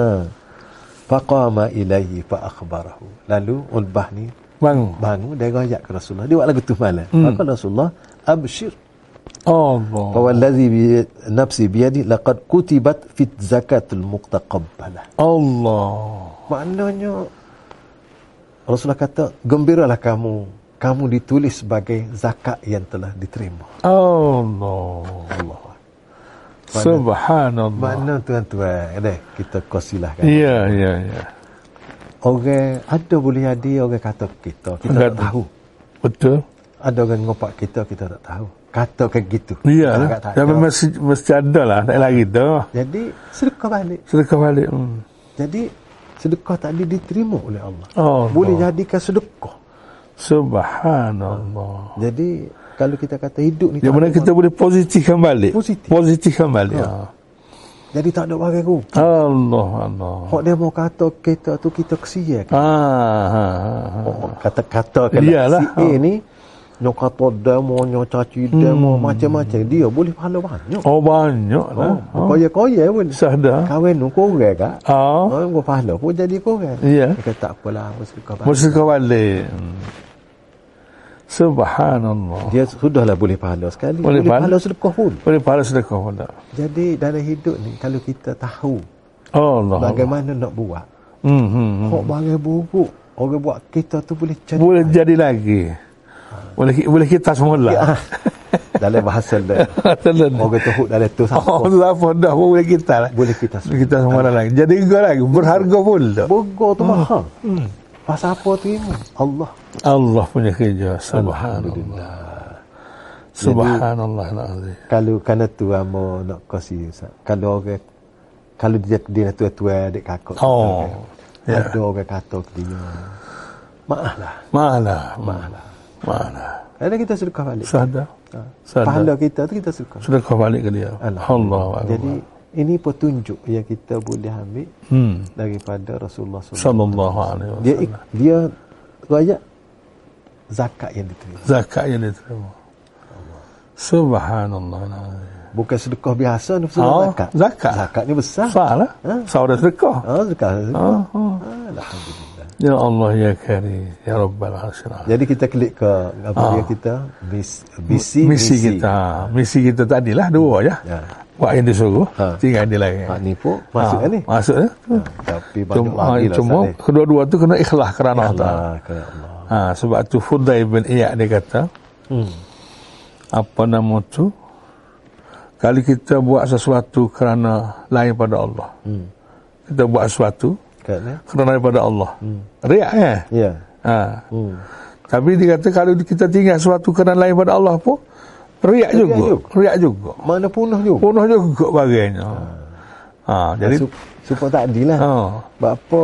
Speaker 1: Faqama ilaihi fa akhbarahu. Lalu Ulbah ni
Speaker 2: Bangun.
Speaker 1: bangun dia royak ke Rasulullah. Dia buat lagu tu malam. Maka Rasulullah abshir
Speaker 2: Allah.
Speaker 1: فوالذي بي- نفسي بيدي لقد كتبت في الزكاة المتقبلة
Speaker 2: Allah.
Speaker 1: maknanya Rasulullah kata gembiralah kamu kamu ditulis sebagai zakat yang telah diterima
Speaker 2: Allah.
Speaker 1: Allah
Speaker 2: Subhanallah.
Speaker 1: makna tuan-tuan deh kita kosilahkan
Speaker 2: Ya, ya, ya.
Speaker 1: orang ada boleh jadi orang kata ke kita kita tak
Speaker 2: Kata.
Speaker 1: tahu
Speaker 2: Betul.
Speaker 1: ada orang ngopak kita kita tak tahu kata kayak gitu
Speaker 2: Ya
Speaker 1: Kita
Speaker 2: lah.
Speaker 1: tak
Speaker 2: Tapi
Speaker 1: tahu.
Speaker 2: mesti, mesti ada lah. Tak lagi dah.
Speaker 1: jadi sedekah balik
Speaker 2: Sedekah balik. Hmm.
Speaker 1: Jadi sedekah tadi diterima oleh Allah.
Speaker 2: Allah.
Speaker 1: Boleh jadikan sedekah.
Speaker 2: Subhanallah.
Speaker 1: Jadi kalau kita kata hidup ni
Speaker 2: Yang
Speaker 1: tak
Speaker 2: Ya, mana
Speaker 1: ada
Speaker 2: kita
Speaker 1: orang-
Speaker 2: boleh positifkan balik.
Speaker 1: Positif. Ya.
Speaker 2: Positifkan balik. Ha.
Speaker 1: jadi tak ada barang rugi.
Speaker 2: Allah Allah.
Speaker 1: Hak dia mau kata kita tu kita kesia.
Speaker 2: Ha ha. ha.
Speaker 1: Kata-kata kalau
Speaker 2: Iyalah. Ah.
Speaker 1: si A ni nyo kata demo, nyo caci demo, macam-macam. Dia boleh pahala banyak.
Speaker 2: Hmm. Oh banyak lah.
Speaker 1: Oh, Koya-koya pun.
Speaker 2: Sah dah.
Speaker 1: Kawan tu korang kak.
Speaker 2: Ha.
Speaker 1: Oh, kau pahala pun jadi korang.
Speaker 2: Ya.
Speaker 1: Dia kata lah, tak apalah, aku sedekah banyak.
Speaker 2: Mesti kau balik. Hmm. Subhanallah.
Speaker 1: Dia sudahlah boleh pahala sekali.
Speaker 2: Boleh
Speaker 1: Boleh,
Speaker 2: pahala.
Speaker 1: pahala sedekah pun.
Speaker 2: Boleh pahala sedekah pula.
Speaker 1: Jadi dalam hidup ni kalau kita tahu
Speaker 2: Allah. Allah.
Speaker 1: bagaimana nak buat,
Speaker 2: Hmm, Ah. hmm, hmm.
Speaker 1: hok barang buruk orang buat kita tu boleh cari.
Speaker 2: Boleh jadi lagi. Boleh boleh kita semula.
Speaker 1: dalam bahasa dia.
Speaker 2: Telan.
Speaker 1: Orang tu hok dalam tu
Speaker 2: Oh,
Speaker 1: siapa?
Speaker 2: tu apa dah pun boleh kita lah.
Speaker 1: Boleh kita semua.
Speaker 2: Kita semua dah lagi. Jadi kau lagi berharga pula.
Speaker 1: Bogor tu
Speaker 2: Hmm.
Speaker 1: mahal. Pasal apa terima? Allah.
Speaker 2: Allah punya kerja. Subhanallah. Subhanallah alazim.
Speaker 1: Kalau kena tu amo nak kasi Ustaz. kalau orang kalau dia dia nak tua-tua adik kakak.
Speaker 2: Oh.
Speaker 1: Ya.
Speaker 2: Ya.
Speaker 1: Ada orang kata ke dia. Maaflah,
Speaker 2: Mana?
Speaker 1: maaflah.
Speaker 2: Mana?
Speaker 1: Kadang kita sedekah balik.
Speaker 2: Sadar.
Speaker 1: Pahala
Speaker 2: Sadar.
Speaker 1: kita tu kita sedekah.
Speaker 2: Sudah kau balik ke dia. Allah.
Speaker 1: Alhamdulillah. Jadi ini petunjuk yang kita boleh ambil
Speaker 2: hmm.
Speaker 1: daripada Rasulullah SAW.
Speaker 2: Sallallahu alaihi wasallam.
Speaker 1: Dia ik- dia rakyat zakat yang diterima.
Speaker 2: zakat yang diterima. Subhanallah alazim.
Speaker 1: Bukan sedekah biasa ni
Speaker 2: Oh,
Speaker 1: sedekah zakat.
Speaker 2: zakat.
Speaker 1: Zakat ni besar.
Speaker 2: Salah.
Speaker 1: Ha?
Speaker 2: Saudara sedekah.
Speaker 1: Ha, zakat. Ha.
Speaker 2: Ah, ah.
Speaker 1: Alhamdulillah.
Speaker 2: Ya Allah ya Karim ya Rabbal Alamin.
Speaker 1: Jadi kita klik ke apa
Speaker 2: Ah.
Speaker 1: dia kita Bis- bisi
Speaker 2: misi, kita misi kita tadilah dua je
Speaker 1: Ya.
Speaker 2: buat yang disuruh
Speaker 1: Ha.
Speaker 2: tinggal dia lagi
Speaker 1: Ha, ni pun masuk
Speaker 2: Ha,
Speaker 1: ni.
Speaker 2: masuk ni
Speaker 1: Tapi banyak
Speaker 2: cuma, ah,
Speaker 1: lagi lah.
Speaker 2: cuma
Speaker 1: Ustaz, eh.
Speaker 2: kedua-dua tu kena ikhlas kerana Allah
Speaker 1: Allah, kerana Allah.
Speaker 2: ha, sebab tu Fudai bin Iyad dia kata
Speaker 1: Hmm.
Speaker 2: apa nama tu kalau kita buat sesuatu kerana lain pada Allah
Speaker 1: Hmm.
Speaker 2: kita buat sesuatu
Speaker 1: Kerana?
Speaker 2: kerana lain pada Allah riak eh
Speaker 1: Ya.
Speaker 2: ha.
Speaker 1: Hmm.
Speaker 2: tapi dia kata kalau kita tinggal sesuatu kerana lain pada Allah pun riak juga
Speaker 1: juga.
Speaker 2: riak juga
Speaker 1: Mana punah juga.
Speaker 2: Punah juga barangnya. Ha, jadi Ah.
Speaker 1: Sup- supaya tak adil lah.
Speaker 2: ha.
Speaker 1: Bapa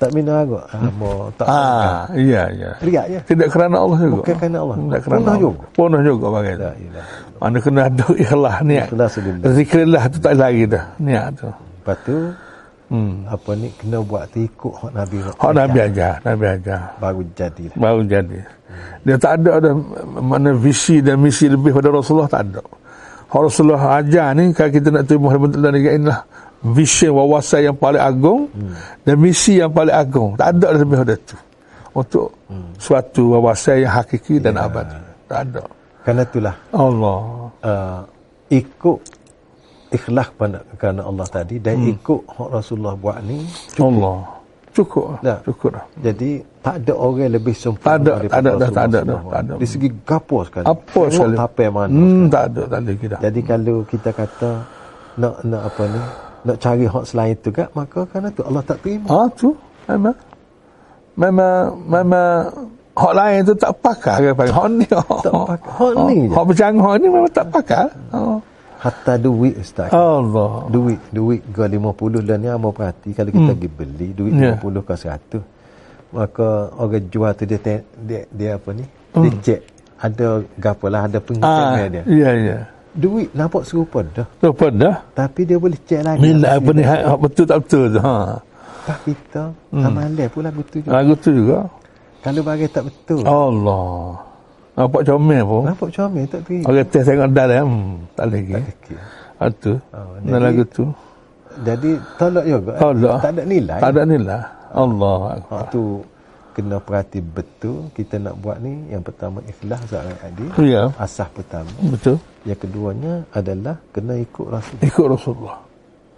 Speaker 1: tak minah kot. Ha, boh, tak sangka.
Speaker 2: Ah, iya, iya.
Speaker 1: Riak je.
Speaker 2: Tidak kerana Allah juga.
Speaker 1: Bukan kerana Allah.
Speaker 2: Tidak kerana
Speaker 1: Punah
Speaker 2: Allah.
Speaker 1: juga.
Speaker 2: Punah juga bagai tu.
Speaker 1: La ilaha.
Speaker 2: Mana kena ada ikhlas niat.
Speaker 1: Ikhlas lillah.
Speaker 2: Zikrillah tu tak lari dah niat tu.
Speaker 1: Lepas tu
Speaker 2: Hmm.
Speaker 1: apa ni kena buat tu ikut hak Nabi.
Speaker 2: Hak Nabi ajar, Nabi ajar.
Speaker 1: Baru jadilah.
Speaker 2: Baru jadi. Dia tak ada ada mana visi dan misi lebih pada Rasulullah tak ada. Hak Rasulullah ajar ni kalau kita nak terima Muhammad dalam negara inilah visi wawasan yang paling agung hmm. dan misi yang paling agung. Tak ada lah lebih pada tu. Untuk hmm. suatu wawasan yang hakiki dan
Speaker 1: Ya.
Speaker 2: abadi. Tak ada.
Speaker 1: Karena itulah
Speaker 2: Allah.
Speaker 1: uh, ikut ikhlas pada kerana Allah tadi dan hmm. ikut hak Rasulullah buat ni
Speaker 2: Cukup. Allah. Cukup. lah.
Speaker 1: Dah.
Speaker 2: Cukup dah.
Speaker 1: jadi tak ada orang lebih sempurna
Speaker 2: Tak ada,
Speaker 1: daripada
Speaker 2: tak ada, dah, tak ada,
Speaker 1: Rasulullah
Speaker 2: dah, tak ada.
Speaker 1: SAW. Di segi gapo sekali.
Speaker 2: Apa sekali?
Speaker 1: Apa mana.
Speaker 2: Hmm, tak ada. Tak ada kita.
Speaker 1: Jadi kalau kita kata nak nak apa ni? Nak cari hak selain tu kan maka kerana tu Allah tak terima.
Speaker 2: Ha tu memang memang memang hak lain tu tak pakar ke panggil hak ni.
Speaker 1: Tak pakar. Hak ni je.
Speaker 2: Hak bercanggah ni memang tak pakar. Oh.
Speaker 1: Hatta duit
Speaker 2: Ah.
Speaker 1: ustaz.
Speaker 2: Allah.
Speaker 1: Duit, duit ke 50 dan ni amor perhati kalau kita pergi beli duit
Speaker 2: Hmm. Ya.
Speaker 1: 50 ke 100 maka orang jual tu dia te, dia, dia apa ni? Dia cek ada gapo lah ada
Speaker 2: Hmm. Ah,
Speaker 1: pengecekan dia.
Speaker 2: ya ya.
Speaker 1: Duit nampak serupa dah
Speaker 2: Tu pun dah.
Speaker 1: tapi dia boleh cek lagi.
Speaker 2: Bila apa ni
Speaker 1: ya.
Speaker 2: hak betul tak betul tu. Ha.
Speaker 1: Tak kita hmm. amalan pula betul juga.
Speaker 2: Lagu tu juga.
Speaker 1: Kalau bagai tak betul.
Speaker 2: Ah.
Speaker 1: Oh.
Speaker 2: Allah. Nampak comel pun.
Speaker 1: Nampak comel tak pergi.
Speaker 2: Orang teh tengok dalam hmm, tak lagi.
Speaker 1: Okay.
Speaker 2: Ha tu.
Speaker 1: Oh,
Speaker 2: Dan
Speaker 1: jadi-
Speaker 2: lagu tu.
Speaker 1: Jadi tolak juga. eh?
Speaker 2: Tolak.
Speaker 1: Tak ada nilai.
Speaker 2: Tak ada nilai. Allah
Speaker 1: Ha,
Speaker 2: akbar.
Speaker 1: tu kena perhati betul kita nak buat ni yang pertama ikhlas seorang adil.
Speaker 2: Ya.
Speaker 1: Asas pertama.
Speaker 2: Betul.
Speaker 1: Yang keduanya adalah kena ikut rasul.
Speaker 2: Ikut Rasulullah.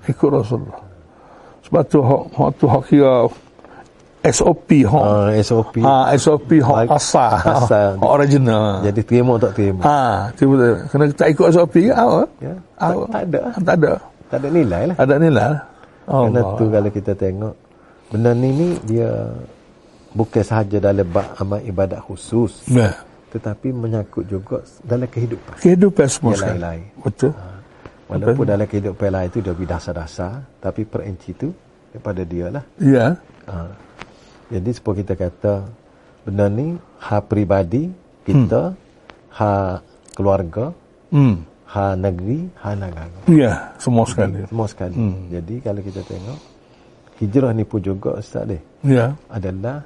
Speaker 2: Ikut Rasulullah. Sebab tu hak hak tu hak kira SOP hak.
Speaker 1: Ha, SOP.
Speaker 2: Ha, SOP hak
Speaker 1: Baik.
Speaker 2: asal.
Speaker 1: Asal.
Speaker 2: Hak original.
Speaker 1: Jadi terima tak terima.
Speaker 2: Ha, tu betul. Kena tak ikut SOP ke apa?
Speaker 1: Ya. Tak,
Speaker 2: Apa?
Speaker 1: tak ada.
Speaker 2: Ah, Tak ada.
Speaker 1: Tak ada nilai lah.
Speaker 2: Ada nilai.
Speaker 1: Kerana
Speaker 2: Allah.
Speaker 1: tu kalau kita tengok benda ni ni dia bukan sahaja dalam bab amal ibadat khusus
Speaker 2: Nah,
Speaker 1: tetapi menyangkut juga dalam kehidupan.
Speaker 2: kehidupan semua
Speaker 1: Dia
Speaker 2: sekali.
Speaker 1: Ya, lain-lain. Ah.
Speaker 2: Betul.
Speaker 1: Walaupun dalam kehidupan lain itu dia lebih dasar-dasar tapi perinci tu daripada dia lah.
Speaker 2: Ya.
Speaker 1: Ha. Jadi seperti kita kata benda ni hak peribadi kita, hak keluarga,
Speaker 2: Hmm.
Speaker 1: hak negeri, hak negara.
Speaker 2: Ya, semua sekali.
Speaker 1: Semua sekali. Hmm. Jadi kalau kita tengok hijrah ni pun juga ustaz deh.
Speaker 2: Ya.
Speaker 1: adalah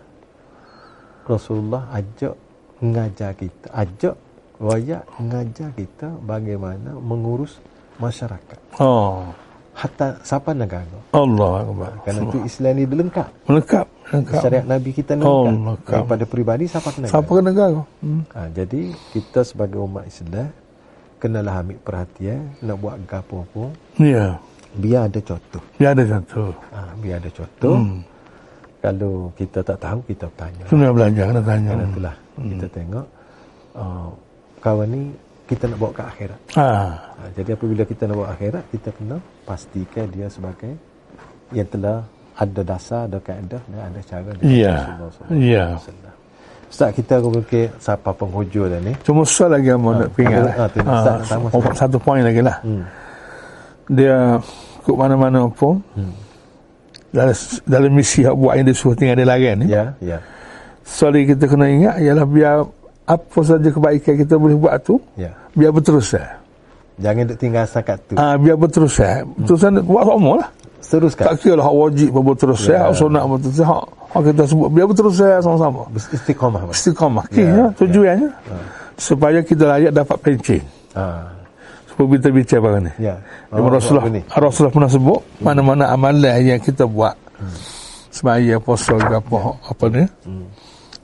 Speaker 1: Rasulullah ajak mengajar kita, ajak royak mengajar kita bagaimana mengurus masyarakat.
Speaker 2: Oh.
Speaker 1: Hatta siapa negara.
Speaker 2: Allah akbar.
Speaker 1: Kerana itu Islam ni dilengkap.
Speaker 2: Melengkap, melengkap.
Speaker 1: Syariat Nabi kita
Speaker 2: Oh,
Speaker 1: lengkap.
Speaker 2: lengkap.
Speaker 1: Daripada peribadi siapa negara.
Speaker 2: Siapa kena kau? Hmm.
Speaker 1: Ha, jadi kita sebagai umat Islam kenalah ambil perhatian nak buat gapo pun
Speaker 2: Ya.
Speaker 1: biar ada contoh.
Speaker 2: Ya ada contoh.
Speaker 1: Ha, biar ada contoh. Hmm. Kalau kita tak tahu kita tanya.
Speaker 2: Kena belajar, kena tanya.
Speaker 1: Kerana itulah hmm. kita tengok uh, kawan ni kita nak bawa ke akhirat.
Speaker 2: Ha.
Speaker 1: Ha, jadi apabila kita nak bawa akhirat, kita kena pastikan dia sebagai yang telah ada dasar, ada kaedah dan ada cara dia.
Speaker 2: Ya. Ya.
Speaker 1: Ustaz kita mungkin siapa penghujung dah ni.
Speaker 2: Cuma soal lagi yang mau nak pingat.
Speaker 1: Ah, tu, Ustaz, sama,
Speaker 2: oh,
Speaker 1: Ustaz.
Speaker 2: satu poin lagi lah.
Speaker 1: Hmm.
Speaker 2: Dia ikut mana-mana pun
Speaker 1: Hmm.
Speaker 2: dalam, dalam misi hak buat yang disuruh tinggal dia larang ni.
Speaker 1: Ya, ya.
Speaker 2: Soal yang kita kena ingat ialah biar apa saja kebaikan kita boleh buat tu
Speaker 1: Ya.
Speaker 2: biar berterusan.
Speaker 1: Jangan duk tinggal setakat tu.
Speaker 2: Ah biar berterusan.
Speaker 1: Hmm.
Speaker 2: Berterusan buat semua lah.
Speaker 1: Seteruskan.
Speaker 2: Tak kira lah hak wajib pun berterusan,
Speaker 1: Ya.
Speaker 2: hak sunat pun berterusan, hak, hak kita sebut biar berterusan sama-sama.
Speaker 1: Istiqamah. Mas.
Speaker 2: istiqamah yeah,
Speaker 1: Ya,
Speaker 2: tujuannya supaya kita layak dapat pencen
Speaker 1: Ha.
Speaker 2: supaya kita bicara barang ni
Speaker 1: Ya.
Speaker 2: Nabi Rasulullah
Speaker 1: ni. Hmm.
Speaker 2: Rasulullah pernah sebut mana-mana amalan yang kita buat semaya puasa ke apa apa ni
Speaker 1: Hmm.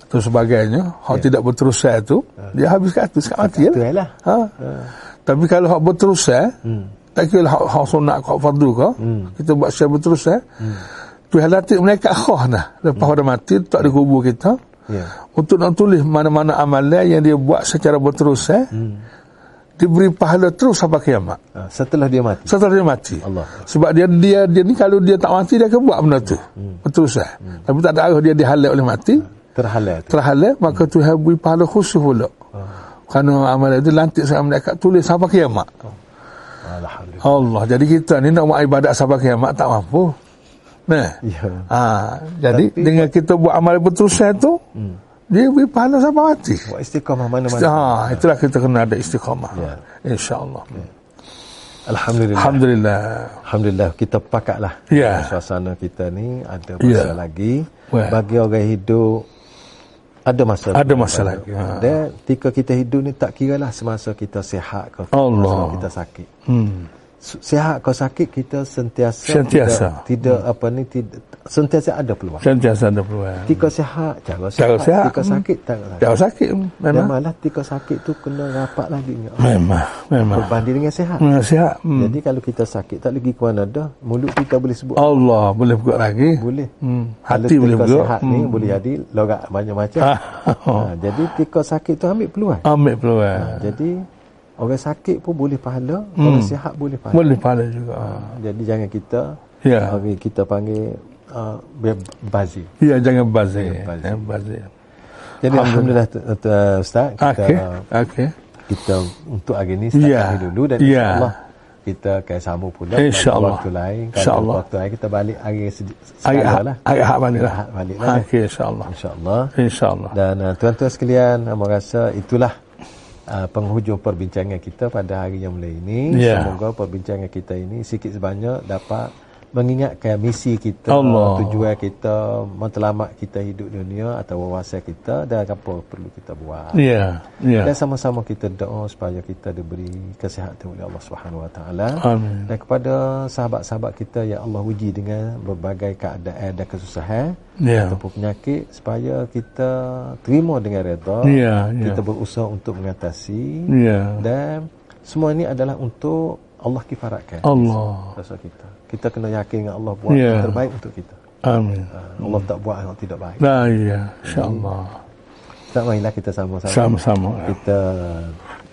Speaker 2: atau sebagainya
Speaker 1: Ya.
Speaker 2: hak tidak berterusan tu dia habis kat tu sekat mati
Speaker 1: Tu
Speaker 2: lah.
Speaker 1: Ya. lah. Hmm.
Speaker 2: ha. tapi kalau hak berterusan tak kira hak, hak sunat ke hak fardu ke kita buat secara berterusan
Speaker 1: Hmm.
Speaker 2: Tuhan latih mereka khah dah lepas orang mati tak ada kubur kita
Speaker 1: Ya.
Speaker 2: untuk nak tulis mana-mana amalan yang dia buat secara berterusan hmm. diberi pahala terus sampai kiamat
Speaker 1: Ha. Setelah dia mati.
Speaker 2: setelah dia mati
Speaker 1: Allah.
Speaker 2: sebab dia dia dia ni kalau dia tak mati dia akan buat benda tu berterusan tapi tak ada arah dia dihalal oleh mati
Speaker 1: Terhalal tu.
Speaker 2: terhalal maka Tuhan beri pahala khusus pula kerana amalan itu lantik sama mereka tulis sampai kiamat
Speaker 1: Alhamdulillah.
Speaker 2: Allah jadi kita ni nak buat ibadat sampai kiamat tak mampu Nah.
Speaker 1: Ya.
Speaker 2: Ha, jadi
Speaker 1: Tapi-
Speaker 2: dengan kita buat amal berterusan tu hmm. dia beri pahala sampai mati.
Speaker 1: Buat istiqamah mana-mana.
Speaker 2: Ha, itulah kita kena ada istiqamah.
Speaker 1: Ya.
Speaker 2: Insya-Allah.
Speaker 1: Alhamdulillah.
Speaker 2: Alhamdulillah.
Speaker 1: Alhamdulillah kita pakatlah.
Speaker 2: Ya.
Speaker 1: Suasana kita ni ada
Speaker 2: Ya.
Speaker 1: masa lagi
Speaker 2: Wah.
Speaker 1: bagi orang hidup ada masa
Speaker 2: Ada masa lagi. Ha.
Speaker 1: Dan ketika kita hidup ni tak kiralah semasa kita sihat ke
Speaker 2: Allah.
Speaker 1: semasa kita sakit. Hmm. Sihat ke sakit kita sentiasa
Speaker 2: Sentiasa. Hmm.
Speaker 1: tidak, tidak apa ni tidak, sentiasa ada peluang.
Speaker 2: Sentiasa ada peluang.
Speaker 1: Ketika sihat cara sihat,
Speaker 2: Cara sihat. Hmm. lah.
Speaker 1: ketika sakit tak sakit.
Speaker 2: Jauh sakit
Speaker 1: Dan
Speaker 2: memang.
Speaker 1: malah ketika sakit tu kena rapat lagi dengan Allah.
Speaker 2: Memang, memang.
Speaker 1: berbanding dengan sihat.
Speaker 2: Memang sihat. Hmm.
Speaker 1: Jadi kalau kita sakit tak lagi kuat nada, mulut kita boleh sebut
Speaker 2: Allah boleh buka lagi.
Speaker 1: Boleh.
Speaker 2: Oh. Hmm.
Speaker 1: Kalau
Speaker 2: Hati boleh
Speaker 1: tika
Speaker 2: bergerak.
Speaker 1: sihat ni boleh jadi lorak banyak macam.
Speaker 2: Ah.
Speaker 1: Ha, jadi tika sakit tu ambil peluang.
Speaker 2: Ambil peluang.
Speaker 1: Jadi orang sakit pun boleh pahala, orang sihat boleh pahala.
Speaker 2: Hmm. Boleh pahala juga. Ha.
Speaker 1: Jadi jangan kita
Speaker 2: Ya.
Speaker 1: orang kita panggil uh, bazir.
Speaker 2: Ya, jangan bazir.
Speaker 1: bazir.
Speaker 2: Jangan bazir.
Speaker 1: Jadi alhamdulillah tu- tu- uh, ustaz kita
Speaker 2: Ah.
Speaker 1: uh,
Speaker 2: Okey. Okey.
Speaker 1: kita untuk hari ni start
Speaker 2: Ya.
Speaker 1: yeah. dulu dan
Speaker 2: Ya.
Speaker 1: insyaallah kita akan sambung pula pada
Speaker 2: InsyaAllah.
Speaker 1: waktu lain kalau
Speaker 2: InsyaAllah.
Speaker 1: waktu lain kita balik hari se-
Speaker 2: Ayat
Speaker 1: sekala
Speaker 2: hak,
Speaker 1: lah
Speaker 2: ayat hak baliklah.
Speaker 1: Ayat hak baliklah.
Speaker 2: Okey, insyaAllah.
Speaker 1: insyaallah
Speaker 2: InsyaAllah.
Speaker 1: Dan uh, tuan-tuan sekalian, Abang rasa itulah uh, penghujung perbincangan kita pada hari yang mulia ini.
Speaker 2: Ya.
Speaker 1: Semoga perbincangan kita ini sikit sebanyak dapat mengingatkan misi kita, uh,
Speaker 2: Allah.
Speaker 1: tujuan kita, matlamat kita hidup dunia atau wawasan kita dan apa perlu kita buat.
Speaker 2: Ya. Ya.
Speaker 1: Dan sama-sama kita doa supaya kita diberi kesihatan oleh Allah Subhanahu Wa Taala.
Speaker 2: Amin.
Speaker 1: Dan kepada sahabat-sahabat kita yang Allah uji dengan berbagai keadaan dan kesusahan
Speaker 2: Ya.
Speaker 1: ataupun penyakit supaya kita terima dengan reda
Speaker 2: Ya, ya.
Speaker 1: kita berusaha untuk mengatasi
Speaker 2: Ya.
Speaker 1: dan semua ini adalah untuk Allah kifaratkan
Speaker 2: Allah.
Speaker 1: rasa kita kita kena yakin dengan Allah buat
Speaker 2: Ya.
Speaker 1: yang terbaik untuk kita
Speaker 2: Amin.
Speaker 1: Allah tak buat yang tidak baik
Speaker 2: Nah, ya. InsyaAllah.
Speaker 1: tak marilah kita sama-sama
Speaker 2: Sama-sama. ya.
Speaker 1: kita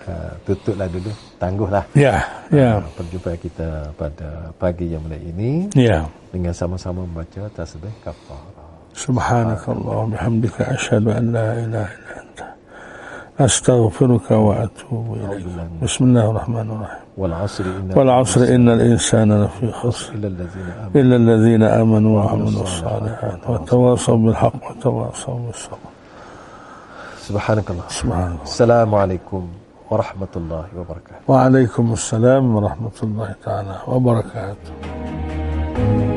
Speaker 1: uh, tutuplah dulu tangguhlah
Speaker 2: Ya. Ya.
Speaker 1: uh, perjumpaan kita pada pagi yang mulia ini
Speaker 2: Ya.
Speaker 1: dengan sama-sama membaca tasbih kafarah
Speaker 2: سبحانك اللهم وبحمدك أشهد أن لا إله إلا أنت أستغفرك وأتوب إليك بسم الله الرحمن الرحيم
Speaker 1: wal asri inna
Speaker 2: والعصر إن الإنسان لفي خسر
Speaker 1: illa allazina amanu
Speaker 2: إلا الذين آمنوا وعملوا الصالحات وتواصوا بالحق وتواصوا بالصبر
Speaker 1: subhanakallah
Speaker 2: سبحان الله
Speaker 1: Assalamualaikum warahmatullahi wabarakatuh.
Speaker 2: وعليكم السلام ورحمة الله تعالى وبركاته